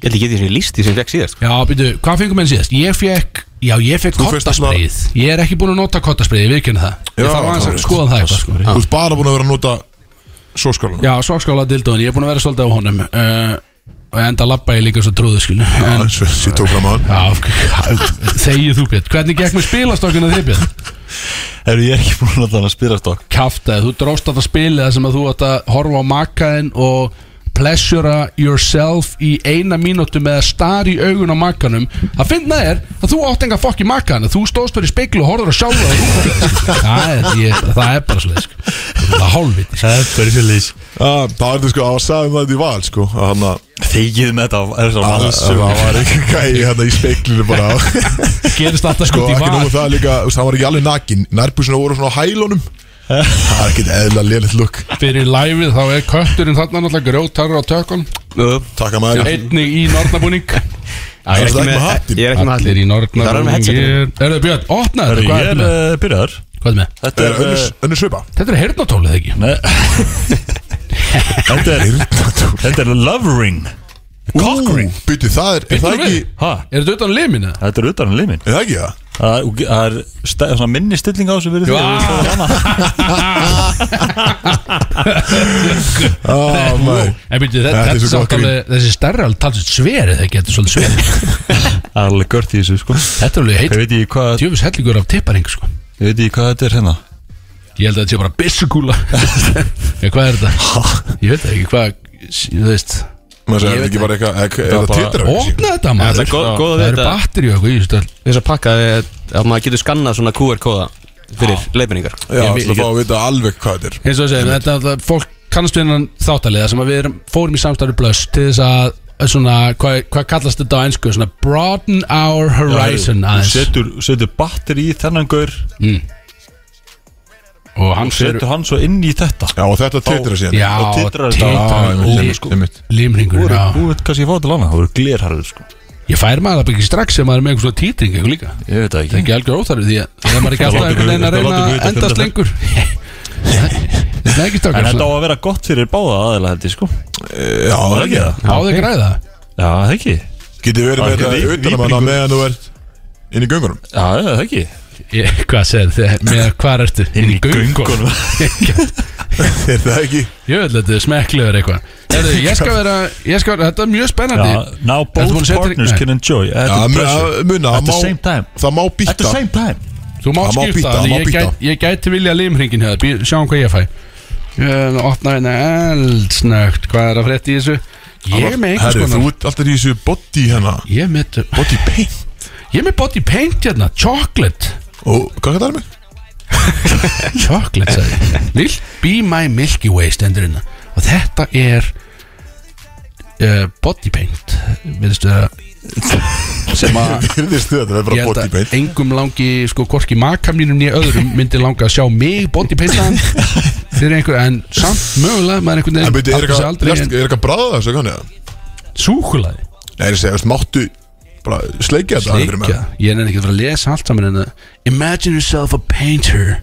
S5: ég held ekki getið sem ég líst því sem ég fekk síðast sko.
S3: já býtu hvað fengum enn síðast ég fekk já ég fekk
S2: Þú fékkst
S3: kottaspreið ég er ekki búin að nota kottaspreið ég viðkynna það ég
S2: Já,
S3: þarf aðeins að
S2: það-
S3: skoða það eitthvað sko.
S2: Þú ert bara búin að vera að nota Sóskálan
S3: Já, svakskála dildóin, ég er búin að vera svolítið á honum uh, og enda labba ég líka svo trúðu skilu en,
S2: eins og ég tók fram á hann
S3: Já, þegið þú Björn Hvernig gekk með spilastokkuna þig Björn?
S4: Herru, ég er ekki búin að þannig að spila stokk
S3: Kaftaði, þú dróst þetta spilið þar sem að þú átt að horfa á makaðin og pleasura yourself í eina mínútu með að stari í augun á makanum Það finna er að þú átt enga fokk í makaðin þú stóðst fyrir speklu og horfður að sjálfa þig það, er- ég- það er bara svolítið sko. Það er hálfviti sko.
S4: Það er fyrir fyrir lýs
S2: Það er þetta sko, að sagði um það þetta í val sko að hann að-
S4: Þegið með þetta er svo
S2: að- að
S4: alls
S2: það var ekki gæi hann í speklinu bara
S3: Gerist alltaf
S2: Sko,
S3: sko, í
S2: ekki nógu
S3: val
S2: það líka, þú veist, hann var ekki alveg nakin Nærbúsina voru svona á hælunum Það er ekki eðla lélitt lukk
S3: Fyrir læfið þá er kötturinn þarna náttúrulega grjótarur á tökkunum
S2: Takk að maður Eh,
S3: Einnig í nornabúning
S5: ég
S2: Það er ekki
S5: er ekki
S2: með
S5: með
S2: hattinn.
S5: Ég er ekki með
S3: Allir
S5: hattin
S3: í
S5: Það er hann
S3: nornabúning
S5: með headsetinu.
S3: Erðu Björn, opna þetta,
S4: Herru,
S3: hvað er
S4: ég er
S3: með?
S4: eh, byrjaður
S3: Hvað er með?
S4: Þetta er
S2: önnur,
S4: uh,
S2: önnur svipa
S3: Þetta er heyrnatólið ekki
S4: Nei Þetta er
S2: Heyrnartól.
S4: Þetta er love ring Cock ring
S2: Býtu, það er, er það
S3: Býttu
S2: ekki
S3: við.
S4: Ha?
S3: Er þetta utan limin eða?
S4: Þetta er utan limin
S2: Er það ekki það?
S4: Það er- það er stæ- svona minni stilling á þessu verið því að-
S2: Ah, maður.
S3: En byrju,
S2: Þetta
S3: þetta,
S2: er
S3: þetta
S2: svo
S3: er
S2: gott
S3: samt alveg Þessi stærri alveg talsið sveri þegar getur svolítið sveri
S4: Það er alveg gört í þessu sko
S3: Þetta er alveg
S4: Ég
S3: heitt
S4: veit ekki hvað
S3: Djöfus hellingur af tipparing sko
S4: Ég veit ekki hvað þetta er hérna
S3: Ég held að þetta sé bara byssukúla Já, hvað er þetta? Ég veit það ekki hvað Þú veist
S2: Maður segir, er þetta ekki bara eitthvað ek- Er það
S4: bara-
S2: titra?
S3: Opna þetta maður
S5: er góð- góð að
S3: Það eru
S5: vita.
S3: batteri og eitthvað í þessu stöld
S5: Þess að pakka er eh, að maður getur skannað svona QR-kóða fyrir leifinningar
S2: Já,
S3: Ég-
S2: ætla að fá að vita alveg hvað þetta er
S3: eins og að segja, þetta er alltaf fólk kannast við hennan þáttaliða sem að við erum, fórum í samstarfi blöss til þess að svona, hvað hva kallast þetta á einsku svona broaden our horizon
S4: Þú
S3: aðeins
S4: setur, setur batteri í þennan gaur
S3: og hann fyrir
S4: Setur hann svo inn í þetta
S2: Já, og þetta titra síðan
S3: já,
S4: og titrar þetta.
S2: Já,
S3: titrar
S2: einmitt,
S3: og
S2: einmitt, einmitt.
S4: Þú
S3: limringur já.
S4: veit kannski að fá til annað Það voru glerharður sko
S3: ég fær maður það ekki strax sem maður er með einhvern svona títring eitthvað líka
S4: Ég veit það
S3: það er
S4: ekki
S3: ekki algjör óþarfi því að það er maður ekki alltaf
S4: Látum
S3: einhvern veginn að
S4: við-
S3: reyna
S4: látum við
S3: að
S4: þetta
S3: endast
S4: funda
S3: lengur þetta er ekki
S4: En þetta á
S3: strax
S4: að vera gott fyrir báða aðeila held ég sko
S2: Já, það er ekki það
S3: áður græða
S4: Já, það ekki
S2: Getið verið með þetta
S4: Það er ekki
S2: utanum hana
S4: víbringur.
S2: meðan þú ert inn í göngunum
S4: Já, það ekki
S3: Ég- hvað segir þið, með hvað ertu inn í göngunum
S2: Er það ekki?
S3: Ég veit að þetta er smekklegur eitthvað Herðu, ég skal vera, ég skal vera, þetta er mjög spennandi
S4: Já, now
S3: Ertu búin að
S4: both
S3: setja-
S4: partners
S3: Nei.
S4: can enjoy At
S2: Já,
S4: the
S2: mun-
S4: pressure.
S2: að- muna,
S4: At
S2: það
S4: the
S2: má-
S4: same time
S2: Það má
S4: At the
S2: býta
S4: same time
S3: Þú má
S2: Það má býta,
S3: skipta,
S2: það má
S3: ég,
S2: býta.
S3: gæt, ég gæti vilja limhringin hér Bí- Sjáum hvað ég fæ Ég opna hérna eldsnögt Hvað er að frétta í þessu? Ég er með einhvers
S2: Herru, þú
S3: konar
S2: ert alltaf í þessu body hérna
S3: Ég er með,
S2: Body paint
S3: ég er með body paint hérna Chocolate
S2: Og hvað kallar það mig?
S3: Chocolate sagði ég. Lil Be My Milky Way stendur hérna Og þetta er uh, Body paint Viðstu það Sem að
S2: Virðist þau að það er
S3: Ég
S2: bara
S3: held
S2: body
S3: að
S2: paint
S3: engum langi sko hvorki maka mínum nýja öðrum myndi langa að sjá mig bóndi peintaðan fyrir einhver en samt mögulega maður einhvern
S2: En byrju,
S3: veginn
S2: er
S3: áttar sig
S2: eitthvað
S3: aldrei
S2: lest-
S3: en
S2: er eitthvað bræða þessu kannu eða?
S3: súkulaði
S2: Nei, ég segja, veist, máttu bara sleikja þetta aðeins fyrir mig
S3: Sleikja, ég er ekki að fara að lesa allt saman en að Imagine yourself a painter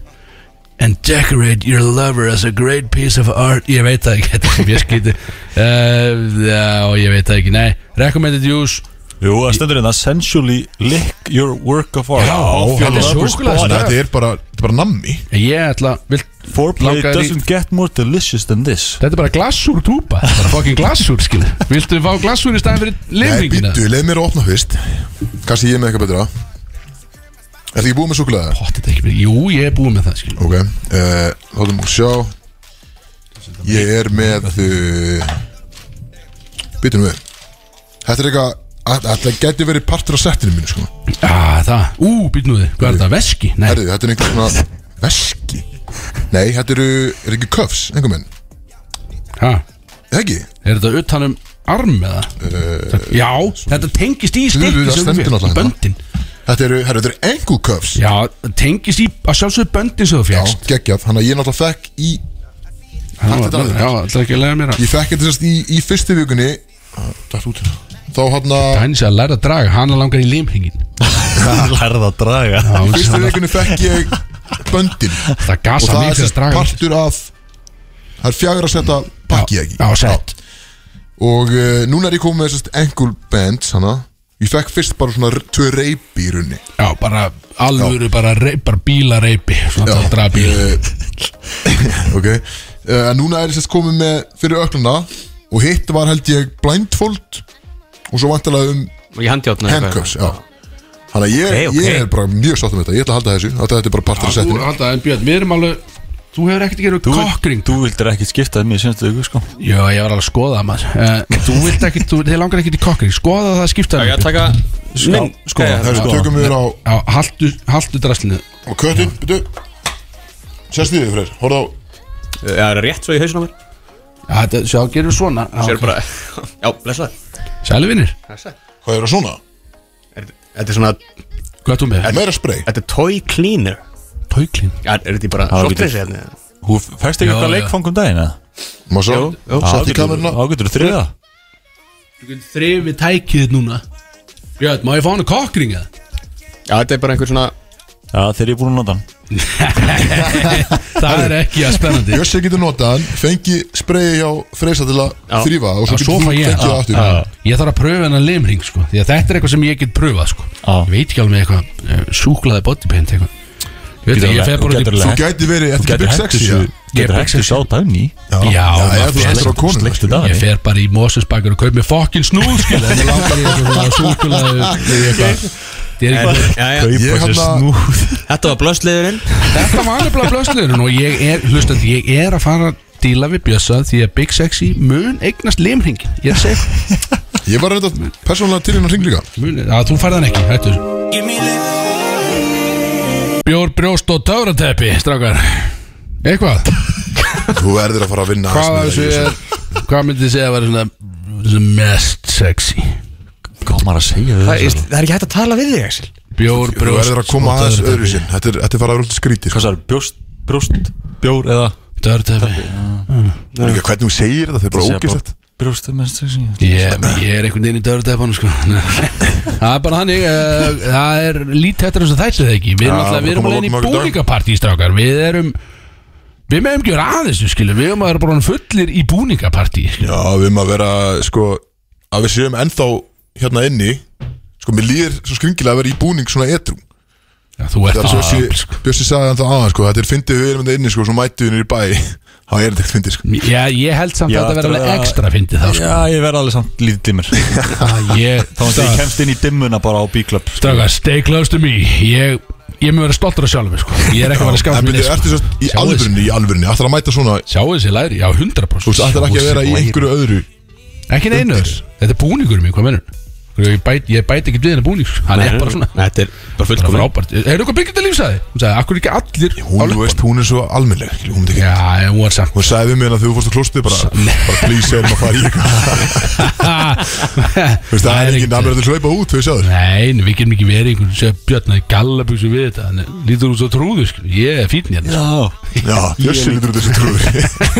S3: and decorate your lover as a great piece of art Ég veit það ekki, þetta er sem ég skýti uh, Já, ég veit það ekki, nei Recommended use
S4: Jú, það stendur hérna Sensually lick your work of art Off your
S3: þetta er
S4: lover's
S3: súkkulaði,
S4: body.
S2: Þannig að Þetta er bara, þetta er bara nammi
S3: Ég ætla, vilt
S4: Foreplay
S3: Langar í-
S4: doesn't get more delicious than this
S3: Þetta er bara glassúr túpa Þetta er bara fucking glassúr, skilu Viltu fá glassúr í staðin fyrir
S2: Nei,
S3: limringina?
S2: býttu, leið mér að opna fyrst Kanski ég er með eitthvað betra Er ekki búið með súkulega?
S3: Pott, þetta er ekki fyrir Jú, ég er búið með það, skilu
S2: Ok, uh, látum við sjá Ég er með uh, Býtum við Þetta er eitthvað að- Þetta getur verið partur af settinu mínu sko.
S3: Já, það Ú, být nú þið Hvað er þetta, veski? Nei,
S2: Herðu, þetta er einhver svona Veski Nei, þetta eru, er ekki köfs, einhver menn
S3: ha,
S2: Eða ekki?
S3: er þetta utanum arm eða?
S2: Eh,
S3: Uh, Já, þetta tengist í
S2: Jú, jú,
S3: stikki
S2: það
S3: sem
S2: stendur
S3: þú fékkst,
S2: náttúrulega hérna.
S3: Böndin
S2: Þetta eru, herru, þetta eru engu köfs
S3: Já, það tengist í að sjálfsögðu böndin sem þú
S2: Já,
S3: fjast
S2: geggjað, hann að ég náttúrulega fekk í
S3: Já,
S2: þetta er alveg.
S3: það er ekki að lega mér að
S2: Ég fekk þetta sérst í, í fyrstu vikunni Dætt út hérna. Þá hann að
S3: Hann sé að læra að draga, hann langar í limhingin
S4: Lærða að
S3: Já,
S4: draga
S2: Í
S3: hann-
S2: fyrstu vikunni fekk ég böndin
S3: Það
S2: og
S3: gasa
S2: það
S3: mig
S2: er
S3: fyrir
S2: sérst
S3: að draga
S2: partur af það er fjagra setta pakki ekki
S3: Já, sett
S2: og uh, núna er ég komið með sérst ankle bands hana ég fekk fyrst bara svona r- tvö reypi í runni
S3: Já, bara alvöru, bara, reyp, bara bílareipi Svona
S2: Já. Eh,
S3: að draga bíl
S2: ok uh, en núna er ég sérst komið með fyrir ökluna og hitt var held ég blindfold og svo vantilega um
S5: Og ég handjátna
S2: handcuffs já Þannig að ég,
S5: Ok, ok.
S2: ég er bara mjög sátt um þetta, ég ætla að halda þessu, þetta þetta er bara partur af
S3: Þú,
S2: settinu.
S3: alltaf, en Björn, við erum alveg Þú hefur ekkert að
S4: Þú
S3: gera
S4: vilt-
S3: kokkring
S4: Þú vildir ekki skipta þeim í senstu ykkur sko
S3: Já, ég var alveg að skoða það maður uh, Þú vilt ekki, þú, þið langar ekki í kokkring Skoða það skipta
S5: Já, ég að taka minn
S4: sko,
S5: Já,
S2: Það er
S4: sko.
S2: tökum við á,
S3: Já, haltu, haltu draslinu
S2: á köttin, betur, sérst í þig fyrir, horfðu á,
S5: það er rétt svo í hausinu á mér
S3: Já, þetta, sjá, gerum við svona Já,
S5: Sér
S3: ok.
S5: bara Já, blessa
S3: Sæli vinnir,
S5: Þetta
S2: hvað er það svona?
S5: er svona
S3: hvað er þú með?
S2: Meira spray?
S5: Þetta er toy cleaner
S3: Tóklín
S5: Já, er þetta í bara
S4: Já,
S5: Softreysi hérna
S4: Þú fæst ekki
S3: Já,
S4: eitthvað
S3: já.
S4: leikfang um daginn eða?
S2: Má sjá, sett í kameruna
S4: Ágættur þriða
S3: Þú getur þrifi tækið þitt núna Björn, má ég fá hann að kokkring eða?
S5: Já, þetta er bara einhver svona
S4: Já, þegar ég er búin að nota hann
S3: Það er ekki að spennandi
S2: Bjössi getur notað hann, fengi spreyi hjá Freysa til að þrýfa og svo
S3: Svo
S2: getur
S3: fæ
S2: þú
S3: ég
S2: fengið það aftur
S3: Já. Ég þarf að pröfa hennar limring sko Því að þetta er eitthvað sem ég get pröfað sko Ég veit ekki alveg með eitthvað eh, Súklaði bodypaint eitthvað Ég veit
S4: Getur
S3: ekki, ég
S4: alveg-
S3: fer bara út
S4: getur
S3: í
S2: Þú gæti verið,
S4: Þú
S2: þetta er
S4: getur
S2: Big
S4: hægt
S2: Sexy
S4: þessu
S2: já.
S4: Getur
S3: Ég-
S4: hægt þessu á dagni
S3: Já,
S2: já,
S3: maður
S2: þú
S3: fer-
S2: hendur á konu
S4: Sleikstu
S3: Ég
S4: dagni
S3: fer bara í Mosesbakkar og kaup mér fokkin snúð skil En ég langar í eitthvað súklaði eitthvað Þetta er eitthvað
S2: Ég
S4: Kaupa sér
S2: hérna-
S4: snúð
S5: Þetta var blöðsliðurinn
S3: Þetta var nefnilega blöðsliðurinn og ég er, hlustandi, ég er að fara að díla við Bjössa því að Big Sexy mun eignast limringin Ég er að segja ykkur,
S2: Ég var reynda persónulega til hennar hring líka
S3: mun, að þú færðan ekki, hættu þessu. Bjór, brjóst og töfrateppi, strákar Eitthvað,
S2: Þú verður að fara að vinna
S3: hvað af
S2: aðeins
S3: þessu
S2: með
S3: er
S2: þessu.
S3: Hvað myndið þið segja að vera svona, svona mest sexy
S4: Hvað á maður að segja við
S5: Það
S4: þessu?
S5: það er ekki hægt að tala við þig, Axel
S3: Bjór,
S2: Þú
S3: brjóst
S2: verður að koma
S3: og
S2: aðeins
S3: töfrateppi.
S2: öðru sinn Þetta er þetta er farað að vera alltaf skrítið
S4: Hvað
S2: sko.
S4: sagði, brjóst, brjóst, bjór eða
S3: Töfrateppi
S2: Líka Hvernig þú segir þetta, þetta er bara
S4: Segja bara
S2: ógæslegt
S4: Brjóst, mennst, sexy
S3: Ég, ég er einhvern veginn í dörrdæfanum sko Það er bara þannig uh, Það er lítið eftir þessu þætti það ekki Við erum
S2: Já,
S3: alltaf, við
S2: við
S3: erum
S2: komum að
S3: alveg í
S2: lokum okkur í dag.
S3: búningapartístrákar Við erum Við meðum gjöra aðeins, skilur Við erum að vera bara fullir í búningapartí skilur.
S2: Já, við erum að vera, sko Að við séum ennþá hérna inni Sko, mér líður svo skringilega að vera í búning svona etru
S3: Já, Þú ert
S2: Þegar
S3: að
S2: Bjössi, Bjössi sagði hann þá aðeins, sko Þetta er fyndið við erum þetta inni, sko, svo mættu við niður í bæ Há, er þetta ekkert fyndið, sko
S3: Já, ég held samt
S4: Já,
S3: að þetta verði
S4: þetta
S3: alveg
S4: er-
S3: ekstra fyndið þá sko
S4: Já, ég verð alveg samt lítið dimmur Þá
S3: Að Ég,
S4: að ég kemst inn í dimmuna bara á bíklöp
S3: strákar, stay close to me Ég, ég mun vera stoltur af sjálfum sko. Ég er ekki að vera skátt
S2: En
S3: minni
S2: byrju, ertu svo í alvörunni, í alvörunni Ætlar að mæta svona,
S3: Sjáu þessi læri, já, 100%
S2: þú veist, ætlar ekki að vera í einhverju öðru
S3: Ekki neynur Þetta er búningur mér, hvað mennur Ég bæti ég bæti ekki við hennar búning sko. Hann er bara svona Það
S5: Þetta er bara
S3: er
S5: fullkomin
S3: frábært Hefur eitthvað byggjandi lífsæði? Hún sagði, akkur ekki allir á
S2: Hún, þú
S3: löppunum?"
S2: veist, hún er svo almennleg, skilur, hún myndi ekki-
S3: Já, en hún var samt
S2: Hún sagði við mér að þegar þú fórst á klostið bara, bara please, erum að fara í eitthvað Þú veist, það er ekki
S3: ekkert-
S2: nabur að hlaupa út, þau sagður
S3: Nei, en við getum ekki verið einhvern sem björnaði gallabugsu við þetta Þannig lítur út svo trúðu, sko Ég er fínn hérna sko.
S4: Já,
S2: Já, Bjössi lítur út þessu trúður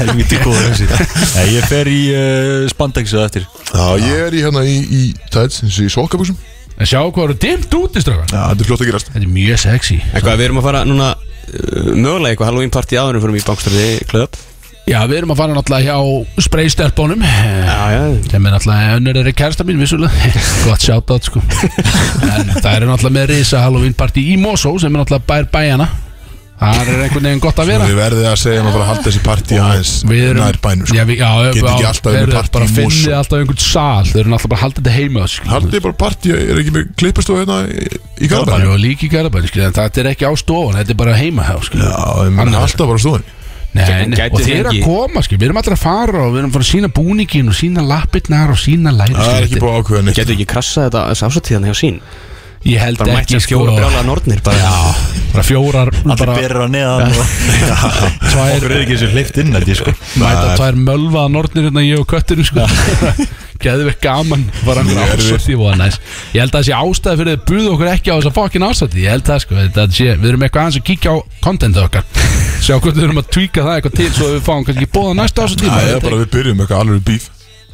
S4: helviti góður þessi Nei, Ég fer í uh, spandexið eftir
S2: Já, ég er í hérna í, í tæts, eins og í sokkabúsum Já,
S3: En sjá hvað eru dimmt úti, strákar
S2: þetta er fljótt að gerast
S3: Þetta er mjög sexy
S5: Eitthvað, við erum að fara núna uh, Mögulega eitthvað Halloween party áðurum fyrir mig í bankstörði klöp
S3: Já, við erum að fara náttúrulega hjá spraystelpunum Eh,
S5: Já, já
S3: sem er náttúrulega "Eh, önnur er kærsta mín vissulega, gott shoutout sko en það eru náttúrulega með risa Halloween party í Mosó sem er náttúrulega bær bæjana þar er einhvern veginn gott að vera
S2: Við verðið að segja maður að fara að halda þessi partí aðeins
S3: við erum
S2: nær bænum
S3: já,
S2: sko.
S3: við, já,
S2: Get ekki alltaf verið
S3: þeir
S2: með
S3: eru
S2: partí
S3: bara
S2: í
S3: að
S2: Mosó.
S3: finna alltaf einhvern sal þeir eru náttúrulega bara að halda þetta heima sko.
S2: Haldið bara partí, er ekki með klippastofu hérna í, í
S3: Garabæri
S2: Garabæn Já,
S3: og líka í Garabæri sko, en þetta er ekki á stofan, þetta er bara heima hjá sko.
S2: ég menn
S3: Annað.
S2: alltaf bara stofan
S3: Nei,
S5: Sem
S3: nei,
S5: gæti
S3: og þeir eru að
S5: fengið.
S3: koma sko. við erum allir að fara og við erum að fara að sína búningin og sína lappirnar og sína læri
S2: Það er ekki
S3: sko.
S2: búið að ákveða neitt
S5: Getur ekki krassað þetta þess ásatíðan hjá sín
S3: ég held
S5: Bara
S3: ekki
S5: mætja fjóra brjálega nornir bara
S3: sko. Já, bara fjórar
S4: Allir
S3: bara
S4: berir á neðan og
S3: tvær
S4: Okkur er ekki þessu hleypt inn þetta sko
S3: mæta tvær mölvaða nornir hérna ég og kötturinn sko geðum við gaman var hann
S2: Mjög erfitt.
S3: ásætti og næs ég held að það sé ástæði fyrir að buða okkur ekki á þessa fokkin ásætti ég held það sko það sé, við erum eitthvað aðeins að kíkja á kontentið okkar sjá hvernig við erum að tvíka það eitthvað til svo við fáum kannski bóða næsta ásætti
S2: Það er bara við byrjum eitthvað alveg bíf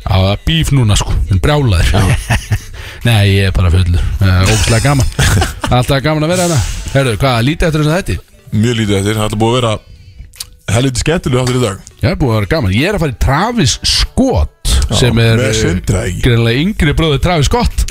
S3: Já, það er bíf núna sko, en brjálaðir Nei, ég er bara fullur uh, Ógustlega gaman Alltaf gaman að vera hérna Herðu, hvað, lítið eftir þess að þetta?
S2: Mjög lítið eftir, það er alltaf búið að vera helviti skemmtilega áttur í dag
S3: Já, búið að vera gaman Ég er að fara í Travis Scott sem er
S2: með Sindra, ekki?
S3: greinlega yngri bróði Travis Scott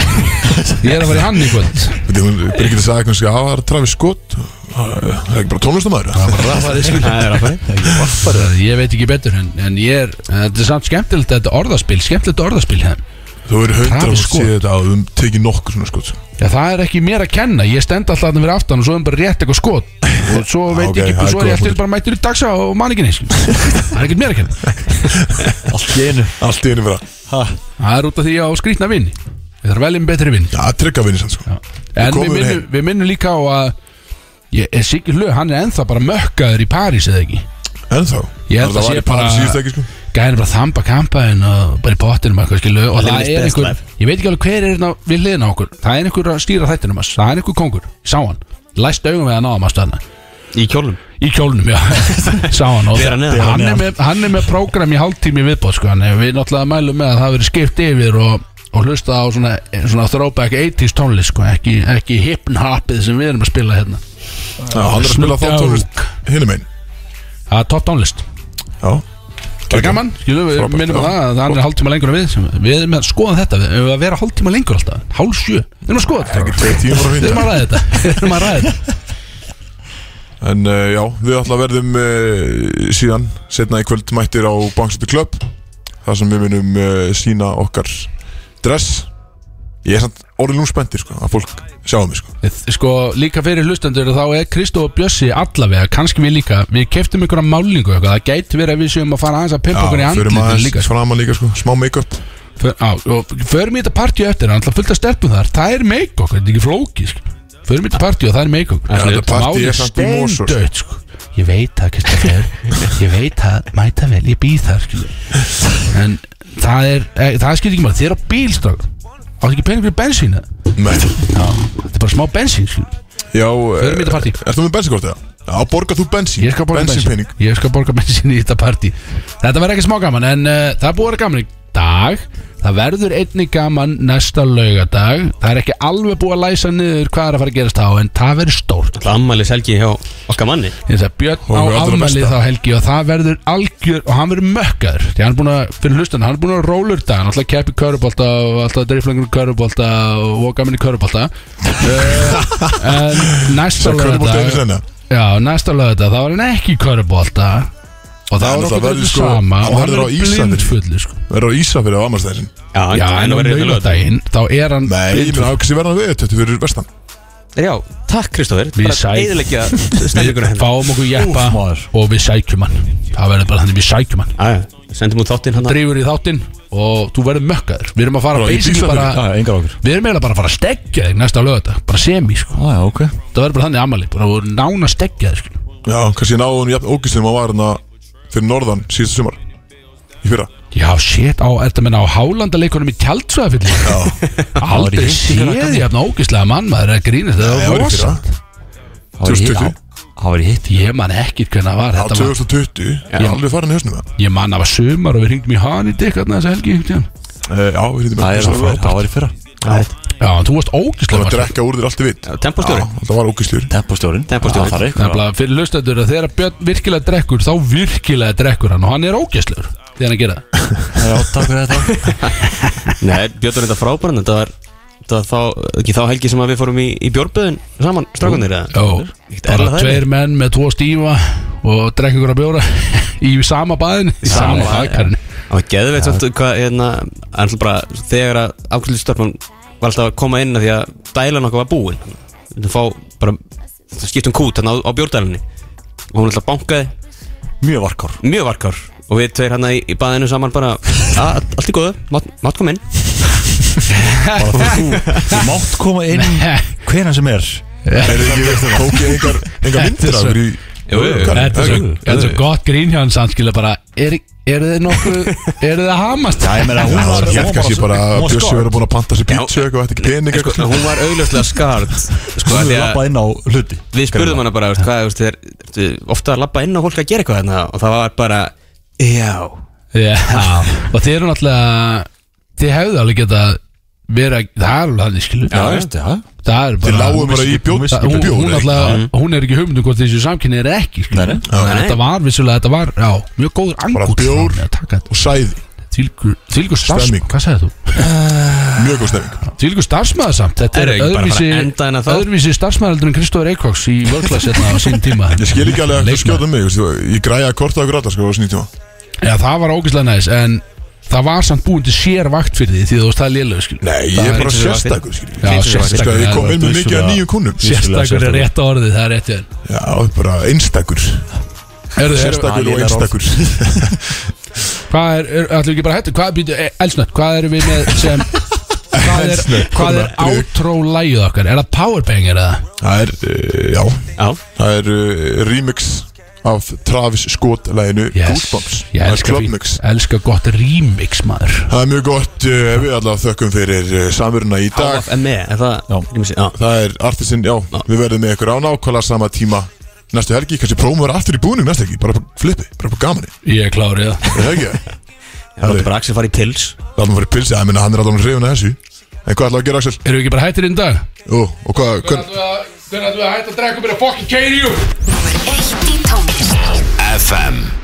S3: Ég er að fara í hann í kvöld
S2: Veitir, hún- Birgitta sagði eitthvað, sko, "Á, það er Travis Scott Það er ekki bara tónlistamæður
S3: sko.
S5: Það er að fara
S3: Eh, Ég veit ekki betur en, en ég er en Þetta er samt skemmtilegt þetta orðaspil Skemmtilegt orðaspil hérna
S2: Þú verður hundra
S3: Travis
S2: að sé
S3: Scott.
S2: þetta að þú tekið nokkur svona skot
S3: Já, það er ekki mér að kenna, ég stend alltaf þarna fyrir aftan og svo er bara rétt eitthvað skot og svo veit
S2: Ah, ok,
S3: ég
S2: það er
S3: ekki, svo er
S2: góða
S3: ég eftir
S2: punktur.
S3: bara mættur í dagsa og man ekki neins Það er ekkert mér að kenna
S4: Allt í einu
S2: Allt í einu vera
S3: Það er út af því að á skrýtna vinn Við þarfum veljum betri vinn
S2: Já, tryggja vinni sann sko
S3: En við
S2: komum
S3: minnum,
S2: heim.
S3: við minnum líka á að ég, er Siggi Hlöð, hann er ennþá bara mökkaður í París eða ekki
S2: En þá
S3: Ég held að sé bara-
S2: Síðust ekki sko
S3: Gæðin bara að þamba kampaðin og bara í pottinum eitthvað skilu og
S5: Það
S3: það
S5: lifir
S3: er
S5: best
S3: einhver,
S5: life.
S3: ég veit ekki alveg hver er hérna við hliðina á okkur, það er einhver að stýra þættinum hans, það er einhver kongur, ég sá hann læst augum við hann á hann, mástu hann
S5: í Í kjólum
S3: í kjólnum, já, sá hann og
S5: Bera neðan.
S3: hann, er með, hann er með prógram í hálftími viðbóð, sko, en við náttúrulega mælum með að það verið skipt yfir og, og hlusta á svona, svona throwback 80s tónlist, sko, ekki, ekki hip-hopið sem við erum að spila hérna
S2: Já, hann er að spila þá
S3: Snoop
S2: tónlist hinum einn
S3: Það er top downlist
S2: Já
S3: Það er gaman, skilum við
S2: Frábært,
S3: minnum á
S2: já.
S3: það að hann er hálftíma lengur en við sem- Við erum að skoða þetta, við erum að vera hálftíma lengur alltaf Hálf sjö, við erum að skoða
S2: Það er ekki
S3: þetta
S2: tveit tíma frá
S3: Við erum að
S2: fínt
S3: ræða þetta, við erum að ræða þetta
S2: En uh, já, við alltaf verðum uh, síðan setna í kvöld mættir á Bangsötu Club þar sem við munum uh, sína okkar dress Ég er samt orðin nú spenntir sko, að fólk sjáum mig sko
S3: Við- Sko, líka fyrir hlustendur þá er Kristó og Bjössi allavega, kannski við líka Við keftum einhverja málingu og eitthvað, það gæti verið að við séum að fara aðeins að pimpa okkur í
S2: förum
S3: andlítið
S2: aðeins
S3: líka sko.
S2: framan líka sko, smá make-up
S3: För- á, og Förum í þetta partíu eftir, hann er alltaf fullt að stelpum þar Það er make okkur, þetta er ekki flóki sko. Förum í þetta partíu og það er make okkur
S2: þetta partí er samt í Mosó, sko.
S3: steindöð sko. Ég veit það, Kristoffer Ég veit það, mæta vel, ég býð þar sko. En það er e, Það skilur ekki maður, þið er á bílstök Það er ekki pening fyrir bensín eða?
S2: Nei
S3: Já, Þetta er bara smá bensín sko.
S2: Já,
S3: Förum í þetta partí.
S2: Ertu með bensinkort eða? Já, borgar þú bensín
S3: Ég skal borga bensín
S2: Bensínpening.
S3: Ég skal borga bensín í þetta partí Þetta verður ekki smá gaman En uh, það er búið að vera gaman í dag Það verður einnig gaman næsta laugadag Það er ekki alveg búið að læsa niður hvað er að fara að gerast á En það verður stórt
S5: Það ammælis helgi hjá okkar manni
S3: Ég sagði Björn
S2: Og
S3: á
S2: við allra
S3: afmæli
S2: besta.
S3: þá helgi Og það verður algjör Og hann verður mökkaður Því hann er búin að Fyrir hlustan Hann er búin að rólur dag Hann er alltaf að keppi körubólta Og alltaf að dreiflengur körubólta Og gaman í körubólta Eh, En næsta
S2: Sem körfubolti
S3: laugadag
S2: einu sinni.
S3: Já, næsta lögða, þá var hann ekki í körubólta Og þá
S2: Nei,
S3: var
S2: náttúrulega
S3: okkur
S2: verður
S3: þetta
S2: sko-
S3: sama
S2: hann
S3: Og hann
S2: verður á
S3: er
S2: Ísafirði.
S3: blindfullu sko.
S2: Verður á Ísa fyrir á Ammarstæðin
S3: Já, en á lögðaginn, þá er hann
S2: Nei, ég meina ákveðs ég verðan við Þetta fyrir vestan
S5: Já, takk Kristóður
S3: Við
S5: Bara
S3: sæl.
S5: eðilegja
S3: Við
S5: stemminguna hérna
S3: fáum okkur jeppa
S4: Úff, maður.
S3: og við sækjum hann Það verður bara þannig við sækjum hann
S5: Já, já, Sendum út þáttinn hann
S3: Drífur í þáttinn og þú verður mökkaður Við erum að fara
S2: Bara í
S3: basically
S2: Ísafirði?
S3: bara
S4: Já, engar okkur
S3: Við erum eiginlega bara að fara að steggja þig næsta lögða Bara semi, sko
S4: Já, já, ok
S3: Það verður bara þannig amali Bara voru nána að steggja þig, sko
S2: Já, kannski náðu hún jafn ógistum að var hérna Fyrir norðan síðasta sumar Í fyrra
S3: Já, shit, á, er þetta menna á hálandaleikunum í tjaldsvæðafyllir
S4: Það var
S3: Aldrei
S4: í hitt í
S3: séð
S4: fyrra,
S3: ég efna ógislega mann Maður er að grínast, það
S2: Nei,
S3: var
S2: árið fyrra.
S3: rosa
S4: Það var í hitt-
S2: 2020.
S4: já, það var í hitt
S3: Ég man ekkert hvernig það
S2: Á
S3: var Þetta var,
S2: 2020 Ég er alveg farin í hausnum það
S3: ég man að það var sumar og við ringdum í hann í dykk þarna þessa helgi einhvern tímann.
S2: Eh, Já, við hýttum
S4: Það er
S2: Það
S4: frábært, það var í fyrra
S3: Já, en þú varst
S2: Það var að
S3: ógislega
S2: drekka úr þér allt í vitt
S5: Tempostjóri
S2: Það var ógistljur
S4: Tempostjórin
S5: Tempóstjórinn.
S4: Það er eitthvað
S3: Nefnilega fyrir lustendur að þegar Björn virkilega drekkur þá virkilega drekkur hann og hann er ógæslegur þegar hann gera það
S4: Já, takk fyrir þetta
S5: Nei, Björn var þetta frábæran Þetta var þetta var þá, ekki þá helgi sem að við fórum í, í bjórböðin saman strákunir eða?
S3: Jó,
S5: Ekkert
S3: bara
S5: erla það
S3: tveir menn með tvo stífa og drekkur ykkur að bjóra í sama baðin í sama
S5: baði,
S3: baðkarinn
S5: Það var geðveitt samt hvað hérna, en svo bara, þegar að afkvæmstjórnum var alltaf að koma inn af því að dælan okkar var búin Þetta fá bara það skiptum kút hérna á, á bjórdælinni og hún alltaf bankaði
S4: Mjög varkar
S5: mjög varkar og við tveir hérna í, í baðinu saman bara "A- allt í góðu, mátt mát kom inn
S4: Bara þú- Þú þú mátt koma inn Hvena sem er
S2: Er þið ekki veist það Tók ég engar Engar myndir af þér í
S3: Þetta er svo-
S2: Jú,
S3: þetta er svo gott grín hjá hann sannskilja bara er, er þið nokkuð, er þið að hamast?
S4: Já, ég meina, hún var
S2: Ég held kannski bara að
S4: Hún var sko-
S2: Bjössi
S4: skort.
S2: verið búin að panta sér pítsu eitthvað Þetta ekki pening
S5: sko,
S2: eitthvað
S5: hún var augljóslega skart sko,
S4: Þú
S5: af því að
S4: lappa inn á hluti
S5: við spurðum hana bara veist, hvað, veist, er, er, ofta að labba inn á fólk að gera eitthvað hérna og það var bara já,
S3: Já, og þið eru náttúrulega Þið hefðu alveg geta verið að Það er alveg þannig skilu
S4: Já, veistu, já
S3: Það er
S2: Þið
S3: bara
S2: lágum bara í bjóð
S3: Það- Hún, hún,
S2: Bjóð
S3: alltaf, hún er ekki hugmynd um hvort þessu samkynni er ekki skilur.
S4: Nei, nei.
S3: Þannig að
S5: Nei.
S3: Þetta var vissulega, þetta var já, mjög góður
S2: Bara
S3: angútt
S2: bjór.
S3: bjór
S2: Og sæði
S3: Þvílgur starfsmæður,
S2: Stemming.
S3: hvað sagði þú?
S2: Mjög góð stefning
S3: Þvílgur starfsmæður samt Þetta er
S5: Er ekki bara að fara að
S3: öðruvísi,
S5: enda hérna þá?
S3: öðruvísi starfsmæður en Kristóður Eikóks í vörklass hérna á sín tíma
S2: Ég skil ekki alveg að þú
S3: Leikmaður.
S2: skjóta um mig, veist, þú- ég græja að korta okkur allar sko á sinni tíma
S3: Já, það var ógeðslega næs en það var samt búin til sér vakt fyrir því því þú veist það er lélega
S2: Nei, ég er bara
S5: eins og það
S2: sérstakur skil
S3: Já,
S5: Finnst þér það
S2: Sko,
S3: sérstakur
S2: ég kom
S3: það
S2: inn með
S3: var-
S2: mikið að
S4: vissulega-
S2: nýju kunnum
S3: Sérstakur er rétt orðið, það er rétt hjá þér.
S2: Já, bara einstakur
S3: Herðu, herðu,
S2: Sérstakur og
S4: Já, ég er
S2: einstakur
S3: Hvað er, er allir ekki bara hættu Hvað býtu, elsnött, hvað erum við með sem Hvað er,
S2: Eldsnöggt,
S3: hvað er
S2: komum við.
S3: átró lægið okkar Er það powerbanger eða?
S2: Það er, eh, já,
S5: já
S2: það er eh, remix af Travis Scott læginu Goosebumps
S3: Ég
S2: Það er
S3: elska,
S2: clubmix
S3: elska gott remix maður
S2: Það er mjög gott, eh, við allar þökkum fyrir eh, samveruna í dag
S5: HFME, E, er það
S4: Já.
S5: Ég missi- já.
S2: Það er artistinn, já, við verðum með ykkur á nákvæmlega sama tíma Næstu helgi, kannski prófum við að vera aftur í búning næstu helgi Bara på flippi, bara på gamani
S3: Ég er klárið það
S2: Það er ekki það
S5: Það er bara Axel farið í pils
S2: Látum fyrir pilsi, það minna hann er alveg hrifin að þessu En hvað ætlaðu að gera Axel?
S3: Erum við ekki bara hættir inn dag?
S2: Jú, og hvað, hvern,
S3: Ætlum við að- Þegar þú hætti að drekka mér að fokkin keiri jú
S6: Númer eitt í tónlist
S9: FM